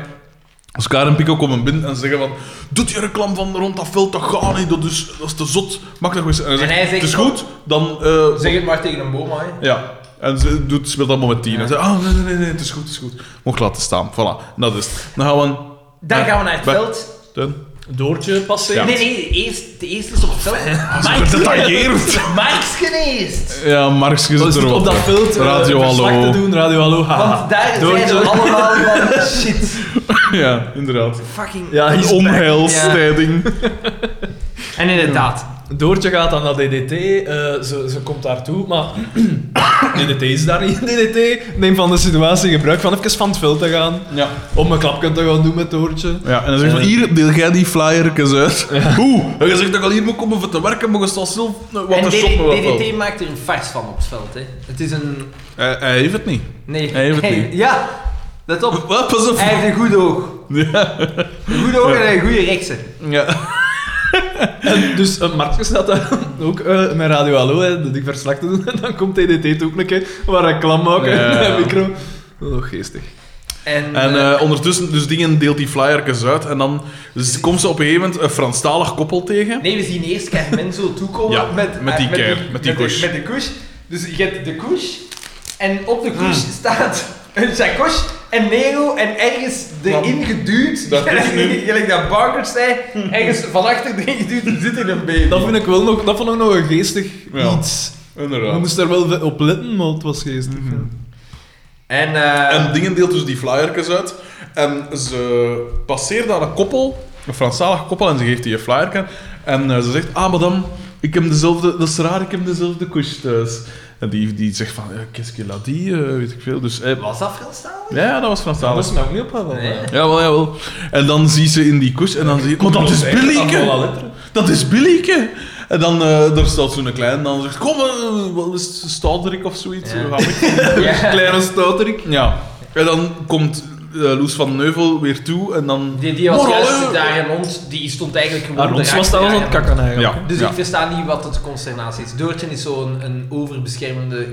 Speaker 1: Oscar en Pico komen binnen en zeggen van... Doet je reclame van rond dat veld, dat gaat niet, dat is, dat is te zot. Mag dat eens... En hij zegt,
Speaker 3: hij zegt
Speaker 1: het is
Speaker 3: van-
Speaker 1: goed, dan... eh,
Speaker 3: Zeg het maar tegen een boom, hè.
Speaker 1: ja. En ze doet, speelt allemaal met tien. En ze zegt, ah, nee, nee, nee, nee, het is goed, het is goed. Mocht laten staan, voilà. En dat is het. Dan gaan we...
Speaker 3: Dan gaan we naar het
Speaker 1: Bij-
Speaker 3: veld.
Speaker 1: Teun.
Speaker 2: Doortje passeren.
Speaker 3: Nee, nee, eerst, de eerste is op het veld. Ah,
Speaker 1: Gedetailleerd.
Speaker 3: Marksken eerst.
Speaker 1: Ja, Marx
Speaker 2: Zo
Speaker 1: is
Speaker 2: is
Speaker 1: er
Speaker 2: het op dat veld eh,
Speaker 1: Radio
Speaker 2: verslag
Speaker 1: Hallo.
Speaker 2: te doen, Radio Hallo,
Speaker 1: Ah.
Speaker 2: haha.
Speaker 3: Want daar zijn
Speaker 2: Doortje.
Speaker 3: ze allemaal van shit.
Speaker 1: Ja, inderdaad.
Speaker 3: Fucking...
Speaker 2: Ja,
Speaker 1: Een
Speaker 2: is
Speaker 1: onheilstijding.
Speaker 3: En inderdaad.
Speaker 2: Doortje gaat dan naar DDT, eh, ze, ze komt daartoe, maar DDT is daar niet. DDT neemt van de situatie gebruik van even van het veld te gaan,
Speaker 1: Ja.
Speaker 2: om een klapje te gaan doen met Doortje.
Speaker 1: ja. En dan zegt van, hier, deel jij die flyerkes uit. Oeh, en je zegt dat ik al hier moet komen voor te werken, maar je staat zelf eh, wat
Speaker 3: en
Speaker 1: te shoppen. wat
Speaker 3: DDT,
Speaker 1: wel.
Speaker 3: maakt er een farce van op het veld, hè. Het is een...
Speaker 1: Hij, hij heeft het niet.
Speaker 3: Nee.
Speaker 1: Hij heeft het niet.
Speaker 3: Ja, let op.
Speaker 1: Wat, pas op.
Speaker 3: Hij heeft een goed oog. Een goed oog en een goede rechtse.
Speaker 1: Ja.
Speaker 2: Dus uh, Marcus staat daar ook eh, met Radio Hallo, hè, dat ik verslag te doen, en dan komt DDT ook een keer, waar hij klam maakt,
Speaker 1: Ja.
Speaker 2: en micro. Oh, geestig.
Speaker 3: En,
Speaker 1: En
Speaker 3: eh,
Speaker 1: eh, ondertussen, dus dingen deelt die flyerkes uit. En dan z- komt ze op een gegeven moment een Franstalig koppel tegen.
Speaker 3: Nee, we zien eerst Carmen zo toekomen
Speaker 1: Ja,
Speaker 3: met,
Speaker 1: met die
Speaker 3: eh,
Speaker 1: keer, met die
Speaker 3: de-
Speaker 1: koes.
Speaker 3: Met de koes. Dus je hebt de koes en op de koes
Speaker 1: Hmm.
Speaker 3: staat een sacoche en Nero en ergens erin geduwd,
Speaker 1: dat is nu-
Speaker 3: gelijk dat Barker zei, ergens van achter erin geduwd zit in een baby.
Speaker 2: Dat vind ik wel nog, dat vond ik nog een geestig
Speaker 1: Ja.
Speaker 2: iets. We
Speaker 1: Inderdaad.
Speaker 2: moesten er wel op letten, maar het was geestig.
Speaker 1: Mhm.
Speaker 3: En, eh,
Speaker 1: En dingen deelt dus die flyerkes uit. En ze passeert daar een koppel, een Franstalig koppel, en ze geeft die een flyerke. En eh, ze zegt, ah madame, ik heb dezelfde, dat is raar, ik heb dezelfde koers thuis. En die, die zegt van, ja, qu'est-ce que la die, eh, weet ik veel. Dus, eh,
Speaker 3: was dat Franstalig?
Speaker 1: ja, ja, dat was
Speaker 2: Dat
Speaker 1: Franstalig.
Speaker 2: is nog niet op wel.
Speaker 3: Nee.
Speaker 1: Jawel, jawel. En dan zie ze in die koers en dan zie je... Maar dat is Billieke! Dat is Billieke! En dan, eh daar staat zo'n klein en dan zegt... Kom, eh, wat is het, Stouterik of zoiets?
Speaker 3: Ja.
Speaker 1: Ga ik- Kleine Stouterik. Ja. En dan komt eh, Loes van Neuvel weer toe en dan... Oh,
Speaker 3: Die, die was
Speaker 1: Morale.
Speaker 3: juist daar een hond, die stond eigenlijk gewoon
Speaker 2: Aan ons
Speaker 3: erachter
Speaker 2: was dat wel aan
Speaker 3: aan
Speaker 2: het kakken eigenlijk.
Speaker 1: Ja.
Speaker 3: Dus ik versta niet wat het consternatie is. Doortje is zo'n een overbeschermende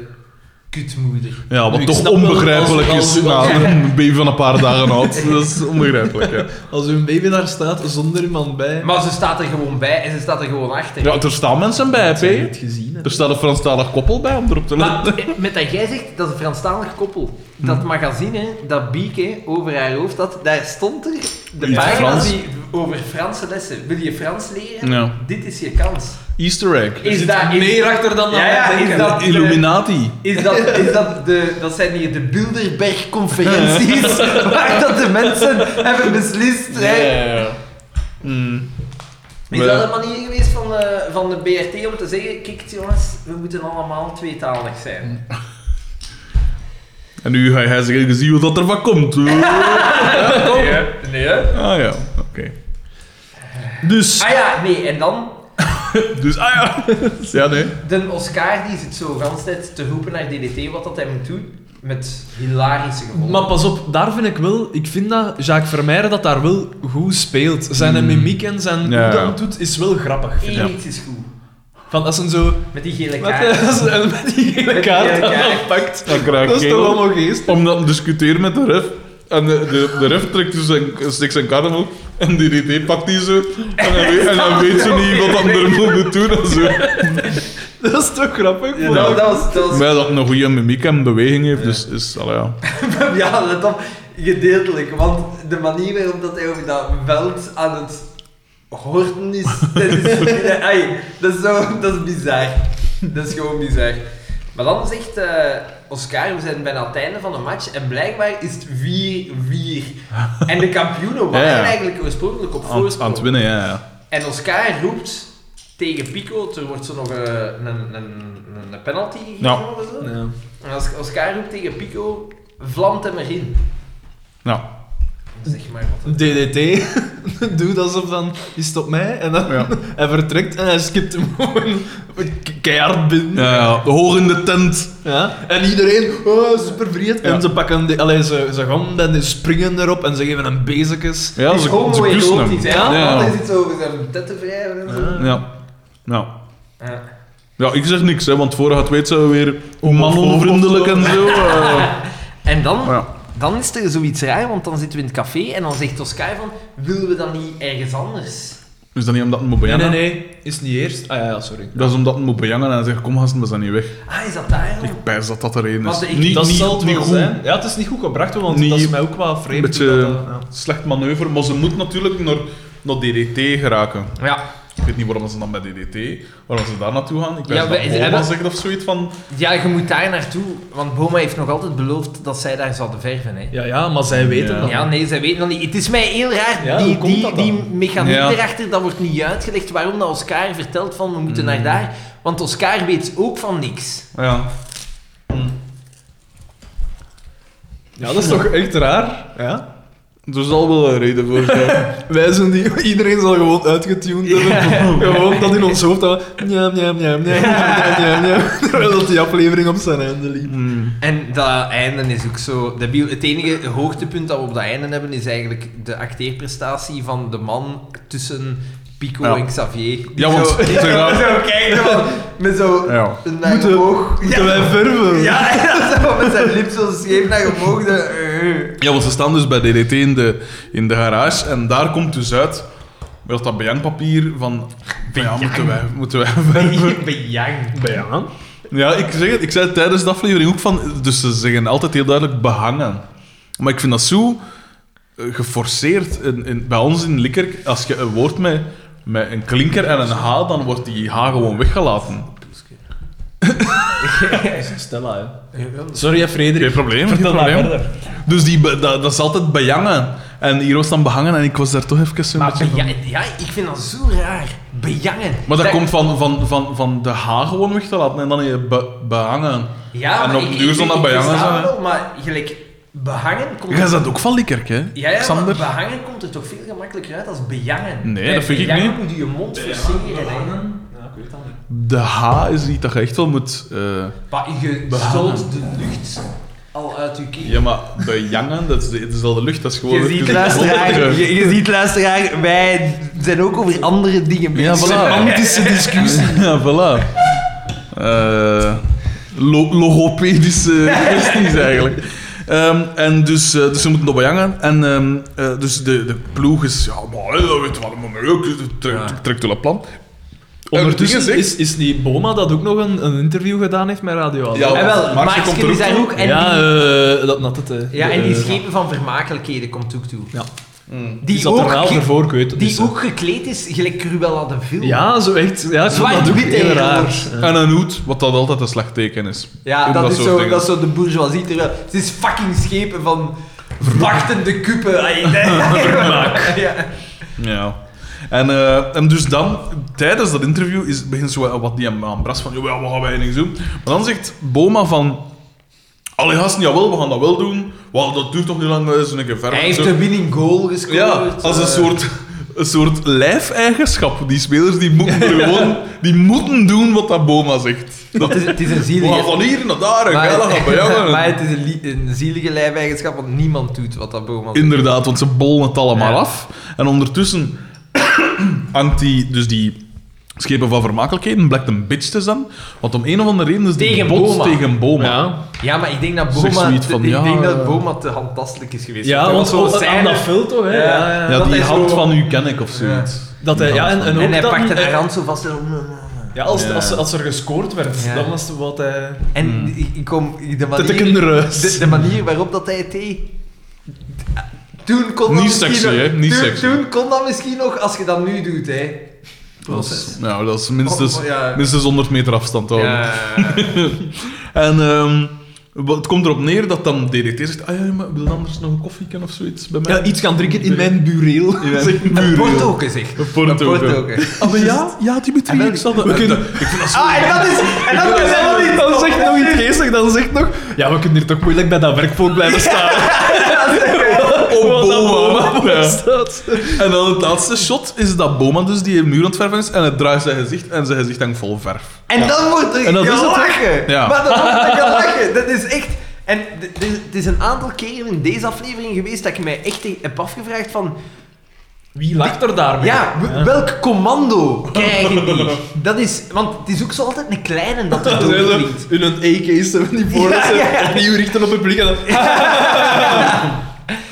Speaker 3: kutmoeder.
Speaker 1: Ja, wat
Speaker 2: Ik
Speaker 1: toch
Speaker 2: snap wel
Speaker 1: onbegrijpelijk
Speaker 2: als-
Speaker 1: is
Speaker 2: als-
Speaker 1: na een baby van een paar dagen oud. Dat is onbegrijpelijk, ja.
Speaker 2: Als uw baby daar staat zonder iemand bij,
Speaker 3: Maar ze staat er gewoon bij en ze staat er gewoon achter.
Speaker 1: Ja, er staan mensen bij,
Speaker 2: heb je
Speaker 1: hè,
Speaker 2: het
Speaker 1: P.
Speaker 2: gezien. hè?
Speaker 1: Er staat een Franstalig koppel bij om erop te letten.
Speaker 3: Maar eh, met dat jij zegt, dat is een Franstalig koppel.
Speaker 1: Hmm.
Speaker 3: Dat magazine, dat bieke over haar hoofd had, daar stond er de
Speaker 1: Iets
Speaker 3: pagina's
Speaker 1: Frans.
Speaker 3: die over Franse lessen. Wil je Frans leren?
Speaker 1: Ja.
Speaker 3: Dit is je kans.
Speaker 1: Easter egg.
Speaker 3: Is dat, is,
Speaker 2: Meer achter dan
Speaker 3: ja, ja, is dat eh, de-
Speaker 1: Illuminati.
Speaker 3: Is dat, is dat, de, dat zijn hier de Bilderberg-conferenties, waar dat de mensen hebben beslist. hè.
Speaker 1: Mm.
Speaker 3: Is
Speaker 1: Maar-
Speaker 3: dat een manier geweest van de, van de BRT om te zeggen, kijk jongens, we moeten allemaal tweetalig zijn.
Speaker 1: En nu ga jij zeggen, je ziet hoe dat ervan komt.
Speaker 3: Nee, nee. hè?
Speaker 1: ah ja, oké. Dus,
Speaker 3: Ah ja, nee, en dan,
Speaker 1: dus, ah ja. ja, nee.
Speaker 3: de Oscar die zit zo de hele tijd te roepen naar DDT wat dat hij moet doen, met hilarische gevolgen.
Speaker 2: Maar pas op, daar vind ik wel, ik vind dat Jacques Vermeijden dat daar wel goed speelt. Zijn
Speaker 1: Mm.
Speaker 2: mimiek en zijn
Speaker 1: Ja.
Speaker 2: hoe dat hij doet is wel grappig. vind ik.
Speaker 3: Eén iets is goed,
Speaker 2: Van als ze zo
Speaker 3: met die gele
Speaker 2: met,
Speaker 3: kaart.
Speaker 2: met die hele
Speaker 3: Met die
Speaker 2: kaart
Speaker 3: gele
Speaker 2: dan
Speaker 3: kaart.
Speaker 2: oppakt.
Speaker 1: Dan krijg
Speaker 2: Dat is toch
Speaker 1: ik
Speaker 2: allemaal geest.
Speaker 1: om dat te discussiëren met de ref. En de, de, de ref trekt dus zijn, stikt zijn carnaval en die DD pakt die zo. En hij weet, en hij weet zo niet wat dan er moet doen en zo.
Speaker 2: Dat is toch grappig?
Speaker 3: Ja, Nou, dat, dat was, dat was-
Speaker 1: Maar ja, dat een goede mimiek en beweging heeft, dus is, allee, ja.
Speaker 3: ja, let op, gedeeltelijk, want de manier waarop dat hij over dat veld aan het horten is, dat is, ai, dat is, zo, dat is bizar. Dat is gewoon bizar. Maar dan zegt eh, Oscar, we zijn bijna aan het einde van de match en blijkbaar is het 4-4. En de kampioenen waren
Speaker 1: Ja, ja.
Speaker 3: eigenlijk oorspronkelijk op
Speaker 1: Aan, aan het
Speaker 3: voorsprong.
Speaker 1: winnen, ja. ja.
Speaker 3: En Oscar roept tegen Pico, er wordt zo nog eh, een, een, een, een penalty gegeven
Speaker 1: Ja.
Speaker 3: of zo.
Speaker 2: Ja.
Speaker 3: En als Oscar roept tegen Pico, vlamt hem erin.
Speaker 1: Nou,
Speaker 3: Zeg maar wat. het-
Speaker 2: DDT doet alsof dan is het op mij en dan
Speaker 1: Ja.
Speaker 2: hij vertrekt en hij skipt hem gewoon ke- keihard binnen.
Speaker 1: ja, ja. hoog in de tent.
Speaker 2: Ja. En iedereen, oh, super
Speaker 1: Ja.
Speaker 2: En ze pakken, de, allee, ze, ze gaan en ze springen erop en ze geven hem bezekjes.
Speaker 1: Ja,
Speaker 3: Het
Speaker 1: ze,
Speaker 3: is
Speaker 1: ze kussen hem.
Speaker 3: homoerotisch, hè?
Speaker 2: Ja.
Speaker 3: Want
Speaker 1: Ja.
Speaker 3: Hij zit zo over zijn tetten wrijven en zo.
Speaker 1: Ja. Nou.
Speaker 3: Ja.
Speaker 1: Ja, ik zeg niks, hè, want vorige het weet ze weer manonvriendelijk en zo. eh.
Speaker 3: En dan,
Speaker 1: Ja.
Speaker 3: dan is er zoiets raar, want dan zitten we in het café en dan zegt Oscar van, willen we dan niet ergens anders?
Speaker 1: Is dat niet omdat het moet bejangen?
Speaker 2: Nee, nee, nee, is niet eerst. Ah ja, ja, sorry.
Speaker 1: Dat is omdat het moet bejangen en hij zegt, kom gasten, we zijn niet weg.
Speaker 3: Ah, is dat daar dan?
Speaker 1: Ik pijs dat dat er één is.
Speaker 3: Want ik-
Speaker 1: niet,
Speaker 2: dat
Speaker 1: niet,
Speaker 2: zal het
Speaker 1: niet
Speaker 2: wel
Speaker 1: goed.
Speaker 2: zijn. Ja, het is niet goed gebracht, want
Speaker 1: Niet-
Speaker 2: dat is mij ook wel vreemd.
Speaker 1: Een
Speaker 2: hoe
Speaker 1: beetje
Speaker 2: dat, eh, ja.
Speaker 1: slecht manoeuvre, maar ze moet natuurlijk naar, naar DDT geraken.
Speaker 3: Ja.
Speaker 1: Ik weet niet waarom ze dan bij DDT, waarom ze daar naartoe gaan. Ik
Speaker 3: Ja,
Speaker 1: weet
Speaker 3: we-
Speaker 1: dat
Speaker 3: ze
Speaker 1: Boma
Speaker 3: hebben-
Speaker 1: zegt of zoiets van...
Speaker 3: ja, je moet daar naartoe, want Boma heeft nog altijd beloofd dat zij daar zouden verven. Hè.
Speaker 2: Ja, ja, maar zij weten
Speaker 1: Ja.
Speaker 2: dat.
Speaker 3: Ja, nee, zij weten dat niet. Het is mij heel raar,
Speaker 2: Ja,
Speaker 3: die,
Speaker 2: hoe komt
Speaker 3: die,
Speaker 2: dat dan?
Speaker 3: die mechaniek
Speaker 1: Ja.
Speaker 3: erachter, dat wordt niet uitgelegd waarom dat Oscar vertelt van we moeten naar daar. Want Oscar weet ook van niks.
Speaker 1: Ja.
Speaker 2: Ja, dat is toch echt raar? Ja.
Speaker 1: Er zal wel een reden voor zijn.
Speaker 2: Wij zijn die, iedereen zal gewoon uitgetuned hebben. Gewoon dat in ons hoofd dat we- Njam, njam, njam, njam, njam, njam, njam. Terwijl dat die aflevering op zijn einde liep.
Speaker 1: Hmm.
Speaker 3: En dat einde is ook zo debiel. Het enige hoogtepunt dat we op dat einde hebben is eigenlijk de acteerprestatie van de man tussen Pico
Speaker 1: Ja.
Speaker 3: en Xavier.
Speaker 1: Ja, want
Speaker 3: Zo,
Speaker 1: ze gaan-
Speaker 3: zo kijken, van, met zo
Speaker 1: Ja.
Speaker 3: een naar omhoog.
Speaker 2: Moeten wij verven?
Speaker 3: Ja, ja, zo met zijn lip zo scheef naar omhoog. De, eh.
Speaker 1: Ja, want ze staan dus bij DDT in de, in de garage en daar komt dus uit met dat bejaanpapier van, van ja, moeten wij, moeten wij verven.
Speaker 3: Bejang.
Speaker 2: Ja.
Speaker 1: Ja, ik, zeg het, ik zei het tijdens de aflevering ook van, dus ze zeggen altijd heel duidelijk behangen. Maar ik vind dat zo eh, geforceerd. In, in- bij ons in Likkerk, als je een woord met, met een klinker en een H, dan wordt die H gewoon weggelaten.
Speaker 8: Stella, hè.
Speaker 2: Sorry, hè, Frederik.
Speaker 1: Geen probleem. geen
Speaker 8: Vertel maar
Speaker 1: probleem.
Speaker 8: verder.
Speaker 1: Dus die, be- dat, dat is altijd bejangen. En hier was dan behangen en ik was daar toch even zo'n
Speaker 3: Maar
Speaker 1: beetje van-
Speaker 3: beja- ja, ik vind dat zo raar. Bejangen.
Speaker 1: Maar dat
Speaker 3: Dat-
Speaker 1: komt van, van, van, van de H gewoon weg te laten en dan je be- behangen.
Speaker 3: Ja,
Speaker 1: en
Speaker 3: maar
Speaker 1: op de
Speaker 3: ik-
Speaker 1: duur
Speaker 3: ik-
Speaker 1: zal dat
Speaker 3: ik
Speaker 1: bejangen
Speaker 3: versta
Speaker 1: zijn.
Speaker 3: wel, Maar gelijk, behangen komt...
Speaker 1: Jij dat ook van Likkerk, hè?
Speaker 3: Ja, ja, maar
Speaker 1: Xander?
Speaker 3: behangen komt er toch veel gemakkelijker uit als bejangen.
Speaker 1: Nee,
Speaker 3: Bij
Speaker 1: dat vind ik
Speaker 3: bejangen
Speaker 1: niet.
Speaker 3: moet je je mond verseren. hè.
Speaker 8: Ja, ik weet dat niet.
Speaker 1: De H is iets dat je echt wel moet... eh,
Speaker 3: Maar je
Speaker 1: Behangen.
Speaker 3: stoot de lucht al uit je keel.
Speaker 1: Ja, maar bejangen, dat is, de, dat is al de lucht, dat is gewoon...
Speaker 3: Je
Speaker 1: even-
Speaker 3: ziet, luisteraar, je, je ziet, luisteraar, wij zijn ook over andere dingen
Speaker 1: Ja,
Speaker 3: bezig.
Speaker 1: voilà. discussie. Ja, voilà. Eh, lo- logopedische kwesties eigenlijk. Ehm, en dus, eh, dus ze moeten dat bejangen. En ehm, eh, dus de, de ploeg is... Ja, maar hè, dat weet je wel, maar leuk. Trekt trek wel een plan.
Speaker 2: Ondertussen
Speaker 1: Ondertussen
Speaker 2: is, is niet Boma dat ook nog een, een interview gedaan heeft met Radio Adel.
Speaker 1: Ja.
Speaker 3: En eh, wel,
Speaker 1: Max
Speaker 3: Max
Speaker 1: komt er
Speaker 3: is
Speaker 1: ook
Speaker 3: daar ook. En
Speaker 2: ja,
Speaker 3: die,
Speaker 2: eh, dat nat het. hè.
Speaker 3: ja, en die
Speaker 2: Eh,
Speaker 3: schepen van vermakelijkheden komt ook toe.
Speaker 2: Ja.
Speaker 3: Die,
Speaker 2: zat
Speaker 3: ook,
Speaker 2: er wel
Speaker 3: ge-
Speaker 2: ervoor, ik weet het
Speaker 1: Dus,
Speaker 2: niet,
Speaker 1: eh,
Speaker 3: die
Speaker 2: hè.
Speaker 3: ook gekleed is, gelijk Cruella de Vil.
Speaker 2: Ja, zo echt. Ja, ik vond dat ook heel
Speaker 3: Zwart-wit eigenlijk.
Speaker 2: raar. Ja.
Speaker 1: En een hoed, wat dat altijd een slecht teken is.
Speaker 3: Ja,
Speaker 1: In
Speaker 3: dat, is
Speaker 1: soort
Speaker 3: zo,
Speaker 1: dingen.
Speaker 3: dat is zo de bourgeoisie. Terwijl het is fucking schepen van wachtende kuppen. Ai, nee. Ja.
Speaker 1: Ja. En, eh, en dus dan, tijdens dat interview, is, begint zo eh, wat- wat die aan Bras van, ja, wat gaan wij niks doen? Maar dan zegt Boma van, allee gasten, jawel, we gaan dat wel doen. Wauw, dat duurt toch niet lang, is een keer verder.
Speaker 3: Hij heeft
Speaker 1: Zo-
Speaker 3: de winning goal gescoord.
Speaker 1: ja, als een
Speaker 3: eh.
Speaker 1: soort, een soort lijfeigenschap. Die spelers die moeten er gewoon, die moeten doen wat dat Boma zegt. Dat,
Speaker 3: Het is, het is een
Speaker 1: we
Speaker 3: zielige...
Speaker 1: gaan van hier naar daar, en geil, dat gaat bij jou.
Speaker 3: maar het is een, lie- een zielige lijfeigenschap, want niemand doet wat dat boom
Speaker 1: Inderdaad, want ze bollen het allemaal af. En ondertussen hangt die, dus die schepen van vermakelijkheden, blijkt een bitch te zijn. Want om een of andere reden is die
Speaker 3: Tegen
Speaker 1: bots
Speaker 3: Boma.
Speaker 1: tegen Boma.
Speaker 2: Ja.
Speaker 3: Ja, maar ik denk dat
Speaker 1: Zeg
Speaker 3: Boma,
Speaker 1: zoiets
Speaker 3: te,
Speaker 1: van,
Speaker 3: ik
Speaker 1: ja,
Speaker 3: denk
Speaker 1: eh.
Speaker 3: dat Boma te handtastelijk is geweest.
Speaker 2: Ja,
Speaker 3: Dat
Speaker 2: want
Speaker 3: was
Speaker 2: zo aan
Speaker 3: scène-
Speaker 2: dat vult toch, hè? Ja, ja.
Speaker 1: Ja,
Speaker 3: Dat
Speaker 1: die
Speaker 3: hij
Speaker 1: hand
Speaker 3: zo-
Speaker 1: van u ken ik of zoiets.
Speaker 2: Dat hij, ja, en, en, ook
Speaker 3: En hij
Speaker 2: dan,
Speaker 3: pakte
Speaker 2: eh,
Speaker 3: haar hand zo vast.
Speaker 2: Ja, als,
Speaker 1: Ja.
Speaker 2: Als, als er gescoord werd,
Speaker 3: Ja.
Speaker 2: dan was het wat eh, hij...
Speaker 3: En
Speaker 1: Hmm.
Speaker 3: ik- ik kom... De
Speaker 2: Te
Speaker 3: manier,
Speaker 2: kinderreus.
Speaker 3: de, de manier waarop dat hij het deed... Toen kon
Speaker 1: Niet
Speaker 3: dat misschien
Speaker 1: sexy,
Speaker 3: nog-
Speaker 1: hè? Niet
Speaker 3: toen,
Speaker 1: sexy.
Speaker 3: Toen kon dat misschien nog, als je dat nu doet, hè.
Speaker 1: Dat is, nou, dat is minstens,
Speaker 3: Oh, oh, ja.
Speaker 1: minstens 100 meter afstand houden.
Speaker 3: Ja.
Speaker 1: En ehm, wat- het komt erop neer dat dan DDT zegt, ah ja, maar wil je anders nog een koffie kennen of zoiets bij mij?
Speaker 2: Ja, iets gaan drinken in mijn bureel.
Speaker 1: In mijn-
Speaker 2: Zegt
Speaker 3: Een
Speaker 2: bureel.
Speaker 3: porto gezegd. Een
Speaker 1: portoken.
Speaker 3: portoken.
Speaker 1: Ah, maar ja, ja, Dimitri,
Speaker 3: En
Speaker 1: ik zal dat...
Speaker 2: we kunnen-
Speaker 1: Ik vind dat zo-
Speaker 3: Ah, en dat is... En dat is helemaal niet...
Speaker 2: Dan zegt nog iets geestig, dan zegt nog... Ja, we kunnen hier toch moeilijk bij dat werkvolk blijven staan.
Speaker 1: Oh, Boma. Ja.
Speaker 2: Is dat?
Speaker 1: En dan het laatste shot is dat Boma dus die een muur aan het verven is en het draait zijn gezicht en zijn gezicht hangt vol verf.
Speaker 3: En dan wordt er
Speaker 1: En dat is het, hè?
Speaker 3: gelachen.
Speaker 1: Ja.
Speaker 3: Maar dan wordt er gelachen. Dat is echt... En d- d- het is een aantal keren in deze aflevering geweest dat ik mij echt heb afgevraagd van...
Speaker 2: Wie lacht er daarmee?
Speaker 3: Ja, w- welk commando krijgen die? Dat is... Want het is ook zo altijd een kleine dat er
Speaker 2: Dan zijn ze
Speaker 3: doorvliegt.
Speaker 2: in een AK-74 voor dat
Speaker 3: Ja, ja,
Speaker 2: ze
Speaker 3: ja.
Speaker 2: opnieuw richten op het publiek. En dan...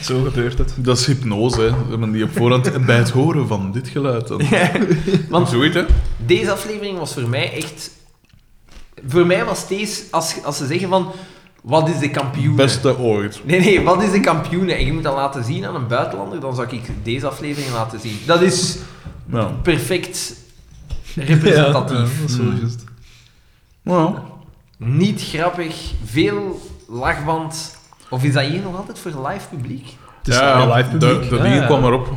Speaker 2: Zo gebeurt het.
Speaker 1: Dat is hypnose, hè. Dat men die op voorhand bij het horen van dit geluid. Dan...
Speaker 3: Want-
Speaker 1: Zoiets, hè.
Speaker 3: Deze aflevering was voor mij echt... Voor mij was deze... Als, als ze zeggen van... Wat is de kampioen?
Speaker 1: Beste ooit.
Speaker 3: Nee, nee, wat is de kampioene? En je moet dat laten zien aan een buitenlander, dan zou ik deze aflevering laten zien. Dat is
Speaker 1: Ja.
Speaker 3: perfect representatief. Hmm.
Speaker 2: dat is wel juist.
Speaker 1: Nou,
Speaker 3: Niet grappig, veel lachband. Of is dat hier nog altijd voor live publiek?
Speaker 2: Het is
Speaker 1: ja,
Speaker 2: een live
Speaker 1: de,
Speaker 2: publiek.
Speaker 1: de
Speaker 2: Ja,
Speaker 1: dingen
Speaker 2: ja.
Speaker 1: kwam erop.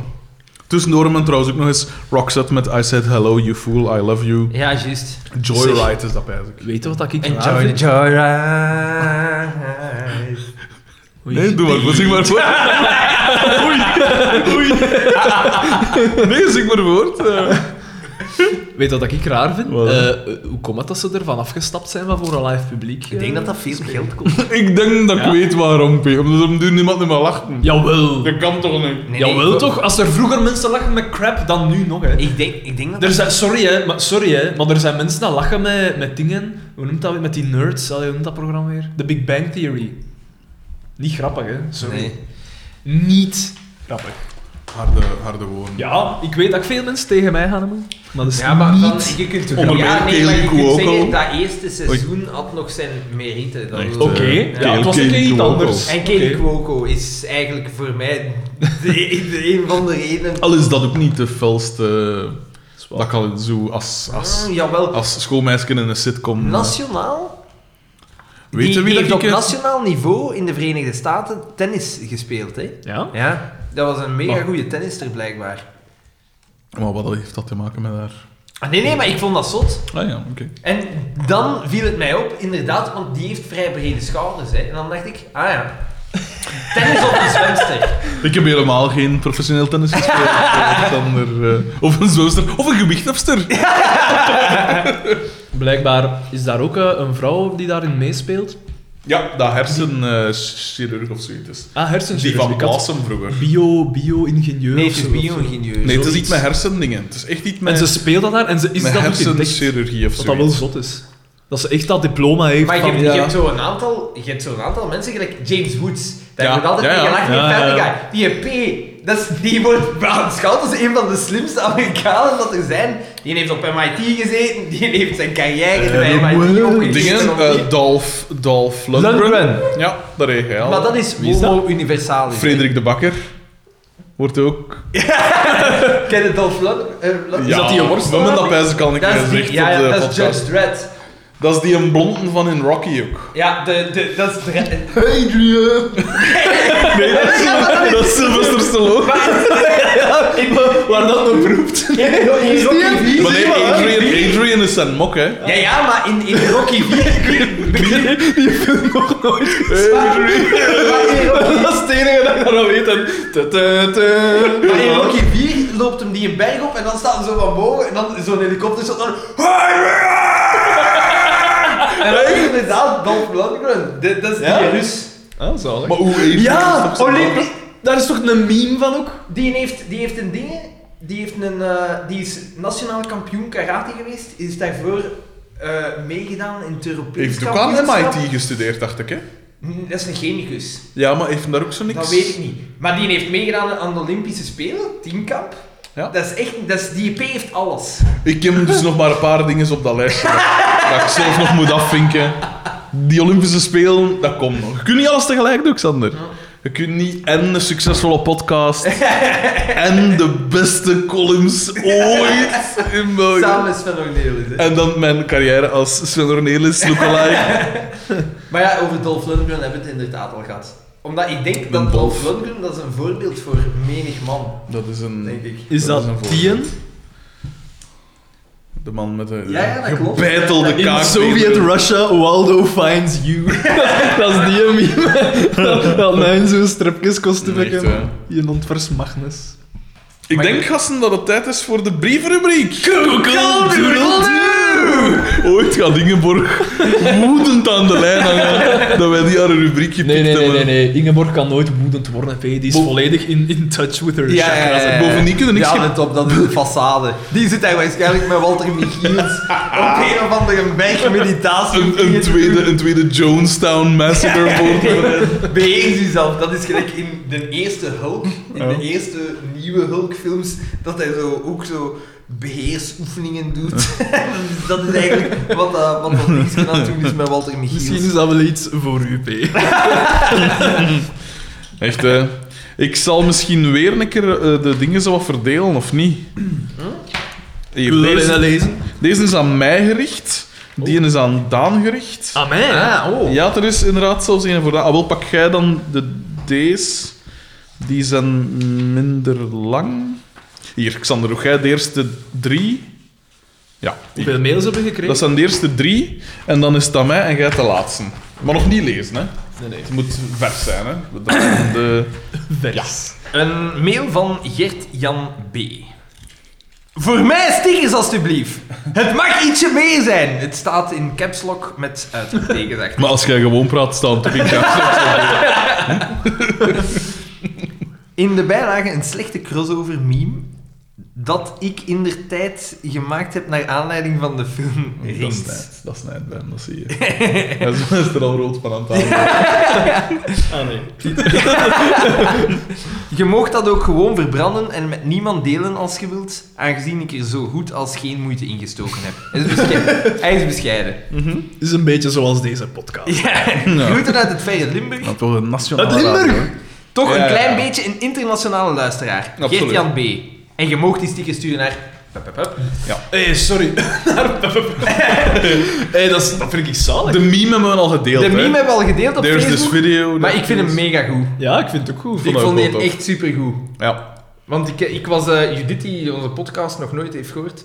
Speaker 1: Tussendoor men trouwens ook nog eens Roxette met I said hello, you fool, I love you.
Speaker 3: Ja, juist.
Speaker 1: Joyride is dat eigenlijk.
Speaker 2: Weet je wat dat ik raar
Speaker 3: Enjoy
Speaker 2: vind?
Speaker 3: the joyride.
Speaker 2: Oei.
Speaker 1: Nee, doe maar voor, zing maar voor. Oei, oei. Nee, zing maar voort. eh.
Speaker 2: Weet wat ik raar vind?
Speaker 1: Wat?
Speaker 2: Eh, hoe komt het dat ze ervan afgestapt zijn van voor een live publiek?
Speaker 3: Ik denk dat dat veel geld kost.
Speaker 1: Ik denk dat ik
Speaker 2: Ja.
Speaker 1: weet waarom, P. Omdat er nu niemand meer lacht.
Speaker 2: Jawel.
Speaker 1: Dat kan toch niet?
Speaker 3: Nee,
Speaker 2: Jawel
Speaker 3: nee,
Speaker 2: toch? Als er vroeger mensen lachen met crap, dan nu nog, hè.
Speaker 3: Ik denk, ik denk dat
Speaker 2: Er zijn, sorry, hè, maar, sorry, hè, maar er zijn mensen die lachen met, met dingen... Hoe noemt dat weer? Met die nerds. Allee, hoe noemt dat programma weer? The Big Bang Theory. Niet grappig, hè. Sorry.
Speaker 3: Nee.
Speaker 2: Niet grappig.
Speaker 1: Harde, harde woorden.
Speaker 2: Ja, ik weet dat ik veel mensen tegen mij gaan hebben. Maar dat is
Speaker 3: Ja, maar dan,
Speaker 2: niet...
Speaker 3: je kunt
Speaker 1: Onder
Speaker 3: ja,
Speaker 1: meer
Speaker 3: nee, maar je
Speaker 1: Kelly
Speaker 3: kunt
Speaker 1: Cuoco.
Speaker 3: zeggen, dat eerste seizoen had nog zijn merite. Dat
Speaker 1: Echt,
Speaker 3: wil-
Speaker 1: eh,
Speaker 2: Oké, ja, het was een
Speaker 1: Kelly
Speaker 2: keer iets
Speaker 1: Cuoco.
Speaker 2: anders.
Speaker 3: En Kelly
Speaker 2: Oké.
Speaker 3: Cuoco is eigenlijk voor mij de, de een van de redenen...
Speaker 1: Al is dat ook niet de felste... eh, Dat ik al zo als, als,
Speaker 3: Mm, jawel.
Speaker 1: als schoolmeisje in een sitcom... eh,
Speaker 3: Nationaal?
Speaker 1: Weet je
Speaker 3: die
Speaker 1: wie
Speaker 3: die
Speaker 1: dat
Speaker 3: heeft op
Speaker 1: ik... eh,
Speaker 3: nationaal niveau in de Verenigde Staten tennis gespeeld, hè?
Speaker 2: Ja?
Speaker 3: Ja, dat was een mega
Speaker 1: Maar-
Speaker 3: goede tennister blijkbaar.
Speaker 1: Maar wat heeft dat te maken met haar?
Speaker 3: Ah, nee, nee, maar ik vond dat zot.
Speaker 1: Ah ja, oké.
Speaker 3: En dan viel het mij op, inderdaad, want die heeft vrij brede schouders, hè. En dan dacht ik, ah ja, tennis op een zwemster.
Speaker 1: Ik heb helemaal geen professioneel tennis gespeeld. Alexander, eh, of een zwemster, of een gewichthefster.
Speaker 2: Blijkbaar is daar ook eh, een vrouw die daarin meespeelt.
Speaker 1: Ja, dat hersenchirurg of zoiets is.
Speaker 2: Ah,
Speaker 1: Die
Speaker 2: hersenchirurgie.
Speaker 1: van
Speaker 2: Ik had
Speaker 1: Blaassen vroeger.
Speaker 2: Bio, bio-ingenieur
Speaker 3: Nee,
Speaker 2: of
Speaker 3: het is
Speaker 2: zo.
Speaker 3: bio-ingenieur.
Speaker 1: Nee, het is
Speaker 2: zoiets.
Speaker 1: iets met hersendingen. Het is echt niet met,
Speaker 2: En ze speelt dat daar en ze is
Speaker 1: met
Speaker 2: dat ook ontdekt.
Speaker 1: hersenchirurgie of
Speaker 2: Wat
Speaker 1: zo.
Speaker 2: dat wel zot is. Dat ze echt dat diploma heeft.
Speaker 3: Maar je
Speaker 2: van-
Speaker 3: hebt,
Speaker 1: ja.
Speaker 3: je hebt zo'n aantal, je hebt zo'n aantal mensen, gelijk James Woods. Daar
Speaker 1: Ja,
Speaker 3: wordt altijd
Speaker 1: ja,
Speaker 3: mee
Speaker 1: ja.
Speaker 3: gelachen,
Speaker 2: Ja,
Speaker 3: die fatty
Speaker 2: ja,
Speaker 3: guy. Die P, dat is, die wordt beschouwd als een van de slimste Amerikanen dat er zijn. Die heeft op MIT gezeten, die heeft zijn carrière bij MIT
Speaker 1: Dingen,
Speaker 3: opgericht.
Speaker 1: eh, Dolph, Dolph Lundgren.
Speaker 2: Lundgren.
Speaker 1: Ja, daar heet hij al.
Speaker 3: Maar dat is
Speaker 2: Wie is dat?
Speaker 3: homo universalis.
Speaker 1: Frederik de Bakker. Wordt ook...
Speaker 3: Ken je Dolph Lund- eh, Lund-
Speaker 1: Ja,
Speaker 2: dat die worst?
Speaker 1: We hebben dat bijzonder al een keer
Speaker 3: Dat is
Speaker 1: gezegd
Speaker 3: die, ja,
Speaker 1: op de
Speaker 3: ja, dat is
Speaker 1: podcast.
Speaker 3: Judge Dredd.
Speaker 1: Dat is die een blonden van in Rocky ook.
Speaker 3: Ja, de, de, dat is Dredd.
Speaker 1: Adrian! nee, dat is, dat is Sylvester Stallone.
Speaker 2: Waar dat op roept.
Speaker 3: In Rocky IV-
Speaker 1: Maar nee, Adrian, Adrian is zijn mok, hè.
Speaker 3: Ja, ja, maar in, in Rocky 4 Ah. Eh.
Speaker 2: Dat is het enige dat ik daar al weet. En- tu- tu- tu.
Speaker 3: Maar in Rocky 4 loopt hem die een berg op en dan staat hij zo van boven en dan zo'n helikopter zo dan... En dat is inderdaad Dolph Lundgren. Dit- Dat is die
Speaker 2: Ja?
Speaker 3: Rus.
Speaker 2: Ah, zalig.
Speaker 1: Maar hoe Adrian
Speaker 2: Ja,
Speaker 1: is op zijn
Speaker 2: Olympi-
Speaker 1: mok.
Speaker 2: Daar is toch een meme van ook?
Speaker 3: Die heeft, die heeft een ding, die, heeft een, eh, die is nationaal kampioen karate geweest, is daarvoor eh, meegedaan in het Europees
Speaker 1: Heeft ook aan
Speaker 3: kampioenschap.
Speaker 1: MIT gestudeerd, dacht ik, hè.
Speaker 3: Hm, Dat is een chemicus.
Speaker 1: Ja, maar heeft daar ook zo niks...
Speaker 3: Dat weet ik niet. Maar die heeft meegedaan aan de Olympische Spelen, teamkamp.
Speaker 1: Ja.
Speaker 3: Dat is echt, dat is, die EP heeft alles.
Speaker 1: Ik heb dus nog maar een paar dingen op dat lijstje. dat- dat ik zelf nog moet afvinken. Die Olympische Spelen, dat komt nog. Je kunt niet alles tegelijk doen, Xander. Je kunt niet en een succesvolle podcast en de beste columns ooit in
Speaker 3: Samen
Speaker 1: België.
Speaker 3: met Sven Ornelis. hè.
Speaker 1: En dan mijn carrière als Sven Ornelis, lookalike.
Speaker 3: Maar ja, over Dolph Lundgren hebben we het inderdaad al gehad. Omdat ik denk dat
Speaker 1: Dolph.
Speaker 3: Dolph Lundgren, dat is een voorbeeld voor menig man,
Speaker 1: Dat is een...
Speaker 3: denk ik.
Speaker 2: Is dat
Speaker 1: een voorbeeld.
Speaker 2: Tien?
Speaker 1: De man met de
Speaker 3: Ja, ja, dat klopt.
Speaker 1: gebeitelde
Speaker 2: In
Speaker 1: kaak.
Speaker 2: Soviet Russia, Waldo finds you. dat is die meme. dat mijn zo'n stripjes kost
Speaker 1: Nee, echt, hè.
Speaker 2: Je ontvers Magnus.
Speaker 1: Ik denk, gasten, dat het tijd is voor de brievenrubriek. Google Doodle. Ooit gaat Ingeborg woedend aan de lijn hangen dat wij die haar rubriek gepikt
Speaker 2: Nee, nee, nee,
Speaker 1: hebben.
Speaker 2: nee, nee. Ingeborg kan nooit woedend worden. P. Die is
Speaker 1: Bo-
Speaker 2: volledig in, in touch with her chakras.
Speaker 1: ja. Bovendien kunnen niks
Speaker 3: Ja,
Speaker 1: schip-
Speaker 3: let op, dat is een façade. Die zit daar waarschijnlijk met Walter Michiels op een of andere berg meditatie.
Speaker 1: Een, een, tweede, een tweede Jonestown Massacre voor.
Speaker 3: Beheers jezelf. Dat is gelijk in de eerste Hulk, in de eerste nieuwe Hulk-films, dat hij zo, ook zo beheersoefeningen doet. dat is eigenlijk wat dat, wat dat niks aan het doen is met Walter
Speaker 2: Misschien
Speaker 3: Michiels.
Speaker 2: is dat wel iets voor u, P.
Speaker 1: Echt, hè. Ik zal misschien weer een keer eh, de dingen zo wat verdelen, of niet? Hier,
Speaker 2: Wil je dat
Speaker 1: deze,
Speaker 2: lezen?
Speaker 1: deze is aan mij gericht. Die
Speaker 2: Oh.
Speaker 1: is aan Daan gericht.
Speaker 2: Ah, mij?
Speaker 3: Ah, oh.
Speaker 1: Ja, er is inderdaad zelfs een voor dat. Ah, wel, pak jij dan de D's. Die zijn minder lang. Hier, Xander, doe jij de eerste drie? Ja, hier.
Speaker 2: Hoeveel mails hebben we gekregen?
Speaker 1: dat zijn de eerste drie. En dan is het aan mij en jij de laatste. Maar nog niet lezen, hè.
Speaker 2: Nee, nee.
Speaker 1: Het moet vers zijn, hè. We draaien de...
Speaker 2: Vers.
Speaker 3: Een mail van Gert-Jan B. Voor mij stickers alstublieft. Het mag ietsje meer zijn. Het staat in caps lock met uitgetekend achter.
Speaker 1: Maar als jij gewoon praat, staat het op in caps.
Speaker 3: In de bijlage een slechte crossover meme dat ik in der tijd gemaakt heb naar aanleiding van de film
Speaker 1: Dat
Speaker 3: Rings.
Speaker 1: snijdt, dat snijdt, Ben, dat zie je. Hij is- hij is er al rood van aan het halen.
Speaker 8: Ah, nee.
Speaker 3: Je moogt dat ook gewoon verbranden en met niemand delen als je wilt, aangezien ik er zo goed als geen moeite in gestoken heb. Hij is bescheiden. Hij is bescheiden.
Speaker 2: is een beetje zoals deze podcast.
Speaker 3: Ja,
Speaker 1: Ja.
Speaker 3: groeten uit het verre Limburg.
Speaker 1: Maar toch een nationale
Speaker 2: Uit Limburg?
Speaker 1: radio, hè.
Speaker 3: Toch
Speaker 1: Ja,
Speaker 3: een
Speaker 1: ja,
Speaker 3: klein
Speaker 1: ja.
Speaker 3: beetje een internationale luisteraar.
Speaker 1: Absoluut.
Speaker 3: Geert-Jan B. En je moogt die stickers sturen naar... Hup, hup, hup.
Speaker 2: hey, sorry. hey, dat, is- dat vind ik zalig.
Speaker 1: De meme hebben we al gedeeld,
Speaker 3: De
Speaker 1: hè.
Speaker 3: meme hebben we al gedeeld op
Speaker 1: There's this
Speaker 3: Facebook,
Speaker 1: video.
Speaker 3: maar ik vind hem mega goed.
Speaker 2: Ja, ik vind het ook goed.
Speaker 1: vond
Speaker 3: ik
Speaker 1: dat
Speaker 3: vond
Speaker 1: ook
Speaker 3: die
Speaker 1: wel tof.
Speaker 3: echt supergoed.
Speaker 1: Ja.
Speaker 3: Want ik, ik was eh, Judith, die onze podcast nog nooit heeft gehoord.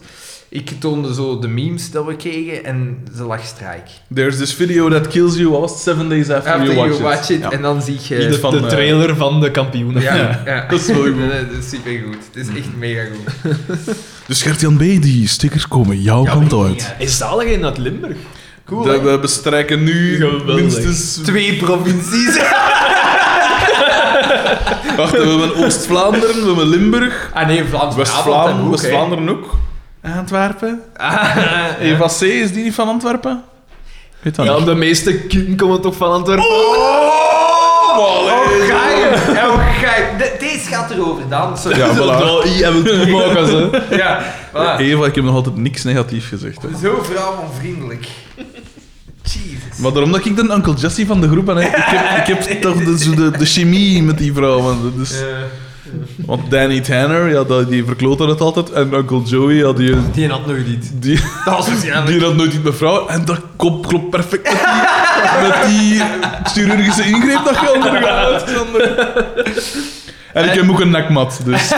Speaker 3: Ik toonde zo de memes dat we kregen en ze lag strijk.
Speaker 1: There's this video that kills you, what was het? Seven days after,
Speaker 3: After
Speaker 1: you watch, it.
Speaker 3: en dan zie je...
Speaker 1: Iets
Speaker 2: De,
Speaker 1: van,
Speaker 2: de
Speaker 1: eh,
Speaker 2: trailer van de kampioenen.
Speaker 3: Ja,
Speaker 1: Ja,
Speaker 3: ja.
Speaker 1: dat is wel goed. Mm.
Speaker 3: Dat is supergoed. Het is echt mega goed.
Speaker 1: Dus Gert-Jan B, die stickers komen jouw kant uit.
Speaker 2: Is zalig in dat Limburg? Cool.
Speaker 1: Dat we bestrijken nu
Speaker 2: Geweldig.
Speaker 1: minstens...
Speaker 3: Twee provincies.
Speaker 1: Wacht, we hebben Oost-Vlaanderen, we hebben Limburg,
Speaker 3: Ah nee, Vlaams-Brabant.
Speaker 1: West-Vlaam-
Speaker 3: ook, hè.
Speaker 1: West-Vlaanderen ook. Antwerpen.
Speaker 3: Ah, ja.
Speaker 1: Eva C, is die niet van Antwerpen? Ik Weet dat
Speaker 2: Ja,
Speaker 1: niet.
Speaker 2: de meeste kinderen komen toch van Antwerpen?
Speaker 1: Oh,
Speaker 3: Oh,
Speaker 1: allee.
Speaker 3: ga je? Ja, oh, ga je? De- Deze gaat erover, dan. Sorry.
Speaker 1: Ja, voilà.
Speaker 2: Dat I hebben
Speaker 1: Oh,
Speaker 2: het maken, ze.
Speaker 3: Ja, voilà.
Speaker 1: Eva, ik heb nog altijd niks negatief gezegd. Hè.
Speaker 3: Zo vrouwenvriendelijk. Jesus.
Speaker 1: Maar daarom dat ik de Uncle Jesse van de groep ben, hè. ik heb, ik heb toch de, zo de, de chemie met die Dus- vrouw. Want, dat is-
Speaker 3: Eh,
Speaker 1: want Danny Tanner, ja, dat- die verklote het altijd. En Uncle Joey, ja, die,
Speaker 3: die had nooit iets.
Speaker 1: die,
Speaker 3: Dat was
Speaker 2: dus
Speaker 3: waarschijnlijk...
Speaker 1: die had nooit iets met vrouwen. En dat klopt, klopt perfect met die, met die chirurgische ingreep dat je ondergaat, Alexander. En ik heb ook een nekmat, dus...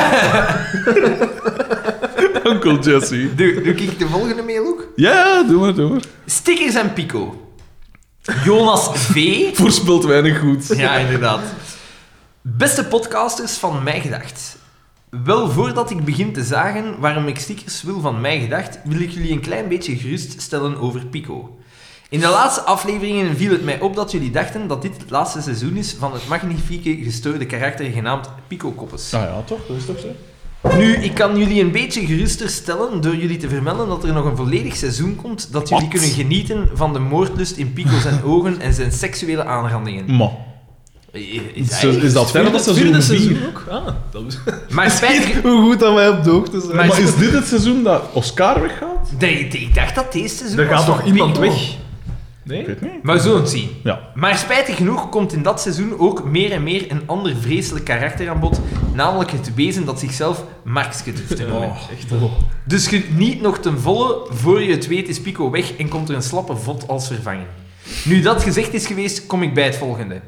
Speaker 1: Uncle Jesse.
Speaker 3: Doe, doe ik de volgende mail ook?
Speaker 1: Ja, doe maar, doe maar.
Speaker 3: Stickers en Pico. Jonas V.
Speaker 1: Voorspelt weinig goed.
Speaker 3: Ja, inderdaad. Beste podcasters van Mij Gedacht. Wel voordat ik begin te zagen waarom ik stickers wil van Mij Gedacht, wil ik jullie een klein beetje geruststellen over Pico. In de laatste afleveringen viel het mij op dat jullie dachten dat dit het laatste seizoen is van het magnifieke gestoorde karakter genaamd Pico Koppes.
Speaker 2: Ah
Speaker 1: Nou ja, toch? Dat is toch zo?
Speaker 3: Nu, ik kan jullie een beetje geruster stellen door jullie te vermelden dat er nog een volledig seizoen komt dat jullie
Speaker 1: Wat?
Speaker 3: kunnen genieten van de moordlust in Pico zijn ogen en zijn seksuele aanrandingen. Eh,
Speaker 1: Ma.
Speaker 3: Is,
Speaker 1: Is, is dat verder dat seizoen
Speaker 2: Vierde
Speaker 1: vier?
Speaker 2: seizoen ook? Ah, dat is...
Speaker 3: Maar spijtig...
Speaker 2: Hoe goed dat wij op de hoogte zijn.
Speaker 1: Maar,
Speaker 3: Maar is-
Speaker 1: is dit het seizoen dat Oscar weggaat?
Speaker 3: Nee, ik dacht dat deze seizoen
Speaker 2: er
Speaker 3: was
Speaker 2: gaat toch
Speaker 3: van
Speaker 2: iemand
Speaker 3: Pico.
Speaker 2: weg? Nee?
Speaker 1: niet.
Speaker 3: Maar we zullen het zien.
Speaker 1: Ja.
Speaker 3: Maar spijtig genoeg komt in dat seizoen ook meer en meer een ander vreselijk karakter aan bod, namelijk het wezen dat zichzelf Markske durft te noemen.
Speaker 2: Echt, hè.
Speaker 3: Dus geniet nog ten volle, voor je het weet is Pico weg en komt er een slappe vod als vervanging. Nu dat gezegd is geweest, kom ik bij het volgende.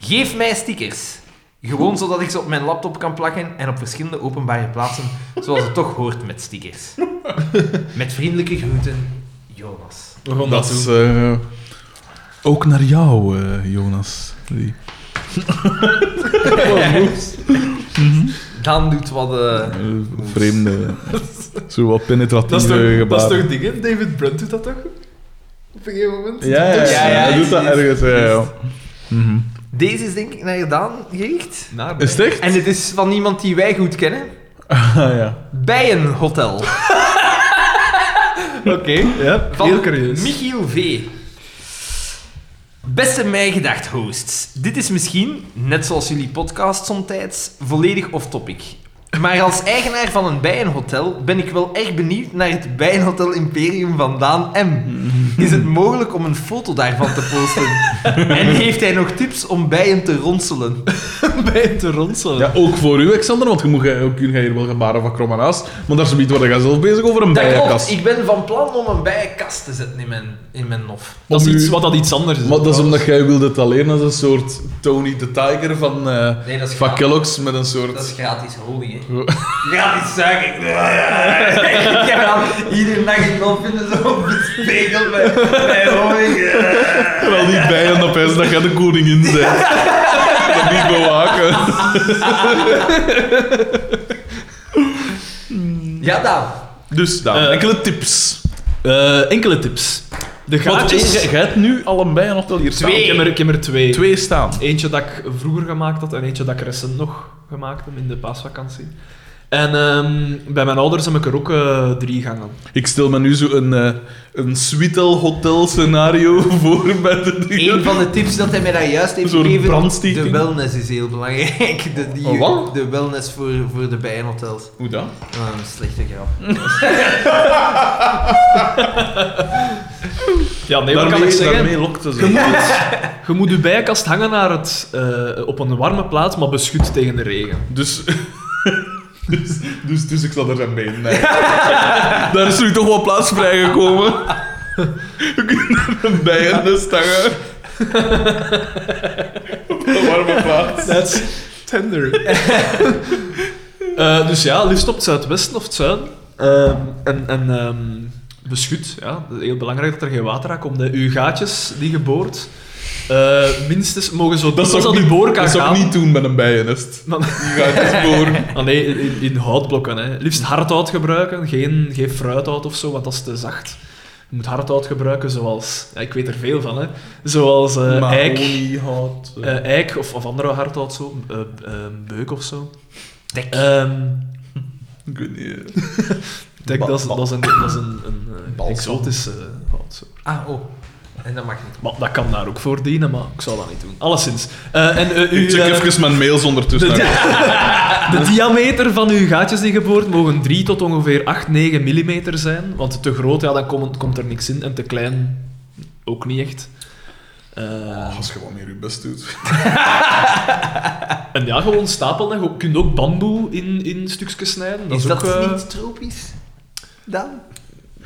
Speaker 3: Geef mij stickers. Gewoon zodat ik ze op mijn laptop kan plakken en op verschillende openbare plaatsen, zoals het toch hoort met stickers. Met vriendelijke groeten, Jonas.
Speaker 2: We gaan
Speaker 1: Dat
Speaker 2: dat doen.
Speaker 1: is... eh, ook naar jou, eh, Jonas. Die-
Speaker 3: Dan doet wat... eh,
Speaker 1: eh, vreemde... zo wat penetratieve
Speaker 2: Dat is toch, dat is
Speaker 1: gebaren.
Speaker 2: toch dingen? David Brent doet dat toch? Op een gegeven moment?
Speaker 1: Ja, ja, ja.
Speaker 3: Ja, ja,
Speaker 1: Hij doet dat
Speaker 3: is-
Speaker 1: ergens, ja, ja. Mhm.
Speaker 3: Deze is denk ik naar Daan gericht.
Speaker 2: Naar mij.
Speaker 1: Is het echt?
Speaker 3: En het is van iemand die wij goed kennen.
Speaker 1: Ah, ja.
Speaker 3: Bijenhotel.
Speaker 2: Oké, ja.
Speaker 3: Van
Speaker 2: Heel curieus.
Speaker 3: Michiel V. Beste mijgedacht hosts. Dit is misschien, net zoals jullie podcast somtijds, volledig off-topic. Maar als eigenaar van een bijenhotel ben ik wel erg benieuwd naar het bijenhotel Imperium van Daan M. Is het mogelijk om een foto daarvan te posten? En heeft hij nog tips om bijen te ronselen?
Speaker 2: bij hem te ronselen.
Speaker 1: ja, ook voor u, Alexander, want je moet ge- ook kun jij hier wel gebaren van krom en aas, maar daar is niet waar je zelf bezig over een
Speaker 3: Dat klopt.
Speaker 1: bijenkast.
Speaker 3: Ik ben van plan om een bijenkast te zetten in mijn, in mijn nof.
Speaker 2: Dat is
Speaker 1: Om u-
Speaker 2: iets wat dat iets anders is.
Speaker 1: Maar dat is omdat jij wilde het alleen als een soort Tony the Tiger van, eh
Speaker 3: Nee, dat is
Speaker 1: van
Speaker 3: gratis.
Speaker 1: Kellogg's met een soort...
Speaker 3: Dat is gratis honing, hè. gratis suiker. ik heb al iedere nacht een nof in de zon bespegeld bij, bij honing.
Speaker 1: Terwijl die bijen op huis, dat gaat de koningin zijn. Dat niet bewaken.
Speaker 9: Ja,
Speaker 3: nou.
Speaker 9: dan.
Speaker 1: Dus, Daan,
Speaker 2: Eh,
Speaker 1: enkele tips.
Speaker 2: Eh, enkele tips. De
Speaker 1: Want
Speaker 2: gaatjes...
Speaker 1: jij jij hebt nu allebei een hotelier staan.
Speaker 2: Ik heb er, ik heb er twee.
Speaker 1: Twee staan.
Speaker 2: Eentje dat ik vroeger gemaakt had en eentje dat ik recent nog gemaakt heb in de paasvakantie. En ehm, bij mijn ouders heb ik er ook eh, drie gangen.
Speaker 1: Ik stel me nu zo een, eh een Sweetel hotel scenario voor bij de dingen.
Speaker 3: Een van de tips dat hij mij daar juist heeft
Speaker 1: Zo'n
Speaker 3: gegeven,
Speaker 1: brandstichting.
Speaker 3: de wellness is heel belangrijk. De, die,
Speaker 1: Oh, wat?
Speaker 3: de wellness voor, voor de bijenhotels.
Speaker 1: Hoe dan?
Speaker 3: Ah, een slechte grap.
Speaker 2: Ja, nee, wat
Speaker 1: daarmee,
Speaker 2: kan ik zeggen?
Speaker 1: daarmee lokte ze.
Speaker 2: Je moet, het- je moet je bijenkast hangen naar het, eh, op een warme plaats, maar beschut tegen de regen.
Speaker 1: Dus, dus, dus, dus ik zal er zijn benen bij. Daar is nu toch wel plaats vrijgekomen. We kunnen er een bij in de stangen. Op een warme plaats.
Speaker 2: That's tender. Eh, dus ja, liefst op het zuidwesten of het zuiden. Ehm, en en ehm, beschut, ja. Dat is Heel belangrijk dat er geen water aankomt. hè. Uw gaatjes die je boort, eh, minstens mogen zo
Speaker 1: Dat zou
Speaker 2: dikwijls als
Speaker 1: ik
Speaker 2: uw
Speaker 1: niet,
Speaker 2: boor kan
Speaker 1: dat zou ik
Speaker 2: gaan.
Speaker 1: niet doen met een bijennest.
Speaker 2: Maar-
Speaker 1: Die gaat dus je sporen.
Speaker 2: Ah, nee, in, in houtblokken. Hè. Liefst hardhout gebruiken, geen, geen fruithout of zo, want dat is te zacht. Je moet hardhout gebruiken zoals, ja, ik weet er veel van, hè. zoals eh, eik,
Speaker 1: hout.
Speaker 2: eh, eik of, of andere hardhout, zo, eh, eh, beuk of zo.
Speaker 3: Dek.
Speaker 2: Ehm,
Speaker 1: Ik weet niet. eh.
Speaker 2: dek,
Speaker 1: Ba-
Speaker 2: dat is,
Speaker 1: ba-
Speaker 2: dat is een, dat is een, een eh,
Speaker 1: Balsam.
Speaker 2: exotische hout. Zo.
Speaker 3: Ah, oh. En dat mag niet.
Speaker 2: Maar dat kan daar ook voor dienen, maar ik zal dat niet doen. Alleszins. Eh, en, eh, uw,
Speaker 1: Ik check
Speaker 2: eh,
Speaker 1: even mijn mails ondertussen. Ah,
Speaker 2: De, de diameter van uw gaatjes die je boort mogen 3 tot ongeveer 8, 9 mm zijn. Want te groot, ja, dan komt, komt er niks in. En te klein, ook niet echt. Eh,
Speaker 1: Als je wat meer je best doet.
Speaker 2: en ja, gewoon stapelen. Je kunt ook bamboe in, in stukjes snijden. Dat
Speaker 3: Is
Speaker 2: is,
Speaker 3: dat
Speaker 2: ook, eh,
Speaker 3: niet tropisch? Dan?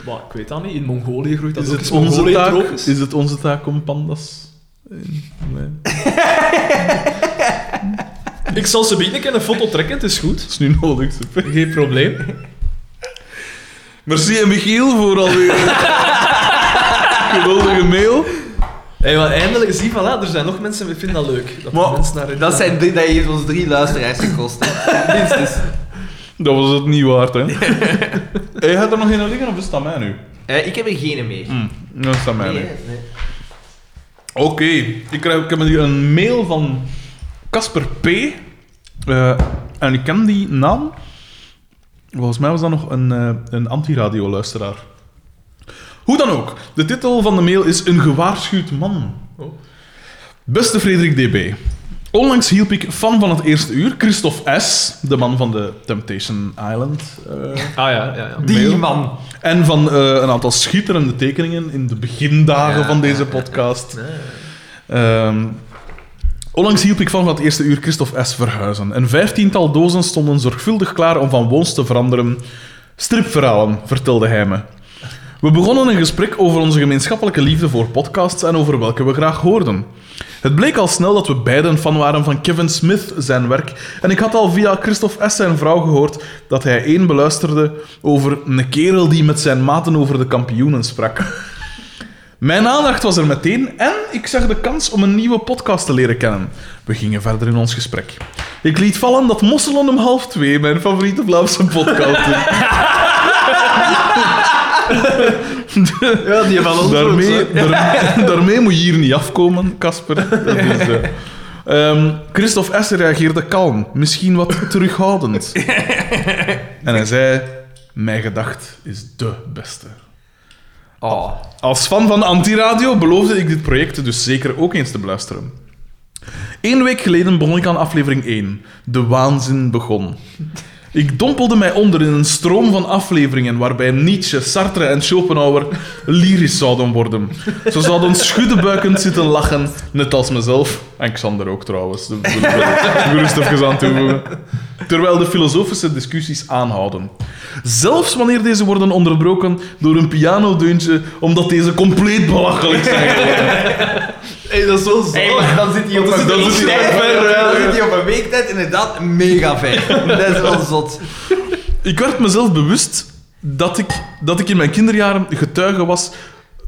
Speaker 2: maar ik weet dat niet. In Mongolië groeit dat
Speaker 1: Is
Speaker 2: ook.
Speaker 1: het,
Speaker 2: Is
Speaker 1: onze
Speaker 2: Mongolië
Speaker 1: taak,
Speaker 2: tropisch?
Speaker 1: is het onze taak om pandas... Nee.
Speaker 2: Ik zal ze bieden. Ik kan een foto trekken. Het is goed.
Speaker 1: Dat is nu nodig. super.
Speaker 2: Geen probleem.
Speaker 1: Merci en Michiel voor alweer geweldige mail.
Speaker 2: Hey, maar eindelijk zie voilà, er zijn nog mensen die vinden dat leuk. Dat er
Speaker 1: Maar
Speaker 2: mensen naar
Speaker 3: Dat, zijn, dat heeft ons drie luisteraars gekost. hè. Minstens.
Speaker 2: Ah,
Speaker 1: Dat was het niet waard, hè? Hey, gaat er nog een liggen of is het aan mij nu?
Speaker 3: Eh, ik heb er geen meer.
Speaker 1: Hm, dat is aan mij
Speaker 3: Nee,
Speaker 1: nu.
Speaker 3: nee.
Speaker 1: Oké, ik, krijg- ik heb hier een mail van Casper P. Eh, en ik ken die naam. Volgens mij was dat nog een, eh een anti-radio-luisteraar. Hoe dan ook, de titel van de mail is Een gewaarschuwd man. Beste Frederik DB. Onlangs hielp ik fan van het eerste uur, Christophe S., de man van de Temptation Island. eh,
Speaker 2: Ah ja, ja, ja.
Speaker 1: mail.
Speaker 3: Die man.
Speaker 1: en van eh, een aantal schitterende tekeningen in de begindagen
Speaker 3: Ja,
Speaker 1: van deze
Speaker 3: ja, ja.
Speaker 1: podcast. Ehm, onlangs hielp ik van het eerste uur Christophe S. verhuizen. Een vijftiental dozen stonden zorgvuldig klaar om van woons te veranderen. Stripverhalen, vertelde hij me. We begonnen een gesprek over onze gemeenschappelijke liefde voor podcasts en over welke we graag hoorden. Het bleek al snel dat we beiden fan waren van Kevin Smith, zijn werk. En ik had al via Christophe S. zijn vrouw gehoord dat hij één beluisterde over een kerel die met zijn maten over de kampioenen sprak. Mijn aandacht was er meteen en ik zag de kans om een nieuwe podcast te leren kennen. We gingen verder in ons gesprek. Ik liet vallen dat Mosselen om half twee mijn favoriete Vlaamse podcast is.
Speaker 2: Ja, die van ons ook,
Speaker 1: daarmee,
Speaker 2: zo.
Speaker 1: daar- daarmee moet je hier niet afkomen, Casper. Dat is, eh. Ehm, Christophe S. reageerde kalm, misschien wat terughoudend. En hij zei, mijn gedacht is de beste.
Speaker 3: Oh.
Speaker 1: Als fan van Antiradio beloofde ik dit project dus zeker ook eens te beluisteren. Eén week geleden begon ik aan aflevering 1. De waanzin begon. Ik dompelde mij onder in een stroom van afleveringen waarbij Nietzsche, Sartre en Schopenhauer lyrisch zouden worden. Ze zouden schuddebuikend zitten lachen, net als mezelf. En Xander ook trouwens, dat wil ik wel gerust even aan toevoegen. Terwijl de filosofische discussies aanhouden. Zelfs wanneer deze worden onderbroken door een pianodeuntje, omdat deze compleet belachelijk zijn geworden.
Speaker 2: Hey, dat is wel zo.
Speaker 3: Hey, maar dan zit hij op
Speaker 1: Want
Speaker 3: een
Speaker 1: dan zit hij
Speaker 3: weektijd.
Speaker 1: op een ver, ja.
Speaker 2: eh.
Speaker 3: Dan zit hij op een weektijd inderdaad mega ver. Dat is wel zot.
Speaker 1: Ik werd mezelf bewust dat ik, dat ik in mijn kinderjaren getuige was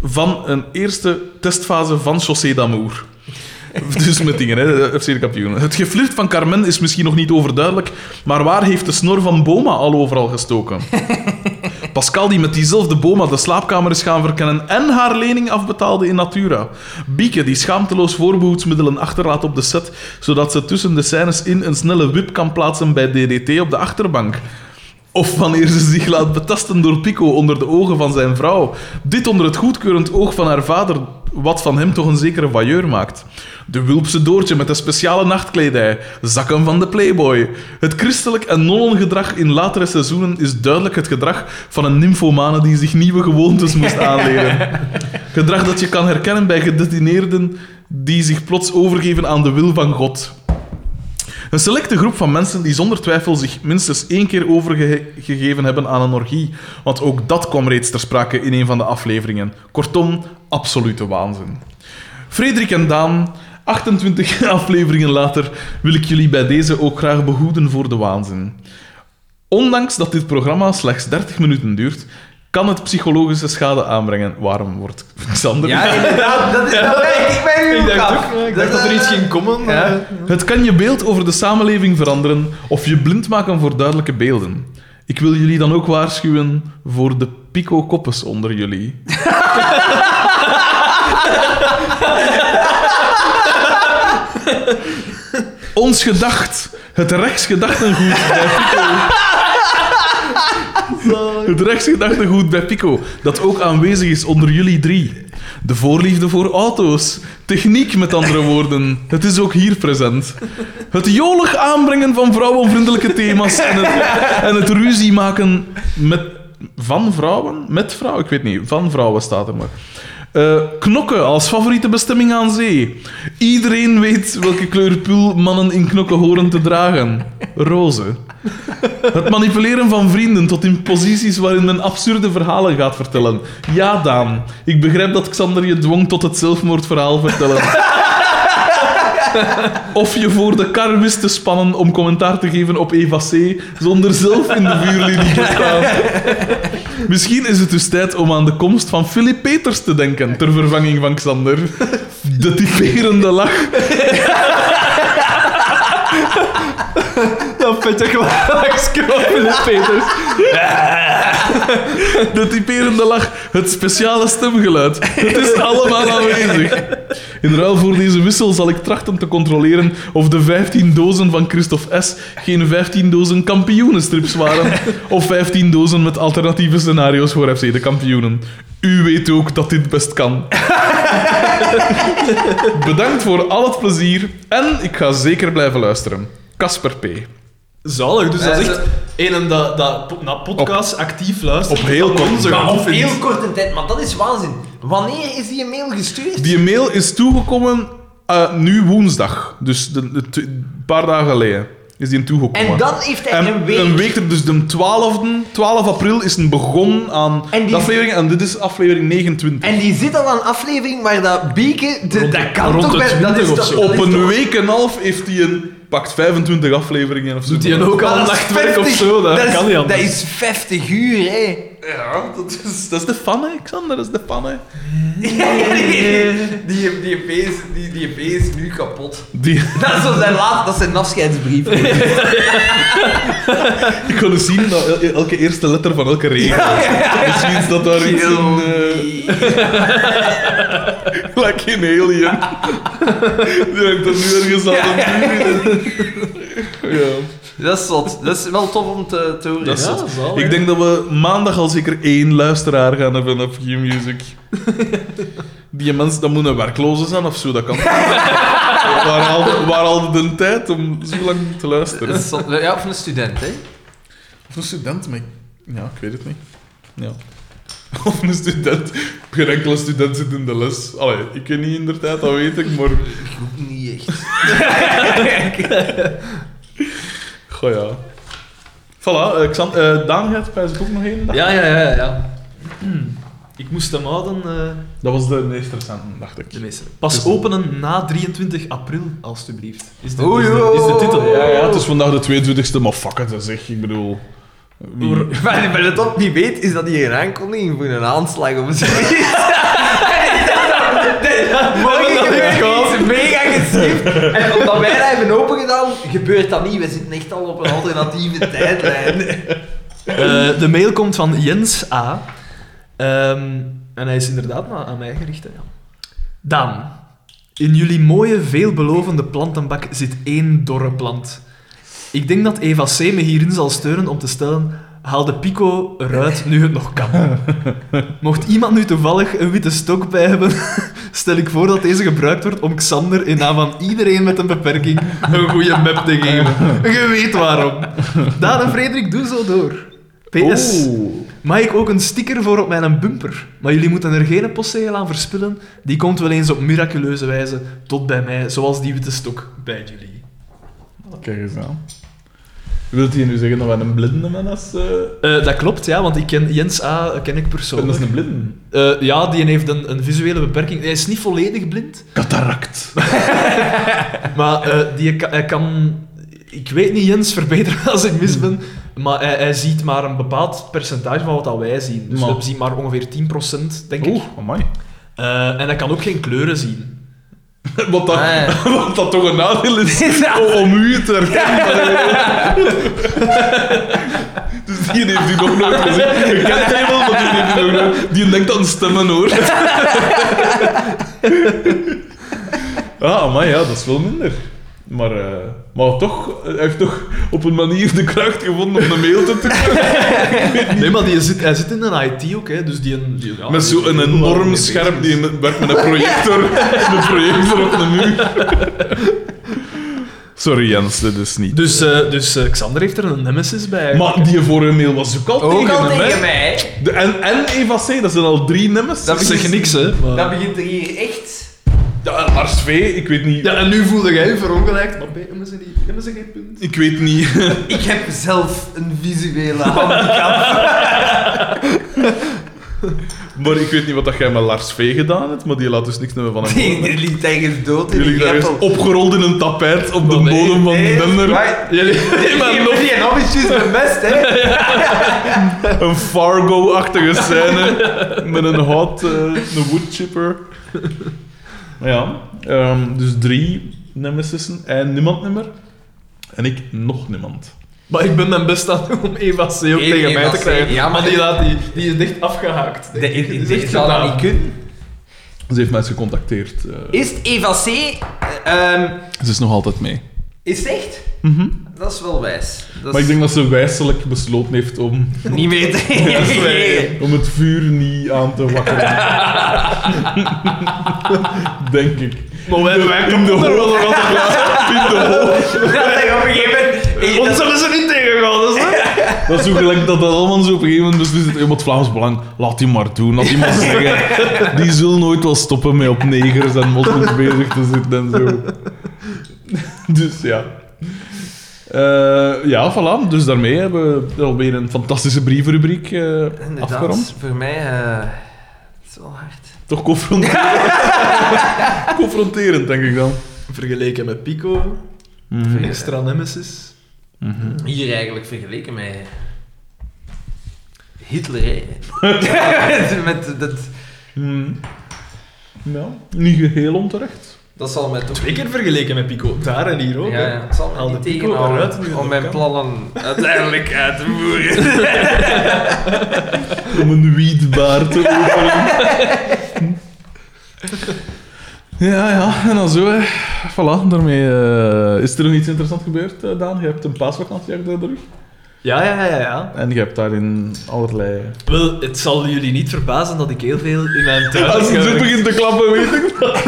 Speaker 1: van een eerste testfase van Chaussée d'Amour. Dus met dingen, hè, FC de kampioenen. Het geflirt van Carmen is misschien nog niet overduidelijk, maar waar heeft de snor van Boma al overal gestoken? Pascal die met diezelfde Boma de slaapkamer is gaan verkennen en haar lening afbetaalde in Natura. Bieke die schaamteloos voorbehoedsmiddelen achterlaat op de set, zodat ze tussen de scènes in een snelle wip kan plaatsen bij DDT op de achterbank. Of wanneer ze zich laat betasten door Pico onder de ogen van zijn vrouw. Dit onder het goedkeurend oog van haar vader, wat van hem toch een zekere voyeur maakt. De Wulpse Doortje met de speciale nachtkledij, zakken van de Playboy. Het christelijk en nonnengedrag in latere seizoenen is duidelijk het gedrag van een nymphomane die zich nieuwe gewoontes moest aanleren. Gedrag dat je kan herkennen bij gedetineerden die zich plots overgeven aan de wil van God. Een selecte groep van mensen die zonder twijfel zich minstens één keer overgegeven hebben aan een orgie. Want ook dat kwam reeds ter sprake in een van de afleveringen. Kortom, absolute waanzin. Frederik en Daan, 28 afleveringen later wil ik jullie bij deze ook graag behoeden voor de waanzin. Ondanks dat dit programma slechts 30 minuten duurt, kan het psychologische schade aanbrengen. Waarom wordt Xander
Speaker 3: Ja, inderdaad. Dat is dat werk ik ben nu
Speaker 2: Ik
Speaker 3: ook
Speaker 2: dacht
Speaker 3: af.
Speaker 2: ook, ja, ik dacht dat er iets ging komen.
Speaker 3: Ja.
Speaker 2: eh.
Speaker 1: Het kan je beeld over de samenleving veranderen of je blind maken voor duidelijke beelden. Ik wil jullie dan ook waarschuwen voor de pico-koppes onder jullie. Ons gedacht, het rechtsgedachtengoed bij Pico. Het rechtsgedachtengoed bij Pico, dat ook aanwezig is onder jullie drie. De voorliefde voor auto's. Techniek, met andere woorden. Het is ook hier present. Het jolig aanbrengen van vrouwenvriendelijke thema's en het, en het ruzie maken met, van vrouwen? Met vrouwen? Ik weet niet. Van vrouwen staat er maar. Eh, knokken als favoriete bestemming aan zee. Iedereen weet welke kleur pul mannen in knokken horen te dragen. Roze. Het manipuleren van vrienden tot in posities waarin men absurde verhalen gaat vertellen. Ja, Daan. Ik begrijp dat Xander je dwong tot het zelfmoordverhaal vertellen. Of je voor de kar wist te spannen om commentaar te geven op Eva C. zonder zelf in de vuurlinie te staan. Misschien is het dus tijd om aan de komst van Philip Peters te denken ter vervanging van Xander. De typerende lach.
Speaker 2: Dat vind ik wel Philip Peters.
Speaker 1: De typerende lach, het speciale stemgeluid. Het is allemaal aanwezig. In ruil voor deze wissel zal ik trachten te controleren of de 15 dozen van Christophe S. geen 15 dozen kampioenenstrips waren. Of 15 dozen met alternatieve scenario's voor FC de kampioenen. U weet ook dat dit best kan. Bedankt voor al het plezier en ik ga zeker blijven luisteren. Casper P.
Speaker 2: Zalig, dus dat is
Speaker 3: Eh,
Speaker 2: echt een dat, dat po- naar podcast actief luistert.
Speaker 1: Op heel kort.
Speaker 2: Zo
Speaker 3: Maar
Speaker 2: goed
Speaker 3: op
Speaker 2: vindt.
Speaker 3: heel korte tijd, maar dat is waanzin. Wanneer is die mail gestuurd?
Speaker 1: Die mail is toegekomen eh, nu woensdag. Dus de- de- t- een paar dagen geleden is die toegekomen.
Speaker 3: En dan heeft hij
Speaker 1: En
Speaker 3: een week.
Speaker 1: er- dus de 12e, 12 april is een begon aan
Speaker 3: En die-
Speaker 1: de aflevering. En dit is aflevering 29.
Speaker 3: En die zit al aan aflevering waar dat bieken... de- dat kan
Speaker 2: rond
Speaker 3: toch
Speaker 2: de
Speaker 3: bij... Dat
Speaker 2: 20
Speaker 3: is
Speaker 2: of
Speaker 3: toch...
Speaker 2: zo.
Speaker 3: dat
Speaker 1: Op
Speaker 3: is
Speaker 1: een
Speaker 3: toch-
Speaker 1: week en een half heeft hij een... Pakt 25 afleveringen of zo.
Speaker 2: Doet die ook al
Speaker 3: Maar dat is
Speaker 2: nachtwerk of
Speaker 3: 50
Speaker 2: zo? Dat,
Speaker 3: is-
Speaker 2: kan niet anders.
Speaker 3: Dat is 50 uur, hè.
Speaker 1: Ja, dat is, dat is de fan, hè, Xander. Dat is de fan, hè.
Speaker 3: die, die, die, EP is, die, die EP is nu kapot.
Speaker 1: Die,
Speaker 3: Dat is zo zijn laatste... Dat is zijn afscheidsbrief.
Speaker 1: ik kon eens zien dat el- elke eerste letter van elke regel. Misschien is dat daar iets in... eh, Like in Alien. Die hangt er nu ergens aan de muur. Ja.
Speaker 3: Dat is zot. Dat is wel tof om te, te horen.
Speaker 1: Dat is
Speaker 3: Ja.
Speaker 1: zot. Ik denk dat we maandag al zeker één luisteraar gaan hebben op Q-Music. Die mensen, dat moet een werkloze zijn of zo, dat kan. waar, al, waar al de tijd om zo lang te
Speaker 3: Dat
Speaker 1: luisteren?
Speaker 3: is zot. Ja, of een student, hè.
Speaker 1: Of een student, maar ik- Ja, ik weet het niet. Ja. Of een student. Geen enkele student zit in de les. Allee, ik weet niet in de tijd, dat weet ik, maar...
Speaker 3: Ook Niet echt.
Speaker 1: Goh ja. Voilà, eh, Xan- eh, Daan gaat bij zijn boek nog één dag.
Speaker 2: Ja, ja, ja, ja. Hmm. Ik moest hem houden. eh,
Speaker 1: Dat was de meest recente, dacht ik.
Speaker 2: de meeste.
Speaker 3: Dus
Speaker 2: Pas openen na 23 april, alstublieft. Is de,
Speaker 3: Oei,
Speaker 2: is de, is de titel.
Speaker 1: Ja, ja, het is vandaag de 22e, maar fuck it, zeg. Ik bedoel... wie-
Speaker 3: Maar wat het ook niet weet, is dat hij een aankondiging voor een aanslag of zoiets. Morgen gebeurt iets mega heeft. En omdat wij dat hebben opengedaan, gebeurt dat niet. We zitten echt al op een alternatieve tijdlijn.
Speaker 2: Eh, de mail komt van Jens A. Ehm, en hij is inderdaad maar aan mij gericht. Hè. ja. Daan, in jullie mooie, veelbelovende plantenbak zit één dorre plant. Ik denk dat Eva C. me hierin zal steunen om te stellen... Haal de pico eruit nu het nog kan. Mocht iemand nu toevallig een witte stok bij hebben, stel ik voor dat deze gebruikt wordt om Xander in naam van iedereen met een beperking een goede map te geven. Je weet waarom. Daan en Frederik, doe zo door.
Speaker 1: Oh.
Speaker 2: PS.
Speaker 1: Oeh.
Speaker 2: Mag ik ook een sticker voor op mijn bumper? Maar jullie moeten er geen postzegel aan verspillen. Die komt wel eens op miraculeuze wijze tot bij mij, zoals die witte stok bij jullie.
Speaker 1: Kijk eens aan. Wilt hij nu zeggen dat wij een blinde man is? eh?
Speaker 2: Eh, dat klopt, ja, want ik ken Jens A. ken ik
Speaker 1: Dat is
Speaker 2: persoonlijk.
Speaker 1: een blinde.
Speaker 2: Eh, ja, die heeft een, een visuele beperking. Hij is niet volledig blind,
Speaker 1: Cataract.
Speaker 2: maar eh, die ka- hij kan... Ik weet niet, Jens, verbeter me als ik mis ben. Maar hij, hij ziet maar een bepaald percentage van wat dat wij zien. Dus
Speaker 1: Maar-
Speaker 2: we zien maar ongeveer 10%, denk ik.
Speaker 1: Oeh, Oh, amai.
Speaker 2: Eh, en hij kan ook geen kleuren zien.
Speaker 1: Wat dat,
Speaker 3: Ah,
Speaker 1: wat dat toch een nadeel is om- om u te herkennen. Dus die heeft u nog nooit gezien. Je kent hem wel, maar die heeft u nog nooit... Die denkt aan stemmen, hoor. Ah, maar ja, dat is wel minder. Maar, eh, maar toch, hij heeft toch op een manier de kracht gevonden om een mail te tikken.
Speaker 2: Nee, maar die zit, hij zit in een IT ook, hè, dus die... een- die ja,
Speaker 1: Met
Speaker 2: die-
Speaker 1: zo'n
Speaker 2: die-
Speaker 1: enorm scherm, die werkt met een projector, een projector op de muur. Sorry Jens, dit is niet.
Speaker 2: Dus, eh, dus eh, Xander heeft er een nemesis bij.
Speaker 1: Maar die vorige mail was ook al
Speaker 3: Ook
Speaker 1: tegen
Speaker 3: al
Speaker 1: hem, hè?
Speaker 3: tegen mij.
Speaker 1: De- en, en Eva C, dat zijn al drie nummers.
Speaker 2: dat zeg niks, hè. maar-
Speaker 3: Dat begint er hier echt...
Speaker 1: Ja, Lars V, ik weet niet...
Speaker 2: Ja, en nu voelde jij je verongelijkt. Maar bij hebben ze, niet, hebben ze geen punt?
Speaker 1: Ik weet niet...
Speaker 3: Ik heb zelf een visuele handicap.
Speaker 1: Maar ik weet niet wat dat jij met Lars V gedaan hebt, maar die laat dus niks meer van hem horen.
Speaker 3: Die liet ergens dood in
Speaker 1: Jullie
Speaker 3: die
Speaker 1: daar eens
Speaker 3: greppel.
Speaker 1: opgerold in een tapijt op de bodem van de dender.
Speaker 3: maar- Die hebben die en is best, hè?
Speaker 1: Een Fargo-achtige scène met een hot, eh, een woodchipper. Ja, ehm, dus drie nemesissen en niemand nimmer. En ik nog niemand.
Speaker 2: Maar ik ben mijn best aan het doen om Eva C ook
Speaker 3: Eva
Speaker 2: tegen mij te
Speaker 3: C,
Speaker 2: krijgen.
Speaker 3: ja, maar-
Speaker 2: maar die, laat, die, die is dicht afgehaakt. denk ik. Die is echt
Speaker 3: Ik zou dat
Speaker 2: gedaan.
Speaker 3: niet kunnen.
Speaker 1: Ze heeft mij eens gecontacteerd. eh,
Speaker 3: Is het Eva C? Ehm,
Speaker 1: Ze is nog altijd mee.
Speaker 3: is het echt? Dat is wel wijs. Dat
Speaker 1: Maar ik
Speaker 3: is
Speaker 1: denk dat ze wijselijk besloten heeft om,
Speaker 3: niet meer te reageren.
Speaker 1: om het vuur niet aan te wakkeren. Denk ik.
Speaker 2: Maar wij hebben wij
Speaker 1: In de hoop. In de hoop.
Speaker 3: Dat ik op een gegeven moment... Hey, dat-
Speaker 2: Ons hebben ze niet tegengehouden, dat is waar.
Speaker 1: Dat is zo gelijk dat dat allemaal zo op een gegeven moment beslist. Hey, maar het Vlaams Belang, laat die maar doen, laat die maar zeggen. Die zullen nooit wel stoppen met op negers en moslims bezig te zitten en zo. Dus ja. Eh, ja, voilà. Dus daarmee hebben we alweer een fantastische brievenrubriek eh
Speaker 3: Inderdaad,
Speaker 1: afgerond.
Speaker 3: voor mij... eh het is wel hard.
Speaker 1: Toch confronterend. confronterend, denk ik dan.
Speaker 2: Vergeleken met Pico,
Speaker 1: Mhm.
Speaker 2: extra nemesis.
Speaker 1: Mhm.
Speaker 3: Hier eigenlijk vergeleken met... Hitler, hè? met, dat,
Speaker 1: Mhm. Ja, niet geheel onterecht.
Speaker 3: dat zal mij toch...
Speaker 2: Twee keer vergeleken met Pico, daar en hier ook.
Speaker 3: Ja,
Speaker 2: hè.
Speaker 3: ja, het zal me
Speaker 2: Haal
Speaker 3: niet
Speaker 2: de pico eruit nu het
Speaker 3: tegenhouden om
Speaker 2: nog
Speaker 3: mijn
Speaker 2: kan.
Speaker 3: plannen uiteindelijk uit te voeren.
Speaker 1: om een wietbaar te openen. Ja, ja, en dan zo, hè. Voilà, daarmee... eh, is er nog iets interessants gebeurd, eh, Daan? Je hebt een paasvakantie achter de rug.
Speaker 2: Ja, ja, ja, ja.
Speaker 1: En je hebt daarin allerlei...
Speaker 2: Wel, het zal jullie niet verbazen dat ik heel veel in mijn tuin
Speaker 1: Als het
Speaker 2: heb
Speaker 1: zo
Speaker 2: gewerkt.
Speaker 1: begint te klappen, weet ik dat.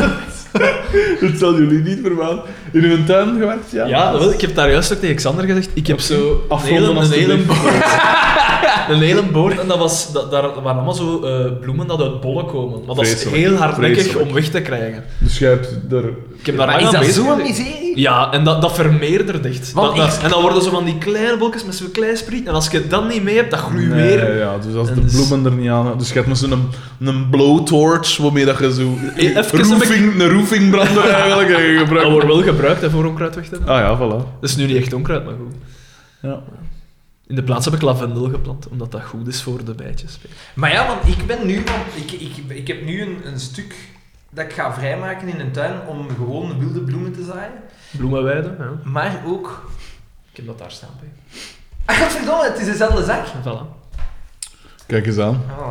Speaker 1: Het zal jullie niet verbazen. In uw tuin gewerkt, ja?
Speaker 2: Ja, wel, ik heb daar juist ook tegen Xander gezegd. Ik heb zo een hele,
Speaker 1: Afronden
Speaker 2: een hele
Speaker 1: alstublieft.
Speaker 2: boord. een hele boord. En dat was, dat, daar waren allemaal zo eh, bloemen dat uit bollen komen. Maar dat is
Speaker 1: Vreselijk.
Speaker 2: heel hardnekkig
Speaker 1: Vreselijk.
Speaker 2: om weg te krijgen.
Speaker 1: Dus jij hebt daar...
Speaker 2: Ik heb daar
Speaker 3: Maar
Speaker 2: lang
Speaker 3: is
Speaker 2: aan
Speaker 3: dat
Speaker 2: bezig
Speaker 3: zo'n
Speaker 2: geweest.
Speaker 3: miserie?
Speaker 2: Ja, en dat, dat vermeerdert echt.
Speaker 3: Want
Speaker 2: Dat, dat,
Speaker 3: ik-
Speaker 2: en dan worden zo van die kleine bolletjes met zo'n klein spriet. En als je dat niet mee hebt, dat groeit
Speaker 1: Nee,
Speaker 2: weer.
Speaker 1: ja, dus als
Speaker 2: En
Speaker 1: de
Speaker 2: dus-
Speaker 1: bloemen er niet aan... Dus je hebt met zo'n een blowtorch, waarmee dat je zo...
Speaker 2: Even een
Speaker 1: roofing, een roofingbrander eigenlijk eh,
Speaker 2: Dat
Speaker 1: gebruikt.
Speaker 2: wordt wel gebruikt hè, voor onkruid weg te hebben.
Speaker 1: Ah ja, voilà.
Speaker 2: Dat is nu niet echt onkruid, maar goed.
Speaker 1: Ja.
Speaker 2: In de plaats heb ik lavendel geplant, omdat dat goed is voor de bijtjes.
Speaker 3: Maar ja, want ik ben nu, want ik, ik, ik heb nu een, een stuk dat ik ga vrijmaken in een tuin om gewoon wilde bloemen te zaaien.
Speaker 2: Bloemenweiden, ja.
Speaker 3: Maar ook...
Speaker 2: Ik heb dat daar staan, P.
Speaker 3: Ah, godverdomme, het is dezelfde zak.
Speaker 2: Voilà.
Speaker 1: Kijk eens aan.
Speaker 3: Ah.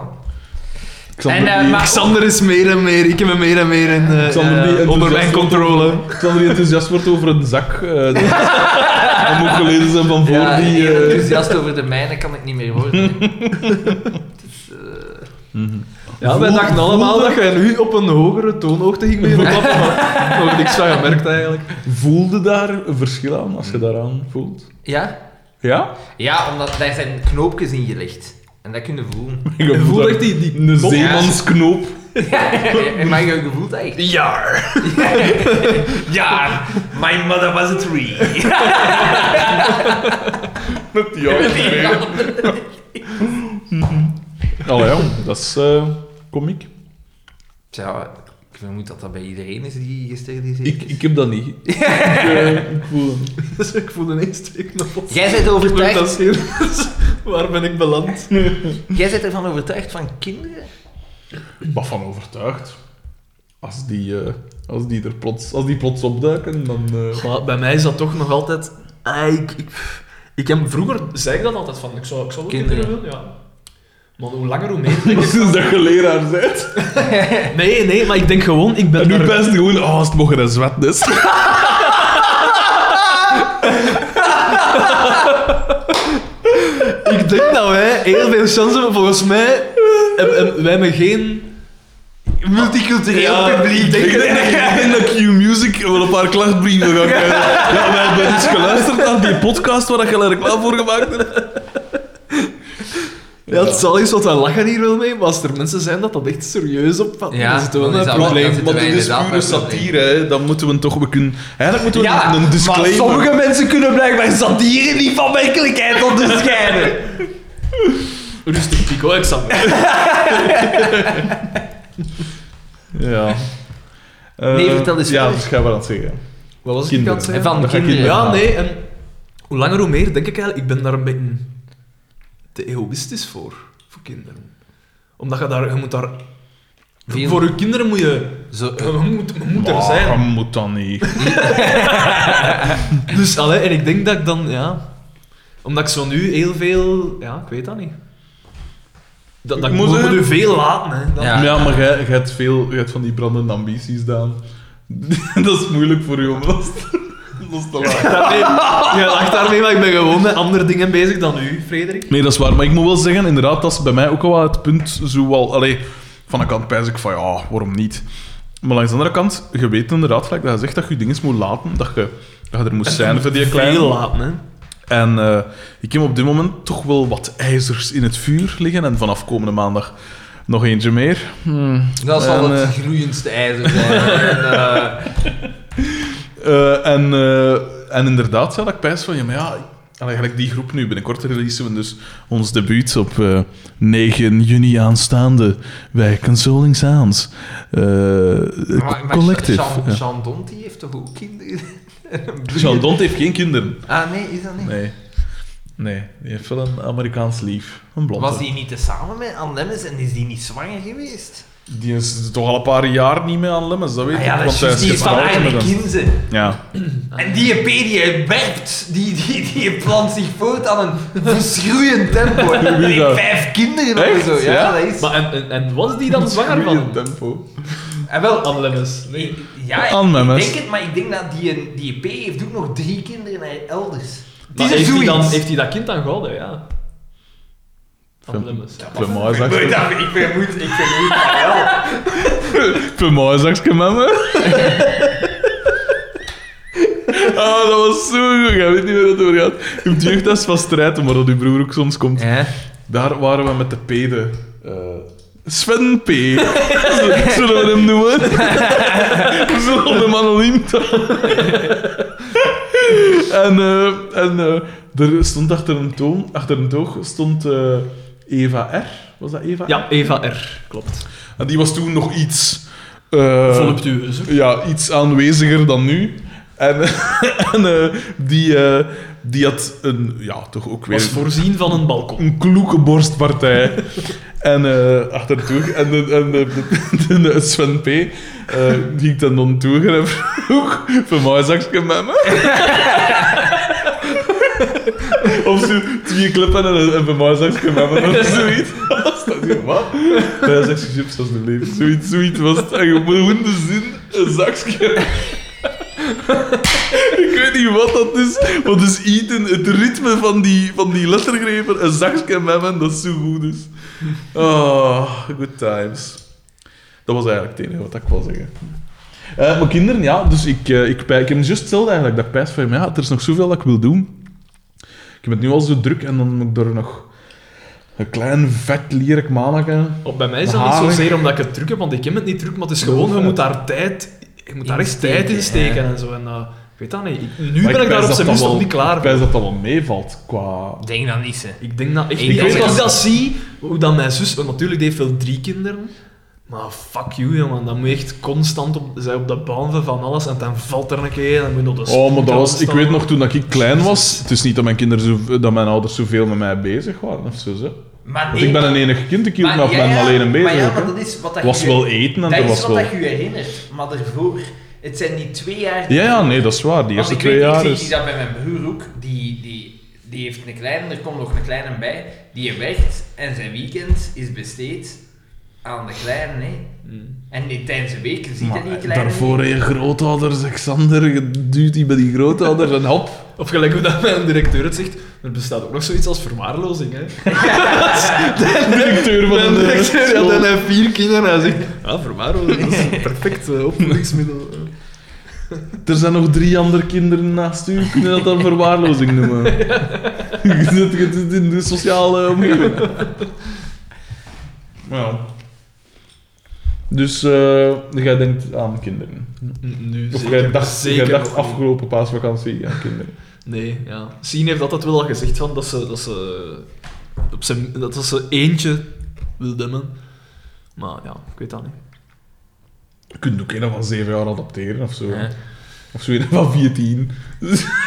Speaker 1: Xander,
Speaker 3: En, eh,
Speaker 1: die,
Speaker 3: maar-
Speaker 2: Xander is meer en meer, ik heb hem meer en meer in, eh,
Speaker 1: Xander
Speaker 2: eh,
Speaker 1: die
Speaker 2: onder
Speaker 1: enthousiast
Speaker 2: mijn controle.
Speaker 1: Xander die enthousiast wordt over een zak. eh, dat, dat moet geleden zijn van voor
Speaker 3: Ja,
Speaker 1: die...
Speaker 3: heel
Speaker 1: eh,
Speaker 3: enthousiast over de mijne kan ik niet meer worden. Het is, eh,
Speaker 1: mhm.
Speaker 2: Ja, wij
Speaker 1: Voel-
Speaker 2: dachten allemaal dat jij nu op een hogere toonhoogte ging meeklappen, maar nog niks van gemerkt eigenlijk.
Speaker 1: Voelde daar een verschil aan, als je daaraan voelt?
Speaker 3: ja?
Speaker 1: Ja?
Speaker 3: ja, omdat daar zijn knoopjes in gelegd. En dat kun je voelen.
Speaker 1: Je
Speaker 2: voelt echt die- die
Speaker 1: Een
Speaker 2: knop.
Speaker 1: zeemansknoop.
Speaker 3: maar je je voelt dat echt.
Speaker 2: Ja.
Speaker 3: Ja, my mother was a tree.
Speaker 1: Met die oude Allee, ja, dat is eh komiek.
Speaker 3: Tja, ik vermoed dat dat bij iedereen is die gesteriliseerd
Speaker 1: Ik,
Speaker 3: is.
Speaker 1: ik heb dat niet. Ik, eh, ik voel dat niet.
Speaker 2: Dus ik voel ineens twee knoppen.
Speaker 3: Jij bent overtuigd,
Speaker 2: Dat is heel- Waar ben ik beland?
Speaker 3: jij bent ervan overtuigd van kinderen?
Speaker 1: Wat van overtuigd. Als die, eh, als die er plots, als die plots opduiken, dan... eh,
Speaker 2: Maar bij mij is dat toch nog altijd... Ah, ik, ik, ik heb vroeger zei ik dat altijd van, ik zou, ik zou ook kinderen,
Speaker 3: Kinderen.
Speaker 2: willen, ja. Maar hoe langer, hoe meer. denk ik.
Speaker 1: Sinds dat je leraar bent.
Speaker 2: Nee, nee, maar ik denk gewoon, ik
Speaker 1: En
Speaker 2: ben
Speaker 1: nu
Speaker 2: daar-
Speaker 1: best gewoon, oh, als het mogen een zwet is.
Speaker 2: Ik denk dat wij heel veel chance hebben. Volgens mij hebben, hebben- wij hebben geen...
Speaker 3: Multicultureel
Speaker 2: publiek.
Speaker 1: Ik denk, ik denk dat Q-Music wel een paar klachtbrieven gaat krijgen. Ja, wij hebben dus geluisterd naar die podcast waar je een reclame voor gemaakt hebt.
Speaker 2: Ja, het zal eens wat wij lachen hier wel mee, maar als er mensen zijn dat dat echt serieus opvatten,
Speaker 3: Ja,
Speaker 2: dan is het wel
Speaker 3: dan is
Speaker 2: een
Speaker 3: dat
Speaker 2: probleem.
Speaker 3: wel-
Speaker 1: Maar
Speaker 3: wij
Speaker 1: dit is
Speaker 3: inderdaad
Speaker 1: pure
Speaker 3: met een probleem.
Speaker 1: satire, hè. dan moeten we toch... We kunnen, eigenlijk moeten we
Speaker 3: Ja,
Speaker 1: een, een disclaimer...
Speaker 3: mensen kunnen blijkbaar satire niet van werkelijkheid onderscheiden.
Speaker 2: Rustig, Pico, ik zal
Speaker 1: Ja.
Speaker 3: Nee,
Speaker 1: Eh,
Speaker 3: vertel eens
Speaker 1: Ja,
Speaker 3: verder.
Speaker 1: dat ga wel aan het zeggen.
Speaker 2: Wat was ik
Speaker 1: Kinderen.
Speaker 2: aan het zeggen?
Speaker 3: En eh, van
Speaker 1: Dat ga ik
Speaker 3: kinderen.
Speaker 1: niet herhalen.
Speaker 2: Ja, nee, en hoe langer hoe meer denk ik eigenlijk, ik ben daar een beetje te egoïstisch voor, voor kinderen. Omdat je daar, je moet daar...
Speaker 3: Veel-
Speaker 2: Voor je kinderen moet je...
Speaker 3: Zo, eh,
Speaker 2: Je moet, je moet er
Speaker 1: Maar
Speaker 2: zijn.
Speaker 1: dat Oh, moet dan niet.
Speaker 2: Dus, allee, en ik denk dat ik dan, ja... Omdat ik zo nu heel veel... Ja, ik weet dat niet. Dat, dat
Speaker 1: Ik
Speaker 2: ik
Speaker 1: moet
Speaker 2: moet,
Speaker 1: zeggen-
Speaker 2: moet u veel laten, hè. Dat-
Speaker 3: Ja.
Speaker 1: Ja, maar jij, jij hebt veel... Jij hebt van die brandende ambities, Daan. dat is moeilijk voor je om los te, los te laten.
Speaker 2: Daarmee, je lacht daarmee, maar ik ben gewoon met andere dingen bezig dan u, Frederik.
Speaker 1: Nee, dat is waar. Maar ik moet wel zeggen, inderdaad, dat is bij mij ook al wel het punt. Zo wel, allee, van een kant pijs ik van ja, waarom niet? Maar langs de andere kant, je weet inderdaad, gelijk dat je zegt dat je dingen moet laten, dat je, dat je er moet zijn voor die kleine.
Speaker 2: Veel laten, hè.
Speaker 1: En eh, ik heb op dit moment toch wel wat ijzers in het vuur liggen. En vanaf komende maandag nog eentje meer.
Speaker 3: dat zal
Speaker 1: En,
Speaker 3: het
Speaker 1: eh,
Speaker 3: gloeiendste ijzer zijn. En, eh,
Speaker 1: Eh, en, eh, en inderdaad, ja, dat ik pijs van, ja, maar ja, eigenlijk die groep nu, binnenkort releasen we dus ons debuut op eh, 9 juni aanstaande bij Consoling Sounds. Eh,
Speaker 3: maar, maar
Speaker 1: collective.
Speaker 3: Jean,
Speaker 1: ja.
Speaker 3: Jean Donti heeft toch ook kinderen?
Speaker 1: Jean Dont heeft geen kinderen.
Speaker 3: Ah nee, is dat niet?
Speaker 1: Nee. Nee, die heeft wel een Amerikaans lief. Een blonde.
Speaker 3: Was die niet te samen met Anne Lemmens en is die niet zwanger geweest?
Speaker 1: Die is toch al een paar jaar niet meer aan Lemmens, dat weet
Speaker 3: Ah
Speaker 1: ik.
Speaker 3: ja, dat
Speaker 1: want
Speaker 3: is
Speaker 1: hij
Speaker 3: juist, die is van
Speaker 1: getrouwd
Speaker 3: Arne
Speaker 1: met een-
Speaker 3: Kinze.
Speaker 1: Ja.
Speaker 3: En die EP die werpt, die, die, die plant zich voort aan een verschroeiend tempo.
Speaker 1: Wie dat?
Speaker 3: Met vijf kinderen of
Speaker 1: Echt?
Speaker 3: zo. Ja,
Speaker 1: Ja?
Speaker 3: dat is.
Speaker 2: Maar en, en, en was die dan zwanger
Speaker 1: Goeie
Speaker 2: van?
Speaker 1: tempo.
Speaker 3: En wel,
Speaker 2: Anne Lemmens. Nee.
Speaker 3: ik- ja, ik-
Speaker 1: Anne
Speaker 3: ik
Speaker 1: Lemmens.
Speaker 3: denk het, maar ik denk dat die, een- die EP heeft ook nog drie kinderen naar elders. Het
Speaker 2: Maar
Speaker 3: is er
Speaker 2: heeft, hij dan,
Speaker 3: zoiets.
Speaker 2: heeft hij dat kind dan gehouden, ja? Anne
Speaker 1: Film.
Speaker 2: Lemmens.
Speaker 1: Ik ben mooi, zeg.
Speaker 3: Ik dacht, Ik ben moed, ik ben moed van wel.
Speaker 1: Vermoorzaksje met me. Oh, dat was zo goed. Je weet niet meer wat het over gaat. Je hebt jeugdhuis van strijden, maar dat uw broer ook soms komt. Daar waren we met de pede. eh, Sven P. Z- Zullen we hem noemen? We zullen hem anoniem houden. En, eh, en eh, er stond achter een, toon, achter een toog stond eh, Eva R. Was dat Eva R?
Speaker 2: Ja, Eva R. Klopt.
Speaker 1: En die was toen nog iets... eh,
Speaker 2: Voluptueus. hè?
Speaker 1: ja, iets aanweziger dan nu. En, en eh, die, eh, die had een, ja, toch ook weer
Speaker 2: Was voorzien van een balkon.
Speaker 1: een kloeke borstpartij. En eh achter toe. En, de, en de, de, de- de Sven P. eh, die ik dan dan toe en vroeg: Voor mij zakje met me. of zo twee klippen en, een- en voor mij zakje met me. Of zoiets. Dat is zo, wat? Bij een zakje chips was mijn leven. Zoiets, zoiets was het. En gewoon de zin: een zakje. Ik weet niet wat dat is, want dus eten, het ritme van die, van die lettergrepen, een zakje memmen, dat is zo goed is. Oh, good times. Dat was eigenlijk het enige wat ik wil zeggen. Eh, mijn kinderen, ja, dus ik, eh, ik, pij- ik heb het juist hetzelfde eigenlijk, dat ik pijs van, ja, er is nog zoveel dat ik wil doen. Ik heb het nu al zo druk en dan moet ik er nog een klein vet lierlijk manneke...
Speaker 2: Op, bij mij is dat niet
Speaker 1: Harig.
Speaker 2: zozeer omdat ik het druk heb, want ik heb het niet druk, maar het is gewoon, je moet daar tijd, je moet daar echt tijd in steken en zo. En, eh, ik weet dat niet. Ik- Nu
Speaker 1: Maar
Speaker 2: ben ik
Speaker 1: pijs
Speaker 2: daar op
Speaker 1: dat
Speaker 2: zijn
Speaker 1: dat
Speaker 2: minst nog
Speaker 1: wel-
Speaker 2: niet klaar
Speaker 1: Ik
Speaker 2: voor.
Speaker 1: pijs dat dat wel meevalt qua...
Speaker 3: Denk dan niet, hè.
Speaker 2: Ik denk dat... Ik,
Speaker 3: Ik
Speaker 2: ik
Speaker 3: denk
Speaker 2: weet
Speaker 3: dat-
Speaker 2: als ik dat zie, hoe dat mijn zus... Want natuurlijk, die heeft wel drie kinderen. Maar fuck you, jongen. Dan moet je echt constant op, zij op de baan van van alles. En dan valt er een keer en dan moet je op de
Speaker 1: Oh, maar
Speaker 2: spoed
Speaker 1: dat was, ik
Speaker 2: staan.
Speaker 1: weet nog toen dat ik klein was. Het is niet dat mijn, kinderen zo, dat mijn ouders zoveel met mij bezig waren of zo. zo.
Speaker 9: Maar
Speaker 1: Want ik ben een enig kind, ik hield me
Speaker 9: maar
Speaker 1: af
Speaker 9: ja,
Speaker 1: met
Speaker 9: ja,
Speaker 1: alleen een bezig.
Speaker 9: Maar ja, maar
Speaker 1: hè.
Speaker 9: dat is wat dat
Speaker 1: was
Speaker 9: je-
Speaker 1: wel eten en
Speaker 9: Dat
Speaker 1: er
Speaker 9: is
Speaker 1: was
Speaker 9: wat
Speaker 1: wel.
Speaker 9: dat je herinnert, maar daarvoor... Het zijn die twee jaar...
Speaker 1: Ja, ja, nee, dat is waar. Die
Speaker 9: Want
Speaker 1: eerste
Speaker 9: ik
Speaker 1: twee
Speaker 9: weet,
Speaker 1: jaar.
Speaker 9: Ik zie
Speaker 1: Is...
Speaker 9: dat bij mijn broer ook. Die, die, die heeft een kleine, er komt nog een kleine bij. Die werkt en zijn weekend is besteed aan de kleine. Hè. En die, tijdens de week ziet hij die
Speaker 1: Hmm. Maar
Speaker 9: kleine.
Speaker 1: daarvoor
Speaker 9: niet.
Speaker 1: je grootouders, Alexander, je duwt die bij die grootouders en hop.
Speaker 2: Of gelijk hoe dat mijn directeur het zegt, er bestaat ook nog zoiets als verwaarlozing, hè.
Speaker 1: Directeur van
Speaker 2: Mijn
Speaker 1: de
Speaker 2: directeur, ja,
Speaker 1: school.
Speaker 2: dan heeft vier kinderen en hij zegt, ah, verwaarlozing, dat is een perfect eh, opvoedingsmiddel.
Speaker 1: Er zijn nog drie andere kinderen naast u. Kun je dat dan verwaarlozing noemen? Je zit- je zit in de sociale omgeving. Ja. Dus eh, jij denkt aan kinderen.
Speaker 2: Nu
Speaker 1: Of
Speaker 2: zeker-
Speaker 1: jij dacht, jij
Speaker 2: zeker
Speaker 1: dacht
Speaker 2: nog niet.
Speaker 1: afgelopen paasvakantie aan kinderen.
Speaker 2: Nee, ja. Sien heeft altijd wel al gezegd van dat ze, dat ze, op zijn, dat dat ze eentje wil demmen. Maar ja, ik weet dat niet.
Speaker 1: Je kunt ook een van zeven jaar adopteren of zo.
Speaker 2: Ja.
Speaker 1: Of zo een van 14.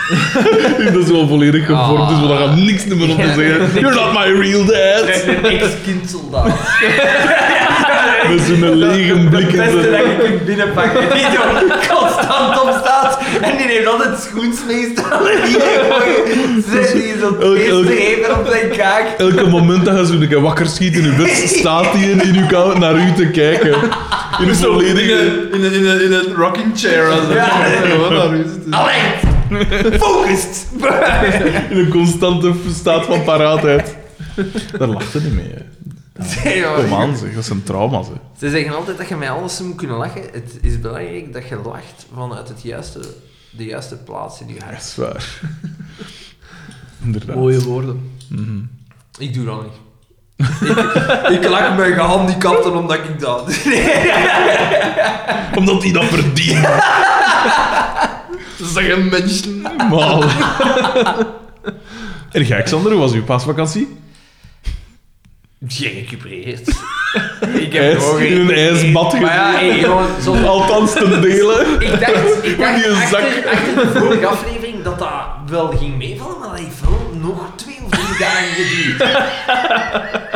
Speaker 1: dat is wel volledig gevormd, dus
Speaker 9: Ah.
Speaker 1: we gaan niks meer op te zeggen. You're not my real dad!
Speaker 9: Een ex-kindsoldaat.
Speaker 1: Met zo'n lege blik
Speaker 9: Het
Speaker 1: in
Speaker 9: beste dat
Speaker 1: zijn-
Speaker 9: je kunt binnenpakken. Die er constant op staat. En die heeft altijd schoens meestal. En die heeft Zet die zo'n
Speaker 1: Elk- elk-
Speaker 9: feestgever op zijn kaak.
Speaker 1: Elke moment dat je zo een keer wakker schiet in je bed, staat hij in, in uw kamer naar u te kijken. In een volledige...
Speaker 2: in een, in een, in een rocking chair. Als
Speaker 9: Alert! Focust!
Speaker 1: In een constante staat van paraatheid. Daar lacht hij niet mee. hè. Kom aan, zeg. Dat zijn trauma's. Hè.
Speaker 3: Ze zeggen altijd dat je met alles moet kunnen lachen. Het is belangrijk dat je lacht vanuit het juiste, de juiste plaats in je
Speaker 1: Dat
Speaker 3: hart.
Speaker 1: is waar. Inderdaad.
Speaker 2: Mooie woorden.
Speaker 1: Mhm.
Speaker 3: Ik doe dat niet. ik, ik lach mijn gehandicapten omdat ik dat...
Speaker 1: Omdat hij dat verdient.
Speaker 2: Zeggen mensen.
Speaker 1: Maal. En jij, Xander, hoe was uw paasvakantie?
Speaker 3: Gerecupereerd. ik
Speaker 1: IJs,
Speaker 3: nog
Speaker 1: in een ijsbad
Speaker 3: Maar ja,
Speaker 1: gezeten.
Speaker 3: hey, gewoon, zo-
Speaker 1: Althans te delen.
Speaker 3: Ik dacht, ik
Speaker 1: Met die
Speaker 3: dacht achter,
Speaker 1: zak.
Speaker 3: achter de vorige aflevering dat dat wel ging meevallen, maar dat heeft wel nog twee of drie dagen geduurd.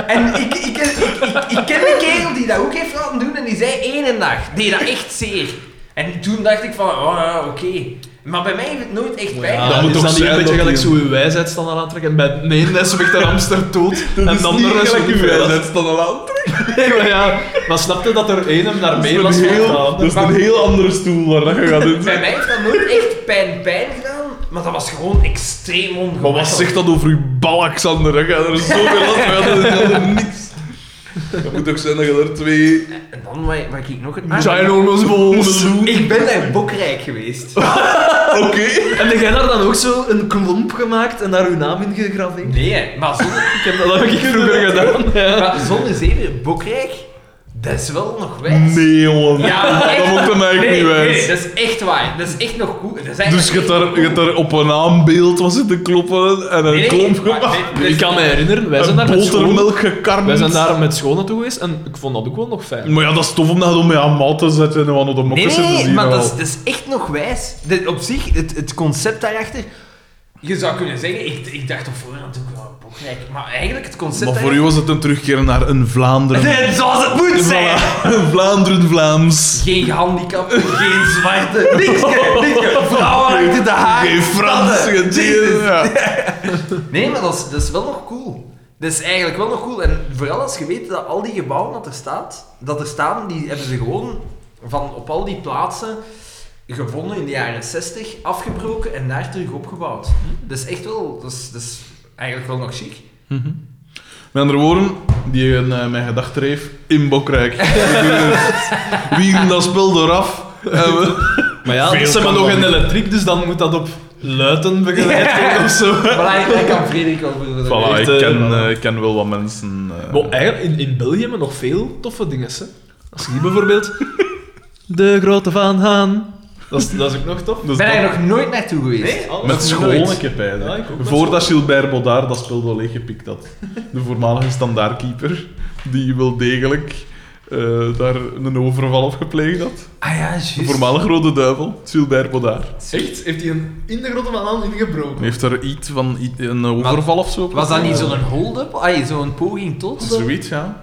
Speaker 3: En ik, ik, ik, ik, ik ken een kerel die dat ook heeft laten doen en die zei één dag, deed dat echt zeer. En toen dacht ik van, oh ja, oké. Maar bij mij heeft het nooit echt bij.
Speaker 2: Ja,
Speaker 1: Dat moet
Speaker 2: Ah, is
Speaker 1: toch
Speaker 2: niet
Speaker 1: zijn
Speaker 2: een beetje
Speaker 1: dat
Speaker 2: gelijk
Speaker 1: die-
Speaker 2: zo je wijsheidsstandaard aantrekken? Bij de ene subiect naar Amsterdam dood en
Speaker 1: Dat is
Speaker 2: de
Speaker 1: niet
Speaker 2: andere
Speaker 1: gelijk uw
Speaker 2: wijsheid.
Speaker 1: wijsheid dan een ander.
Speaker 2: maar ja, maar snap je dat er één hem daar
Speaker 1: Dat
Speaker 2: mee
Speaker 1: is
Speaker 2: was
Speaker 1: een
Speaker 2: van de
Speaker 1: heel,
Speaker 2: ander?
Speaker 1: dat is een heel andere stoel waar dat je gaat in.
Speaker 3: Bij mij heeft dat nooit echt pijn-pijn gedaan, maar dat was gewoon extreem ongemakkelijk.
Speaker 1: Maar wat zegt dat over uw bal, Xander? Je gaat er zoveel last van hebben, dat is helemaal niks. Dat moet ook zijn dat je er twee...
Speaker 3: En dan wat, wat ik nog... Ah,
Speaker 1: Ginormous balls.
Speaker 3: ik ben naar Bokrijk geweest.
Speaker 1: Oké.
Speaker 2: En heb jij daar dan ook zo een klomp gemaakt en daar uw naam in gegraveerd?
Speaker 3: Nee, maar zonder...
Speaker 2: Ik heb dat heb ik vroeger gedaan.
Speaker 3: Maar zonder zeven, Bokrijk, dat is wel nog wijs.
Speaker 1: Nee, jongen.
Speaker 3: Ja, maar
Speaker 1: dat
Speaker 3: echt.
Speaker 1: moet hem eigenlijk
Speaker 3: Nee,
Speaker 1: niet
Speaker 3: nee,
Speaker 1: wijs.
Speaker 3: dat is echt waar. Dat is echt nog goed. Dat is eigenlijk
Speaker 1: Dus je hebt
Speaker 3: echt
Speaker 1: daar,
Speaker 3: nog
Speaker 1: je hebt daar op een aanbeeld was zitten kloppen en een
Speaker 3: Nee, nee,
Speaker 1: klomp
Speaker 3: maar-
Speaker 1: gemaakt.
Speaker 3: nee,
Speaker 2: Ik kan me herinneren, wij zijn daar
Speaker 1: En
Speaker 2: met school,
Speaker 1: botermelk gekarmd.
Speaker 2: wij zijn daar met school naartoe geweest en ik vond dat ook wel nog fijn.
Speaker 1: Maar ja, dat is tof om dat om je aan maat te zetten en wat op de
Speaker 3: Nee,
Speaker 1: mokken
Speaker 3: nee,
Speaker 1: te
Speaker 3: nee,
Speaker 1: zien.
Speaker 3: maar
Speaker 1: wel.
Speaker 3: dat is, dat is echt nog wijs. Dat op zich, het, het concept daarachter. Je zou kunnen zeggen, ik, ik dacht op voorhand ook wel Bokrijk. Maar eigenlijk het concept...
Speaker 1: Maar voor u was het een terugkeer naar een Vlaanderen.
Speaker 3: Nee, Zoals het moet zijn!
Speaker 1: Een Vlaanderen Vlaams.
Speaker 3: Geen gehandicapten, geen zwarte, niks, niks. Vrouwen achter de haak.
Speaker 1: Geen Frans.
Speaker 3: mannen.
Speaker 1: geen dingen, ja.
Speaker 3: Nee, maar dat is, dat is wel nog cool. Dat is eigenlijk wel nog cool. En vooral als je weet dat al die gebouwen dat er, staat, dat er staan, die hebben ze gewoon van op al die plaatsen gevonden in de jaren 60, afgebroken en daar terug opgebouwd. Dat is echt wel, dat is, dat is eigenlijk wel nog chic.
Speaker 1: Met andere woorden, die een, eh, mijn gedachten heeft in Bokrijk. Wiegen dat spul eraf. En we-
Speaker 2: Maar ja, ze hebben nog een elektriek, dus dan moet dat op luiten begeleid worden of zo.
Speaker 3: Maar ik ik kan Frederik over de
Speaker 1: Voilà, ik
Speaker 2: eh,
Speaker 1: ken,
Speaker 2: voilà.
Speaker 1: eh, ik ken wel wat mensen. eh,
Speaker 2: Maar eigenlijk, in, in België hebben we nog veel toffe dingen. Hè. Als je hier bijvoorbeeld... De grote Van Haan. Dat is, dat is ook nog tof.
Speaker 1: dus
Speaker 3: ben
Speaker 1: dat-
Speaker 3: daar nog nooit naartoe geweest.
Speaker 1: met
Speaker 2: school.
Speaker 1: schone kip
Speaker 2: Ja,
Speaker 1: eigenlijk.
Speaker 2: ik ook met
Speaker 1: Voordat Gilbert Bodaar dat spel wel leeggepikt had. De voormalige standaardkeeper, die wel degelijk eh, daar een overval op gepleegd had.
Speaker 3: Ah ja, juist.
Speaker 1: De voormalige rode duivel, Gilbert Bodaar.
Speaker 2: Echt? Heeft hij een in de grote Van Haan ingebroken?
Speaker 1: Heeft er iets van iets- een overval of zo? op
Speaker 3: Was dat niet
Speaker 1: gedaan?
Speaker 3: zo'n hold-up? Ah, zo'n poging tot?
Speaker 1: Zoiets, ja.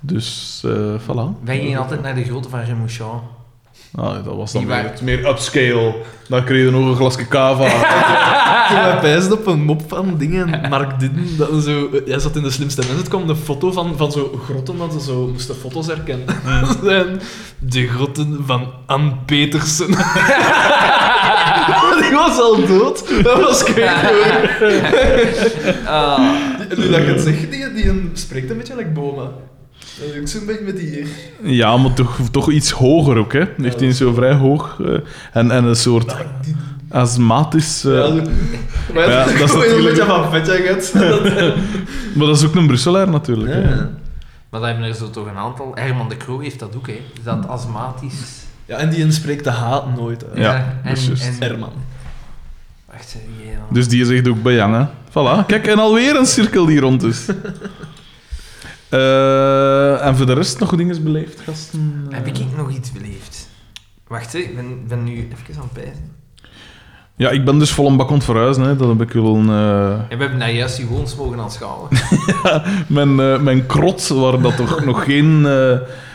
Speaker 1: Dus, eh voilà.
Speaker 3: Wij gingen altijd naar de grote van Remouchon.
Speaker 1: Ah, dat was dan
Speaker 3: Die
Speaker 1: weer
Speaker 3: waar-
Speaker 1: het meer upscale. Dan kreeg je nog een glasje cava.
Speaker 2: Ik heb mij pijzen op een mop van dingen. Mark Didden, dat een zo, jij zat in de slimste mensen. Het kwam een foto van, van zo'n grotten dat ze zo moesten foto's herkennen. Dat zijn de grotten van Ann Petersen. Die was al dood. Dat was kwijt. Nu dat ik het zeg, die, die spreekt een beetje like Boma. Dat is ook zo'n beetje met die hier.
Speaker 1: Ja, maar toch, toch iets hoger ook, hè? Heeft hij zo vrij hoog. eh, en, en een soort astmatisch. eh,
Speaker 2: Ja, zo-
Speaker 1: Ja,
Speaker 2: maar ja,
Speaker 1: dat is
Speaker 2: dat is een
Speaker 1: natuurlijk-
Speaker 2: beetje van vet,
Speaker 1: Maar dat is ook een Brusselaar natuurlijk. Hè?
Speaker 2: ja.
Speaker 3: Maar dat hebben er zo toch een aantal. Herman de Croo heeft dat ook, hè? Is dat astmatisch?
Speaker 2: ja, en die spreekt de haat nooit. uit.
Speaker 1: Ja, dat is juist.
Speaker 2: Herman.
Speaker 3: Wacht, hè, wie dan?
Speaker 1: Dus die zegt ook bejang, hè? Voilà, kijk, en alweer een cirkel die rond is. Eh, en voor de rest nog dingen beleefd, gasten?
Speaker 3: Heb ik ik nog iets beleefd? Wacht, hè, ik ben, ben nu even aan het pijzen.
Speaker 1: Ja, ik ben dus vol een bak aan het verhuizen, hè? Dat heb ik wel een. eh,
Speaker 3: En we hebben daar juist die woons mogen aanschouwen.
Speaker 1: mijn, eh, mijn krot, waar dat toch nog geen eh,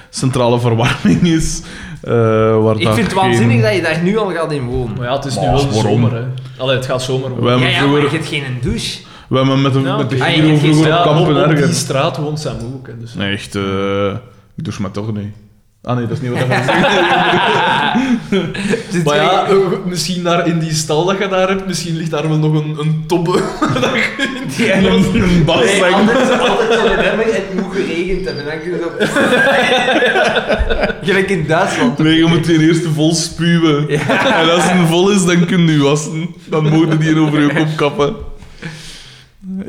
Speaker 1: centrale verwarming is. eh, waar
Speaker 3: ik
Speaker 1: daar
Speaker 3: vind het
Speaker 1: geen-
Speaker 3: waanzinnig dat je daar nu al gaat in wonen.
Speaker 2: Maar ja, het is nu
Speaker 1: Maar
Speaker 2: wel
Speaker 1: waarom?
Speaker 2: zomer, hè. Allee, het gaat zomer worden.
Speaker 1: We
Speaker 3: Ja,
Speaker 1: hebben
Speaker 3: ja, maar
Speaker 1: vroeger
Speaker 3: je hebt geen douche.
Speaker 1: We hebben met de,
Speaker 2: Ja,
Speaker 1: met de
Speaker 3: oké.
Speaker 1: Giro
Speaker 3: Ah, je hebt
Speaker 1: vroeger
Speaker 3: geen
Speaker 1: op
Speaker 2: Ja,
Speaker 1: kampen
Speaker 2: op, op die
Speaker 1: ergens.
Speaker 2: straat woont Samu ook, hè, dus.
Speaker 1: Nee, echt, eh, ik douche me toch niet. Ah nee, dat is niet wat ik wil zeggen.
Speaker 3: Dus
Speaker 2: Maar ja, eh, misschien daar in die stal dat je daar hebt, misschien ligt daar wel nog een, een tobbe.
Speaker 1: Een- Een
Speaker 3: Nee,
Speaker 1: baszak.
Speaker 3: anders is altijd zo'n remmer en het moet geregend hebben. Dan kun je zo... Gelijk in Duitsland.
Speaker 1: Nee, je moet die eerst vol spuwen. En als het vol is, dan kun je wassen. Dan mogen die over je kop kappen.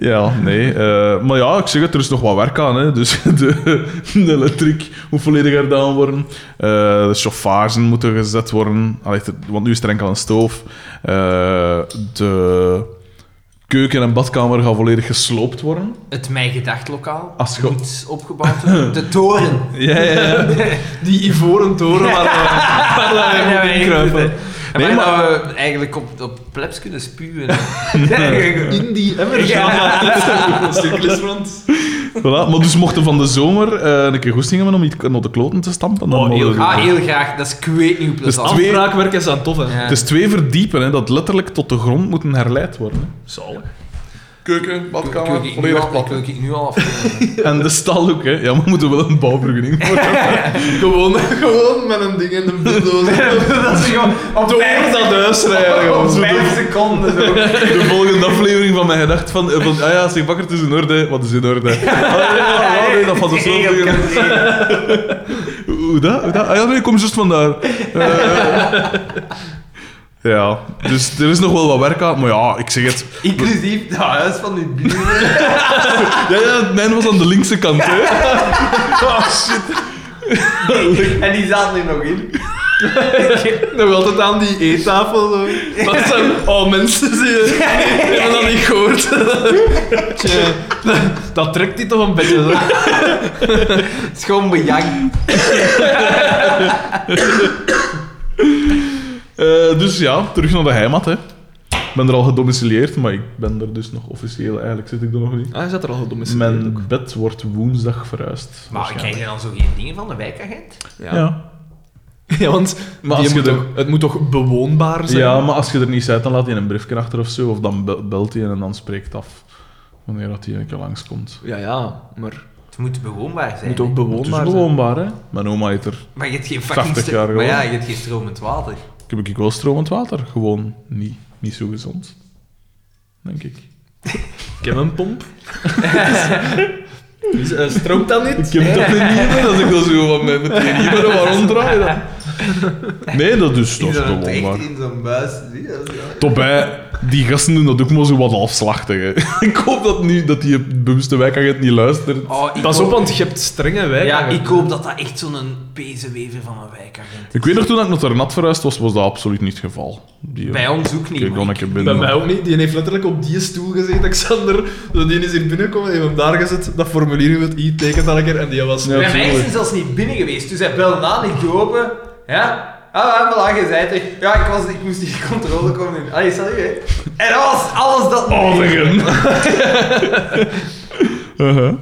Speaker 1: Ja, nee. eh, maar ja, ik zeg het, er is nog wat werk aan. Hè. Dus de, de elektriek moet volledig gedaan worden. Eh, de chauffagen moeten gezet worden. Allee, het- want nu is er enkel een stoof. Eh, de keuken en badkamer gaan volledig gesloopt worden.
Speaker 3: Het Mijn Gedacht lokaal.
Speaker 1: Als je-
Speaker 3: Moet opgebouwd worden. De toren.
Speaker 1: Ja, ja, ja.
Speaker 2: Die ivoren toren waar we- waar we
Speaker 3: Ja,
Speaker 2: moet
Speaker 3: ja,
Speaker 2: inkruipen.
Speaker 3: inderdaad.
Speaker 1: Nee,
Speaker 3: maar,
Speaker 1: maar-
Speaker 2: eh,
Speaker 3: dat we eigenlijk op, op plebs kunnen spuwen. Ja.
Speaker 2: In die emmer
Speaker 3: Ja.
Speaker 2: gaan, maar het cirkel is rond.
Speaker 1: Voilà. Maar dus mochten van de zomer eh, een keer goesting hebben om iets naar de kloten te stampen. Dan
Speaker 2: Oh, heel
Speaker 1: mogen we-
Speaker 3: ah, heel graag. Dat is kweet niet hoe plezant.
Speaker 1: Twee-
Speaker 2: Afbraakwerk is aan tof, hè.
Speaker 3: Ja.
Speaker 1: Het is twee verdiepen, hè, dat letterlijk tot de grond moeten herleid worden. hè.
Speaker 2: Zalig.
Speaker 1: Keuken,
Speaker 3: Ik- ik- ik- ik- nu al- ik- ik- ik- nu al af.
Speaker 1: En de stal ook, hè. Ja, maar we moeten wel een bouwvergunning voor hebben.
Speaker 2: Gewoon, gewoon met een ding in de bulldozer.
Speaker 3: dat is gewoon op
Speaker 2: Door dat huis rijden, gewoon. Zo de-
Speaker 3: seconden.
Speaker 1: De volgende aflevering van mijn gedacht van, eh, van... Ah ja, zeg, bakker, het is in orde. Wat is in orde? Ah, ja, ja, nee, dat valt dus zo tegen. Hoe dat? Hoe dat? Ah ja, nee, ik kom juist vandaar. Eh, ja, dus er is nog wel wat werk aan. Maar ja, ik zeg het.
Speaker 3: Inclusief het huis van uw buren.
Speaker 1: Ja, ja, mijn was aan de linkse kant, hè. Ah, shit.
Speaker 3: En die zaten er nog in.
Speaker 2: Nog altijd aan die eettafel. zo. Dat zijn, oh, mensen zie je. Ik heb dat niet gehoord. Tje, dat, dat trekt die toch een beetje. Zo. Ah,
Speaker 3: Het is gewoon bejang.
Speaker 1: Eh, dus ja, terug naar de heimat, hè. ben er al gedomicileerd, maar ik ben er dus nog officieel, eigenlijk zit ik er nog niet.
Speaker 2: Ah, je zat er al gedomicileerd ook.
Speaker 1: Mijn bed wordt woensdag verhuisd.
Speaker 3: Maar krijg je dan zo geen dingen van de wijkagent?
Speaker 1: Ja.
Speaker 2: Ja. Ja, want
Speaker 1: Maar
Speaker 2: die
Speaker 1: als je
Speaker 2: moet
Speaker 1: de-
Speaker 2: toch- het moet toch bewoonbaar zijn?
Speaker 1: Ja, maar als je er niet uit, dan laat hij een briefje achter of zo. Of dan be- belt hij en dan spreekt af wanneer dat hij een keer langskomt.
Speaker 2: Ja, ja, maar het
Speaker 3: Het moet bewoonbaar zijn.
Speaker 2: moet ook
Speaker 1: Het
Speaker 2: bewoonbaar
Speaker 1: is bewoonbaar, hè? Mijn oma heet er.
Speaker 3: Maar je hebt geen fucking...
Speaker 1: 80
Speaker 3: stro-
Speaker 1: jaar
Speaker 3: maar ja,
Speaker 1: gewoon.
Speaker 3: je hebt geen stromend water.
Speaker 1: Ik heb ik wel stromend water. Gewoon niet, niet zo gezond. Denk ik.
Speaker 2: zijn. Ik heb een pomp.
Speaker 8: Dus, eh, stroomt dat niet?
Speaker 1: Ik heb dat in ieder als ik dat zo van mijn met die niemand waarom draai je dat? Nee, dat is
Speaker 9: In
Speaker 1: toch
Speaker 9: zo'n
Speaker 1: gewoon
Speaker 9: echt
Speaker 1: maar.
Speaker 9: in zo'n buis. Zie je dat? Ja.
Speaker 1: Tot bij, die gasten doen dat ook maar zo wat halfslachtig. hè. Ik hoop dat, nu, dat die bewuste wijkagent niet luistert.
Speaker 3: Oh, ik
Speaker 2: Pas
Speaker 3: hoop-
Speaker 2: op, want je hebt strenge wijk.
Speaker 3: Ja, ik hoop dat dat echt zo'n pezenwever van een wijkagent is.
Speaker 1: Ik weet nog toen ik nog ter nat verhuisd was, was dat absoluut niet het geval. Die,
Speaker 3: Bij ons ook niet.
Speaker 1: Kijk, dan
Speaker 3: maar
Speaker 1: een keer
Speaker 2: Bij
Speaker 1: binnen.
Speaker 2: mij ook niet. Die heeft letterlijk op die stoel gezeten, Xander. Dus die is hier binnengekomen, die heeft hem daar gezet, dat formulier met i tekent dan een keer en die was...
Speaker 1: Ja.
Speaker 3: Bij mij is
Speaker 1: tuurlijk.
Speaker 3: hij zelfs niet binnen geweest, dus hij belde aan, ik doe open. Ja? Ah, voilà, je zei het er. Ja, ik, was, ik moest die controle komen doen. Allee, salut, hè. En dat was alles dat...
Speaker 1: Aderen. Uh-huh.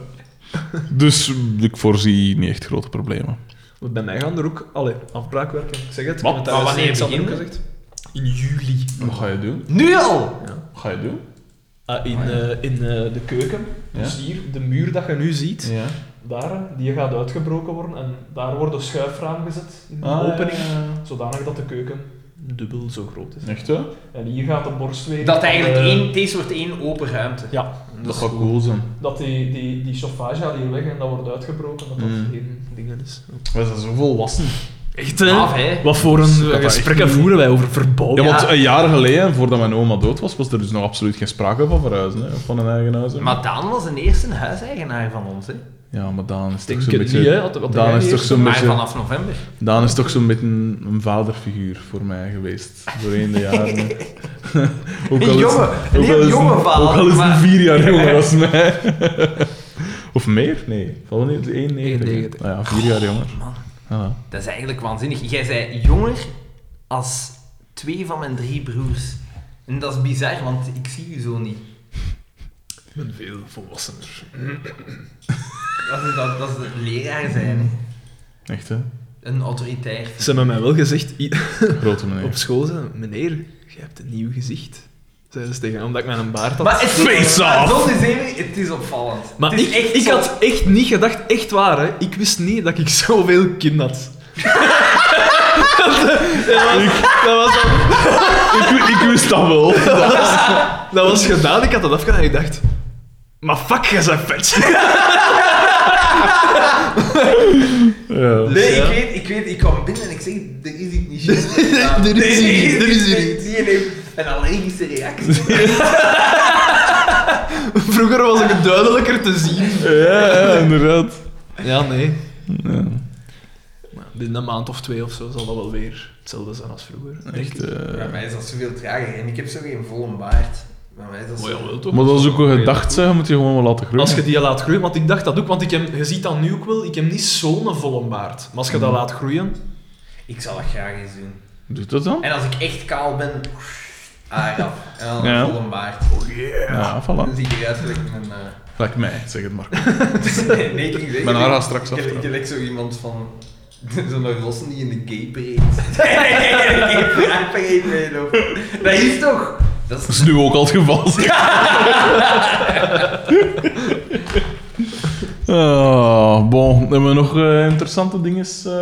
Speaker 1: Dus ik voorzie niet echt grote problemen.
Speaker 2: Want Bij mij gaan er ook allee, afbraakwerken. Ik zeg het.
Speaker 1: Wat?
Speaker 2: want
Speaker 3: Maar wanneer
Speaker 2: Xander ook
Speaker 3: begint
Speaker 2: gezegd. In juli.
Speaker 1: Wat ga je doen?
Speaker 3: Nu al!
Speaker 1: Wat ga je doen?
Speaker 2: Ah, in eh, in eh, de keuken. Dus hier, de muur dat je nu ziet,
Speaker 1: Ja.
Speaker 2: daar, eh, die gaat uitgebroken worden. En daar wordt een schuifraam gezet, in de
Speaker 1: Ah,
Speaker 2: opening.
Speaker 1: ja, ja.
Speaker 2: Zodanig dat de keuken dubbel zo groot is.
Speaker 1: Echt hè?
Speaker 2: En hier gaat de borstweer...
Speaker 3: Dat eigenlijk
Speaker 2: eh,
Speaker 3: één... Deze wordt één open ruimte.
Speaker 2: Ja,
Speaker 1: Dat gaat cool zijn.
Speaker 2: dat die, die, die chauffage gaat hier weg en dat wordt uitgebroken, dat dat
Speaker 1: Mm.
Speaker 2: geen dingen is.
Speaker 1: We zijn zo volwassen.
Speaker 2: Echt,
Speaker 3: Braaf, hè?
Speaker 2: Wat voor
Speaker 1: Dat dat
Speaker 2: een
Speaker 1: echt
Speaker 2: gesprekken
Speaker 1: niet-
Speaker 2: voeren wij over verbouw?
Speaker 1: Ja, want een jaar geleden, voordat mijn oma dood was, was er dus nog absoluut geen sprake van verhuizen, hè? van een eigen huis. hè.
Speaker 3: Maar Daan was de eerste huiseigenaar van ons, hè.
Speaker 1: Ja, maar Daan is
Speaker 2: Denk
Speaker 1: toch zo'n
Speaker 2: het
Speaker 1: beetje...
Speaker 2: niet, hè? Wat- wat
Speaker 1: Daan
Speaker 2: jij
Speaker 1: is toch
Speaker 2: eerst-
Speaker 1: zo'n
Speaker 3: Maar
Speaker 1: beetje...
Speaker 3: vanaf november.
Speaker 1: Daan is toch zo'n beetje een vaderfiguur voor mij geweest. Doorheen de jaren. ook
Speaker 3: Een
Speaker 1: al is-
Speaker 3: jongen, een
Speaker 1: ook
Speaker 3: heel
Speaker 1: al is
Speaker 3: jonge vader,
Speaker 1: Ook al is hij
Speaker 3: maar-
Speaker 1: vier jaar jonger als mij. of meer? Nee. Vallen niet 91.
Speaker 2: 91.
Speaker 1: Nou ja, vier jaar jonger.
Speaker 3: Man,
Speaker 1: Ah.
Speaker 3: dat is eigenlijk waanzinnig. Jij zei jonger als twee van mijn drie broers. En dat is bizar, want ik zie u zo niet.
Speaker 2: Ik ben veel volwassener.
Speaker 3: Dat is, dat, dat is het leraar zijn.
Speaker 1: Echt, hè?
Speaker 3: Een autoritair.
Speaker 2: Ze hebben mij wel gezegd, i-
Speaker 1: Grote
Speaker 2: op
Speaker 1: meneer.
Speaker 2: school, ze, meneer, jij hebt een nieuw gezicht. Zeiden ze tegen hem, omdat ik mijn baard had.
Speaker 3: Maar het is, Ah,
Speaker 1: Face off!
Speaker 3: dat is even, het is opvallend.
Speaker 2: Maar
Speaker 3: het is
Speaker 2: ik,
Speaker 3: echt
Speaker 2: ik
Speaker 3: zo-
Speaker 2: had echt niet gedacht, echt waar, hè. ik wist niet dat ik zoveel kin had. dat, was, dat, was dan-
Speaker 1: ik, ik wist dat wel.
Speaker 2: dat was gedaan, ik had dat afgedaan en ik dacht... Maar fuck, je bent vet.
Speaker 1: Ja.
Speaker 3: Nee,
Speaker 2: Ja.
Speaker 3: ik weet, ik weet, ik kwam binnen en ik zeg, er is iets niet juist.
Speaker 2: er is
Speaker 3: Nee,
Speaker 2: hier niet, er is hier
Speaker 3: nee, Die heeft een allergische reactie.
Speaker 2: Vroeger was ik het duidelijker te zien.
Speaker 1: Ja, ja, inderdaad.
Speaker 2: Ja, nee.
Speaker 1: Ja.
Speaker 2: Maar binnen een maand of twee of zo zal dat wel weer hetzelfde zijn als vroeger.
Speaker 1: Echt, eh.
Speaker 3: Bij mij is dat zoveel trager en ik heb zo geen volle baard. Bij mij is dat zo...
Speaker 2: toch?
Speaker 1: Maar dat is ook een gedacht, zeg. Moet je gewoon wel laten groeien.
Speaker 2: Als je die laat groeien, want ik dacht dat ook, want ik heb, je ziet dat nu ook wel, ik heb niet zo'n volle baard. Maar als je dat
Speaker 1: Mm.
Speaker 2: laat groeien,
Speaker 3: Ik zal dat graag eens doen.
Speaker 1: Doet dat dan?
Speaker 3: En als ik echt kaal ben, ah ja, en dan
Speaker 1: Ja.
Speaker 3: een volle baard.
Speaker 1: Ja,
Speaker 3: Dan
Speaker 1: voilà.
Speaker 3: zie ik eruit gelijk een... eh,
Speaker 1: Lijkt mij, zeg het maar.
Speaker 3: nee, ik zeg
Speaker 1: Mijn haar gaat straks af.
Speaker 9: Ik lijk zo iemand van... Zo'n rossen die in de gay parade...
Speaker 3: geen vraag van geen meelopen. Dat is toch? Dat is
Speaker 1: Dat is nu ook al het geval. zeg. Ah, bon, hebben we nog eh, interessante dingen? eh?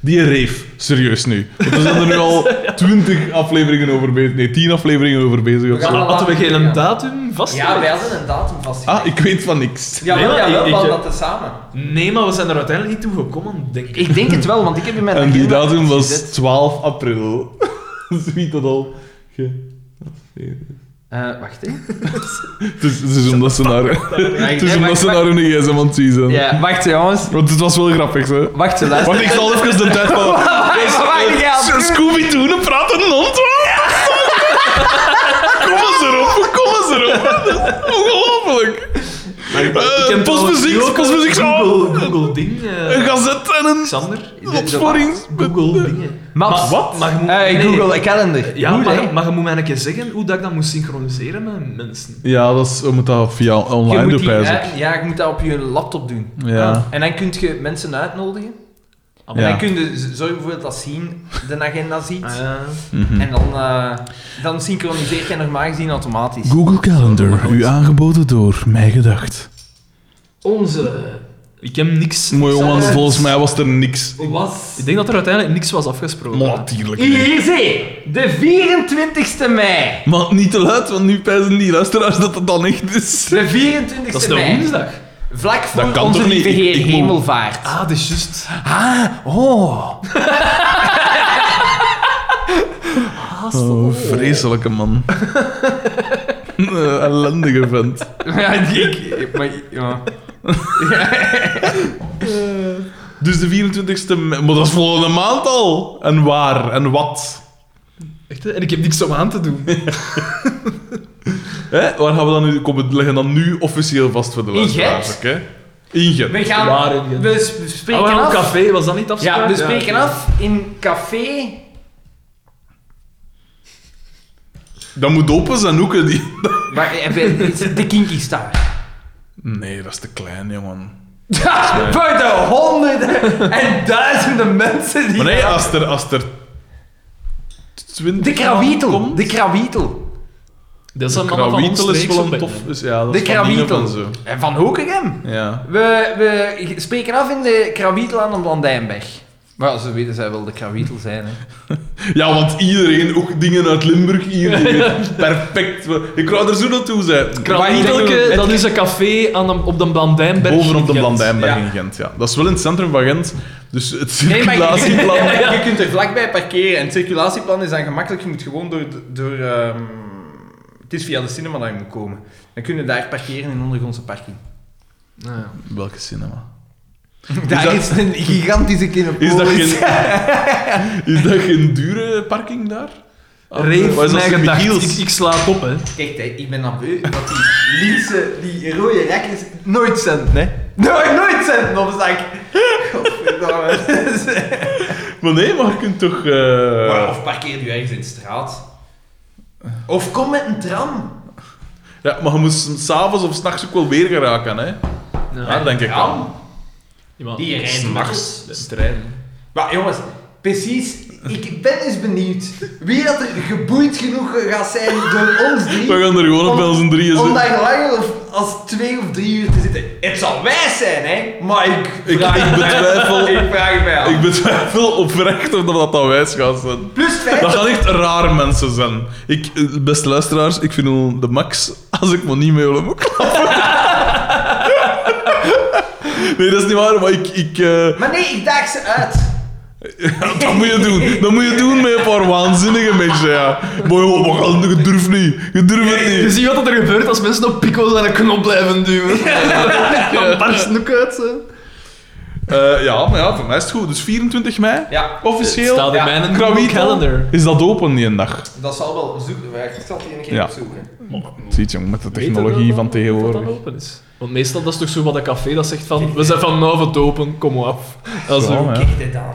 Speaker 1: Die reef, serieus nu. Want we zijn er nu al twintig afleveringen over bezig. Nee, tien afleveringen over bezig. of
Speaker 3: We gaan
Speaker 1: zo.
Speaker 3: al-
Speaker 2: hadden we geen
Speaker 3: Ja.
Speaker 2: datum vast.
Speaker 3: Ja, wij hadden een datum vastgelegd.
Speaker 1: Ah, ik weet van niks.
Speaker 3: Ja,
Speaker 2: Nee,
Speaker 3: maar,
Speaker 2: maar
Speaker 3: ja,
Speaker 2: ik-
Speaker 3: wel, we
Speaker 2: ik-
Speaker 3: hadden dat tezamen.
Speaker 2: Nee, maar we zijn er uiteindelijk niet toe gekomen, denk ik.
Speaker 3: Ik denk het wel, want ik heb in mijn
Speaker 1: En die
Speaker 3: agenda
Speaker 1: datum was
Speaker 3: gezet.
Speaker 1: 12 april. Dus Wie dat al? ge-
Speaker 3: Eh, wacht hè.
Speaker 1: Het is, het is omdat ze naar, het is
Speaker 3: nee,
Speaker 1: omdat
Speaker 3: wacht,
Speaker 1: ze naar hun gsm aan het zien zijn.
Speaker 3: Ja, wacht jongens.
Speaker 1: Want het was wel grappig, hè?
Speaker 3: Wacht, ze luisteren.
Speaker 1: Wacht, ik zal even de tijd van...
Speaker 3: wacht, ja.
Speaker 1: Zo, Scooby-Doo, dan praat een hond. Kom eens erop, kom eens erop. Dat is Ongelooflijk. Eh,
Speaker 2: ken
Speaker 1: postmuziek,
Speaker 2: trouwens ook een
Speaker 1: postmuziek, zo.
Speaker 2: Google, Google ding. eh,
Speaker 1: Een gazet en een
Speaker 2: Xander.
Speaker 1: opsporing.
Speaker 2: Google dingen.
Speaker 3: Maps.
Speaker 2: wat? Maar je moet-
Speaker 3: Eh,
Speaker 2: nee.
Speaker 3: Google Calendar.
Speaker 2: Ja,
Speaker 3: Goed,
Speaker 2: maar,
Speaker 3: hè?
Speaker 2: je- maar je moet mij een keer zeggen hoe dat ik dat moet synchroniseren met mensen.
Speaker 1: Ja, dat is, we moeten dat via
Speaker 3: Je
Speaker 1: online
Speaker 3: moet
Speaker 1: doen,
Speaker 3: die-
Speaker 1: pijs ik.
Speaker 3: ja, ja, je moet dat op je laptop doen. Ah.
Speaker 1: Ja.
Speaker 3: En dan kun je mensen uitnodigen. En
Speaker 1: Ja.
Speaker 3: dan kun je z- zorgen voor dat zien, de agenda ziet.
Speaker 1: Mhm.
Speaker 3: En dan, eh, dan synchroniseert je normaal gezien automatisch.
Speaker 1: Google Calendar, u aangeboden door Mij Gedacht.
Speaker 2: Onze. Ik heb niks.
Speaker 1: Mooi
Speaker 2: niks
Speaker 1: jongens,
Speaker 2: aan-
Speaker 1: volgens mij was er niks.
Speaker 3: Was...
Speaker 2: Ik denk dat er uiteindelijk niks was afgesproken.
Speaker 1: Maar natuurlijk. niet.
Speaker 3: Hier zie, de 24 mei.
Speaker 1: Maar niet te luid, want nu pijzen die luisteraars dat het dan echt is.
Speaker 3: De
Speaker 2: dat is
Speaker 3: 24
Speaker 2: de
Speaker 3: mei.
Speaker 2: woensdag.
Speaker 3: Vlak voor
Speaker 1: Dat kan
Speaker 3: onze
Speaker 1: toch niet?
Speaker 3: lieve
Speaker 1: Ik-
Speaker 3: Heer
Speaker 1: ik moet-
Speaker 3: Hemelvaart.
Speaker 2: Ah, dat is juist.
Speaker 1: Oh, vreselijke man. Eh, ellendige vent.
Speaker 3: Ja, ik... Maar, ja.
Speaker 1: Dus de 24e, me- maar dat is volgende maand al. En waar en wat?
Speaker 2: Echt, hè? En ik heb niks om aan te doen.
Speaker 1: Hè? Waar gaan we dan nu komen? Leggen dan nu officieel vast voor de luisteraars,
Speaker 3: Gent?
Speaker 1: oké? In Gent.
Speaker 3: We gaan...
Speaker 2: Waar in je-
Speaker 3: we sp- we
Speaker 2: Ah,
Speaker 3: spreken
Speaker 2: we gaan op
Speaker 3: af.
Speaker 2: café, was dat niet afspraak?
Speaker 3: Ja, we spreken af in café...
Speaker 1: Dat moet open zijn hoeken die.
Speaker 3: Maar eh, we- het is de Kinky Star.
Speaker 1: Nee, dat is te klein, jongen.
Speaker 3: Ja, voor de honderden en duizenden mensen die...
Speaker 1: Maar nee, eh, als er. Als er 20
Speaker 3: De krawietel.
Speaker 1: komt-
Speaker 3: De krawietel.
Speaker 2: Dat is een man van ons
Speaker 1: Krawietel is
Speaker 2: streek,
Speaker 1: wel
Speaker 2: zo'n
Speaker 1: een
Speaker 2: beetje.
Speaker 1: tof. Is, ja, dat
Speaker 3: De
Speaker 1: is van Nino
Speaker 3: krawietel.
Speaker 1: van zo.
Speaker 3: En van Hoekegem.
Speaker 1: Ja.
Speaker 3: We, we spreken af in de krawietel aan de Blandijnberg. Maar ja, ze weten zij wel de krawietel zijn. Hè.
Speaker 1: ja, want iedereen, ook dingen uit Limburg hier, die weet perfect. wa- Ik wou er zo naartoe zijn.
Speaker 2: Krawietelke, eh, dat is een café aan de, op de Blandijnberg.
Speaker 1: Bovenop de
Speaker 2: in Gent.
Speaker 1: Blandijnberg
Speaker 3: Ja.
Speaker 1: in Gent, ja. Dat is wel in het centrum van Gent. Dus het
Speaker 3: Nee, maar je,
Speaker 1: circulatieplan...
Speaker 3: je kunt er vlakbij parkeren. En het circulatieplan is dan gemakkelijk. Je moet gewoon door... de- door ehm, het is via de cinema dat je moet komen. Dan kun je daar parkeren in ondergrondse parking.
Speaker 2: Ja, ja.
Speaker 1: Welke cinema?
Speaker 3: Daar
Speaker 1: dat-
Speaker 3: is een gigantische
Speaker 1: Is
Speaker 3: kinopolis.
Speaker 1: dat geen, is dat geen dure parking daar? Ah,
Speaker 2: Reef,
Speaker 1: Wat is dat,
Speaker 2: mijn
Speaker 1: Sint
Speaker 2: gedacht. Ik,
Speaker 1: Michiels?
Speaker 2: ik sla het op, hè.
Speaker 3: Kijk, hè, ik ben dan beu dat die linkse, die rode rekkers nooit centen, hè. Nooit, nooit centen op zak. Godverdomme.
Speaker 1: Maar nee, maar je kunt toch... eh,
Speaker 3: Maar Of parkeer je ergens in de straat. Of kom met een tram.
Speaker 1: Ja, maar je moest s'avonds of s'nachts ook wel weer geraken, hè? Ja, denk ik wel.
Speaker 2: Iemand-
Speaker 3: Ah, Die rijden
Speaker 2: S'nachts. De trein.
Speaker 3: Maar jongens, precies. Ik ben eens benieuwd wie dat er geboeid genoeg gaat zijn door ons drie.
Speaker 1: We gaan er gewoon op bij onze drieën
Speaker 3: Om
Speaker 1: zitten.
Speaker 3: daar langer of, als twee of drie uur te zitten. Het zal wijs zijn, hè? Maar ik
Speaker 1: Ik,
Speaker 3: vraag,
Speaker 1: ik betwijfel...
Speaker 3: ik vraag het mij af.
Speaker 1: Ik betwijfel oprecht of dat dat wijs gaat zijn.
Speaker 3: Plus vijf.
Speaker 1: Dat gaan echt raar mensen zijn. Ik, eh, beste luisteraars, ik vind al de max als ik me niet mee wil moet klappen. Nee, dat is niet waar, maar ik... ik eh,
Speaker 3: Maar nee, ik daag ze uit.
Speaker 1: dat moet je doen. Dat moet je doen met een paar waanzinnige mensen, ja. Maar joh, we gaan, je durft niet. Je durft het
Speaker 2: Je
Speaker 1: niet.
Speaker 2: ziet wat er gebeurt als mensen op pico's aan een knop blijven duwen. Dan barst het ook uit, hè.
Speaker 1: Eh, ja, maar ja, voor mij is het goed. Dus 24 mei,
Speaker 3: Ja,
Speaker 1: officieel.
Speaker 2: Staat in
Speaker 3: Ja,
Speaker 2: mijn Google
Speaker 1: Krawietel.
Speaker 2: calendar.
Speaker 1: Is dat open die een dag?
Speaker 3: dat zal wel zoeken. Ik zal die een keer
Speaker 1: Ja.
Speaker 3: opzoeken.
Speaker 1: Ziet jong, met de
Speaker 2: Weet je
Speaker 1: technologie
Speaker 2: dat
Speaker 1: van
Speaker 2: dat- dat
Speaker 1: tegenwoordig.
Speaker 2: dat open is? Want meestal dat is toch zo wat een café dat zegt van we zijn vanavond open, kom maar af. Dat is
Speaker 1: Zo,
Speaker 2: zo.
Speaker 1: hè.
Speaker 3: Kijk dit aan.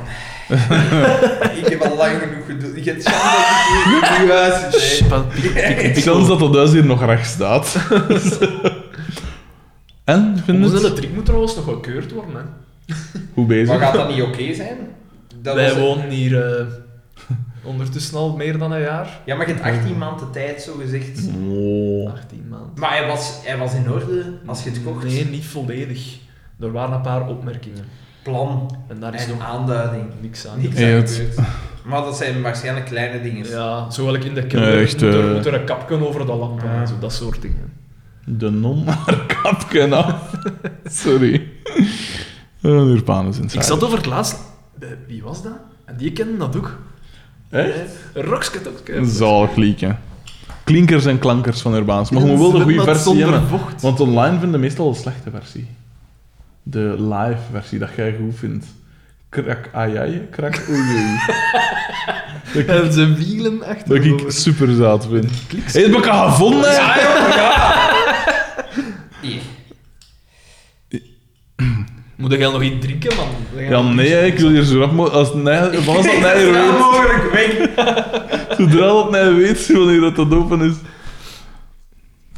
Speaker 3: ik heb al lang genoeg geduld. Ik heb schande dat ik hier nu huis zit, hè.
Speaker 1: Ik kans dat dat huis hier nog recht staat. en, vind je
Speaker 2: Onze de
Speaker 1: het?
Speaker 2: trick moet trouwens nog gekeurd worden. Hè.
Speaker 1: Hoe
Speaker 3: Maar
Speaker 1: bezig?
Speaker 3: gaat dat niet oké zijn? Dat
Speaker 2: Wij
Speaker 3: was-
Speaker 2: wonen hier eh, ondertussen al meer dan een jaar.
Speaker 3: Ja, maar je hebt 18 maanden tijd, zo gezegd.
Speaker 1: Oh.
Speaker 2: 18 maanden.
Speaker 3: Maar hij was, hij was in orde als je het kocht.
Speaker 2: Nee, niet volledig. Er waren een paar opmerkingen.
Speaker 3: Plan
Speaker 2: En daar is
Speaker 3: en
Speaker 2: nog
Speaker 3: aanduiding.
Speaker 2: niks aan.
Speaker 3: Niks
Speaker 1: Ja,
Speaker 3: aan
Speaker 1: het-
Speaker 3: gebeurd. Maar dat zijn waarschijnlijk kleine dingen.
Speaker 2: Ja, zowel ik in de kelder
Speaker 1: Nee, echt,
Speaker 2: moet, er,
Speaker 1: eh.
Speaker 2: moet er een kapken over de lampen en zo, dat soort dingen.
Speaker 1: De non haar kapken af. Sorry. Een urbanus
Speaker 2: Ik
Speaker 1: inside.
Speaker 2: zat over het laatst... bij- Wie was dat? En die kende dat ook.
Speaker 1: Echt?
Speaker 2: Roksketokske.
Speaker 1: Een zalig liedje. Klinkers en klankers van urbanus. Maar we wel de goede versie hebben. Want online vinden meestal de slechte versie. De live versie dat jij goed vindt. Krak ajai, krak oei oei. Dat ik-
Speaker 2: En ze wielen echt.
Speaker 1: Dat ik super zaad vind. Heeft elkaar gevonden?
Speaker 3: Hier.
Speaker 8: Moet jij nog iets drinken, man? Moet jij
Speaker 1: Ja,
Speaker 8: nog
Speaker 1: nee,
Speaker 8: iets-
Speaker 1: hè, ik wil hier zo rap mogelijk... Als het nee, van als dat nee
Speaker 9: Zo
Speaker 1: weet,
Speaker 9: mogelijk weg.
Speaker 1: zodra dat nee weet, wanneer dat dat open is.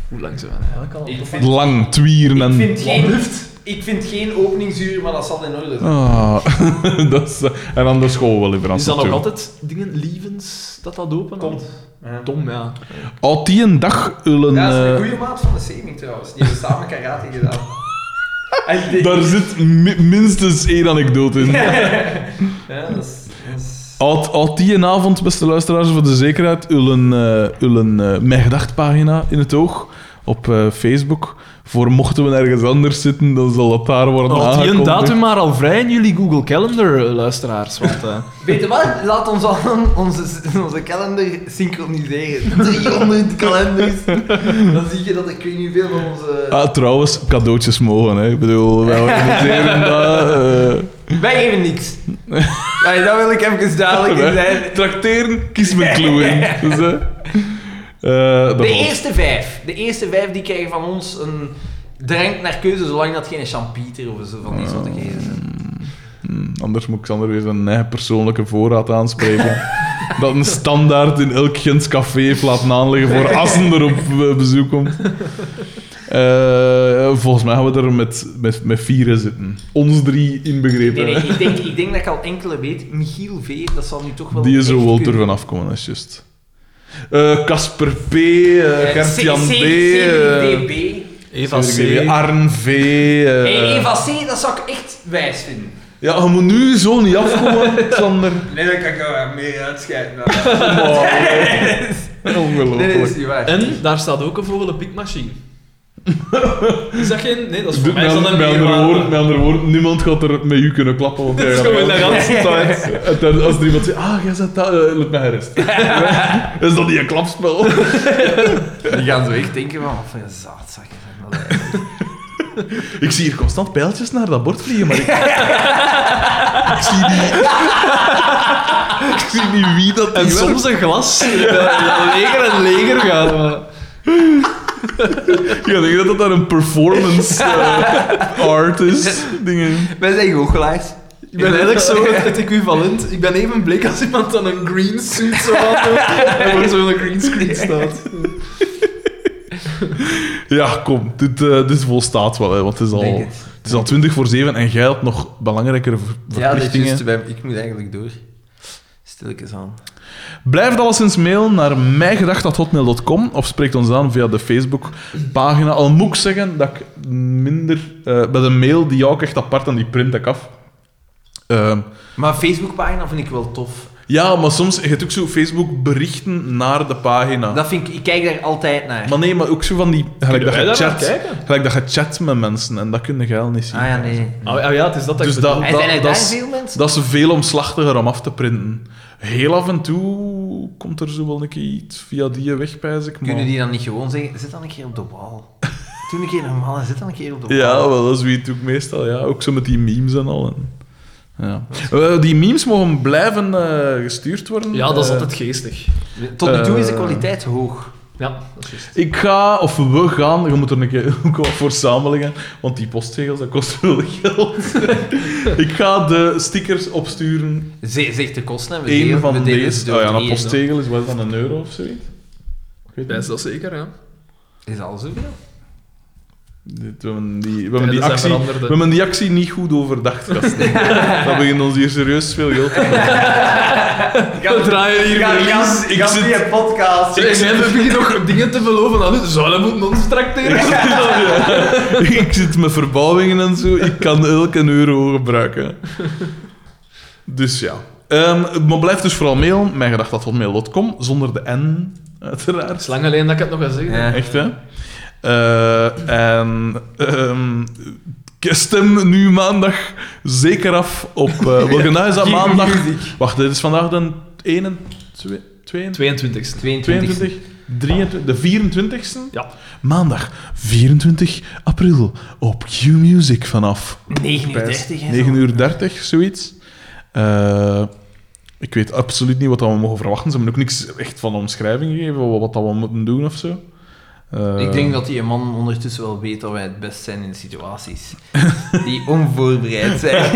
Speaker 2: Hoe lang zijn we eigenlijk al?
Speaker 3: Ik vind,
Speaker 1: Lang, twieren
Speaker 3: ik
Speaker 1: en...
Speaker 3: vind, geen, ik vind geen openingsuur, maar dat zal in orde zijn.
Speaker 1: Ah, dat is... eh, En dan de school wel even
Speaker 2: Is dat nog altijd dingen, lievens, dat dat open
Speaker 3: Komt. Ja.
Speaker 2: Tom, ja.
Speaker 1: Al die een dag hullen...
Speaker 9: Ja, dat is een
Speaker 1: eh,
Speaker 9: goede maat van de Seming trouwens. Die hebben samen karate gedaan. En die-
Speaker 1: daar zit mi- minstens één anekdote in.
Speaker 9: Ja, dat is... dat is-
Speaker 1: Had, had die een avond, beste luisteraars, voor de zekerheid, ulen, eh ulen eh Mijn Gedacht-pagina in het oog op eh, Facebook. Voor mochten we ergens anders zitten, dan zal dat daar worden
Speaker 2: Had die een
Speaker 1: aangekondigd.
Speaker 2: datum maar al vrij in jullie Google Calendar, eh, luisteraars. Want, eh,
Speaker 3: Weet je wat? Laat ons allen onze...
Speaker 9: Onze kalender synchroniseren. 300 kalenders. Dan zie je dat ik weet niet veel van onze...
Speaker 1: Ah, trouwens, cadeautjes mogen, hè. Ik bedoel, wij organiseren dat... eh.
Speaker 3: Wij geven niks.
Speaker 9: Ja, dat wil ik even duidelijk in zijn.
Speaker 1: Trakteren, kies mijn clue in. Dus, eh, eh, dat
Speaker 3: De
Speaker 1: was-
Speaker 3: eerste vijf. De eerste vijf die krijgen van ons een drank naar keuze, zolang dat geen champieter of zo van die
Speaker 1: Oh.
Speaker 3: soort geven zijn.
Speaker 1: Hmm, anders moet Xander weer zijn eigen persoonlijke voorraad aanspreken. dat een standaard in elk Gens café heeft laten aanleggen voor als een er op eh, bezoek komt. Eh, volgens mij gaan we er met, met, met vieren zitten. Ons drie inbegrepen.
Speaker 3: Nee, nee, ik denk, ik denk dat ik al enkele weet. Michiel V, dat zal nu toch wel...
Speaker 1: Die is er
Speaker 3: echt
Speaker 1: wel er
Speaker 3: kunnen.
Speaker 1: vanaf komen, dat is juist. Eh, Casper P, eh, Gert-Jan D, eh,
Speaker 3: DB.
Speaker 2: Eva C.
Speaker 1: Arn V. eh,
Speaker 3: Hey, Eva C, dat zou ik echt wijs vinden.
Speaker 1: Ja, je moet nu zo niet afkomen, Xander.
Speaker 9: Nee, dat kan ik wel meer uitscheiden. maar-
Speaker 1: Ongelooflijk.
Speaker 9: Nee,
Speaker 1: Dus
Speaker 9: nee, dat is niet waar.
Speaker 2: En daar staat ook een vogelenpikmachine. Is dat geen... Nee, dat is voor
Speaker 1: Met,
Speaker 2: mij is dat
Speaker 1: met,
Speaker 2: een
Speaker 1: andere
Speaker 2: meerwaarde.
Speaker 1: woorden, met andere woorden, niemand gaat er met u kunnen klappen. Want jij
Speaker 2: Dat is
Speaker 1: gaat
Speaker 2: gewoon de
Speaker 1: mij al-
Speaker 2: ganse tijd.
Speaker 1: En dan als er iemand zegt, ah, jij zet dat, eh, laat mij rust. is dat niet een klapspel?
Speaker 3: Die gaan zo echt denken van, wat voor een zaadzak. is dat nou eigenlijk?
Speaker 1: ik zie hier constant pijltjes naar dat bord vliegen, maar ik... ik zie niet... ik zie niet wie dat
Speaker 2: En
Speaker 1: is.
Speaker 2: soms een glas. eh, dat leger en leger gaat. Maar...
Speaker 1: Ja, ik denk dat dat daar een performance eh, artist dingen.
Speaker 9: Wij zijn goochelaars.
Speaker 2: Ik ben eigenlijk zo het, het equivalent. Ik ben even bleek als iemand dan een green suit zo aan doet. En voor zo'n green screen staat.
Speaker 1: Ja, kom, dit, eh, dit volstaat wel, hè, want het is al,
Speaker 9: Denk
Speaker 1: het.
Speaker 9: het.
Speaker 1: is al 20 voor 7 en jij had nog belangrijkere ver-
Speaker 9: Ja, dat
Speaker 1: verplichtingen.
Speaker 9: is juist. Ik moet eigenlijk door. Stilletjes aan.
Speaker 1: Blijf het alleszins mailen naar mijgedacht.hotmail.com of spreek ons aan via de Facebookpagina. Al moet ik zeggen dat ik minder... eh, bij de mail, die jou ook echt apart en die print ik af. Ehm,
Speaker 3: Maar Facebookpagina vind ik wel tof.
Speaker 1: ja, maar soms... Je hebt ook zo Facebook-berichten naar de pagina.
Speaker 3: Dat vind ik, ik kijk daar altijd naar.
Speaker 1: Maar nee, maar ook zo van die... Gelijk dat,
Speaker 2: wij
Speaker 1: je
Speaker 2: daar naar
Speaker 1: chat, gelijk dat je chat met mensen en dat kun je al niet zien.
Speaker 3: ah ja, nee.
Speaker 2: Oh, oh ja, het is dat dat
Speaker 1: Dus
Speaker 2: ik
Speaker 1: dat-
Speaker 2: bedoel.
Speaker 3: En zijn er daar
Speaker 1: is-
Speaker 3: veel mensen?
Speaker 1: Dat is veel omslachtiger om af te printen. Heel af en toe komt er zo wel een keer iets via die weg, pijs ik. maar-
Speaker 3: Kunnen die dan niet gewoon zeggen, zit dan een keer op de wal. Doe een keer normaal en zit dan een keer op de wal.
Speaker 1: Ja, wel, dat is wie het ook meestal. Ja. Ook zo met die memes en al. En, ja. Eh, die memes mogen blijven eh, gestuurd worden.
Speaker 2: Ja, dat
Speaker 1: Eh,
Speaker 2: is altijd geestig.
Speaker 3: Tot nu toe is de
Speaker 1: Eh.
Speaker 3: kwaliteit hoog.
Speaker 2: Ja, dat is juist.
Speaker 1: Ik ga, of we gaan, je moet er een keer ook wat voor samenleggen, want die postzegels, dat kost veel geld. ik ga de stickers opsturen.
Speaker 3: Ze- Zegt de kosten en we
Speaker 1: Eén
Speaker 3: delen, we
Speaker 1: van
Speaker 3: delen
Speaker 1: deze.
Speaker 3: ze door
Speaker 1: Oh ja, een
Speaker 3: drieën, zo.
Speaker 1: postzegel is wel van een euro of zoiets. Ik weet
Speaker 2: Ja, is
Speaker 1: niet.
Speaker 2: dat zeker, ja.
Speaker 3: Is alles zo veel?
Speaker 1: Dit- We hebben die, we hebben die
Speaker 2: Tijden zijn
Speaker 1: actie,
Speaker 2: veranderd,
Speaker 1: we
Speaker 2: hè.
Speaker 1: hebben die actie niet goed overdacht, gasten. dat begint ons hier serieus veel geld te
Speaker 2: We draaien hier
Speaker 9: Ja,
Speaker 2: weer
Speaker 9: ja,
Speaker 1: ik
Speaker 9: ja,
Speaker 1: zit-
Speaker 9: via podcast.
Speaker 2: En we beginnen nog dingen te beloven aan dus we moeten ons tracteren.
Speaker 1: ik zit met verbouwingen en zo. Ik kan elke euro gebruiken. Dus ja. Ehm, maar blijf dus vooral mailen. Mijn zonder de N,
Speaker 2: Het
Speaker 1: uiteraard.
Speaker 2: is lang alleen dat ik het nog ga zeggen.
Speaker 3: Ja.
Speaker 1: Echt, hè? Eh, en ehm, ik stem nu maandag zeker af op... eh welke dag is dat? Maandag? Wacht, dit is vandaag de 21... 22?
Speaker 2: 22ste.
Speaker 3: 22.
Speaker 1: 22, 23, de 24ste?
Speaker 2: Ja.
Speaker 1: Maandag 24 april op Q Music vanaf
Speaker 3: 9 uur 30 en
Speaker 1: 9 uur 30, zoiets. Eh, ik weet absoluut niet wat dat we mogen verwachten. Ze hebben ook niks echt van omschrijving gegeven, wat wat dat we moeten doen of zo. Eh,
Speaker 3: Ik denk dat die man ondertussen wel weet dat wij het best zijn in situaties die onvoorbereid zijn.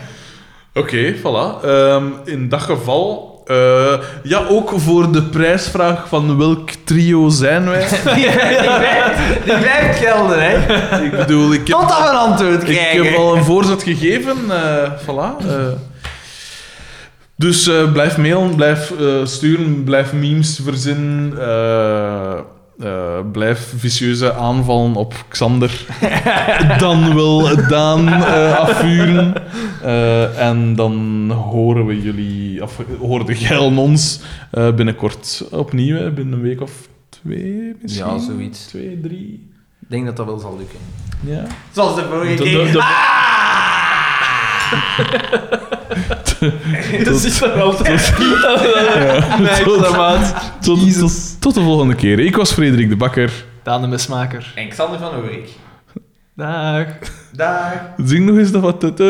Speaker 1: Oké, voilà. Ehm, in dat geval. eh, ja, ook voor de prijsvraag van welk trio zijn wij?
Speaker 3: die, blijft, die blijft gelden, hè.
Speaker 1: ik bedoel, ik heb,
Speaker 3: Totdat we een antwoord
Speaker 1: ik
Speaker 3: krijgen.
Speaker 1: heb al een voorzet gegeven. eh, voilà. eh. dus eh, blijf mailen, blijf eh, sturen, blijf memes verzinnen. eh, eh, blijf vicieuze aanvallen op Xander. dan wel Daan eh, afvuren. Eh, en dan horen we jullie, of horen de geilen ons eh, binnenkort opnieuw, hè, binnen een week of twee misschien.
Speaker 3: Ja, zoiets.
Speaker 1: Twee, drie.
Speaker 3: Ik denk dat dat wel zal lukken.
Speaker 1: Ja.
Speaker 3: Zoals de vorige
Speaker 8: De-
Speaker 3: keer. Ah.
Speaker 8: de- de-
Speaker 1: Tot-
Speaker 8: Dat is er wel
Speaker 1: tot, tot, tot, tot de volgende keer. Ik was Frederik de Bakker.
Speaker 2: Daan de Mesmaker.
Speaker 3: En Xander van Oerik.
Speaker 2: Dag.
Speaker 3: Dag.
Speaker 1: Zing nog eens dat wat. Dat was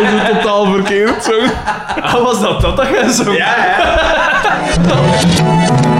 Speaker 1: het totaal verkeerd. Zo.
Speaker 2: Ah, was dat dat dat jij zo...
Speaker 3: Ja, ja.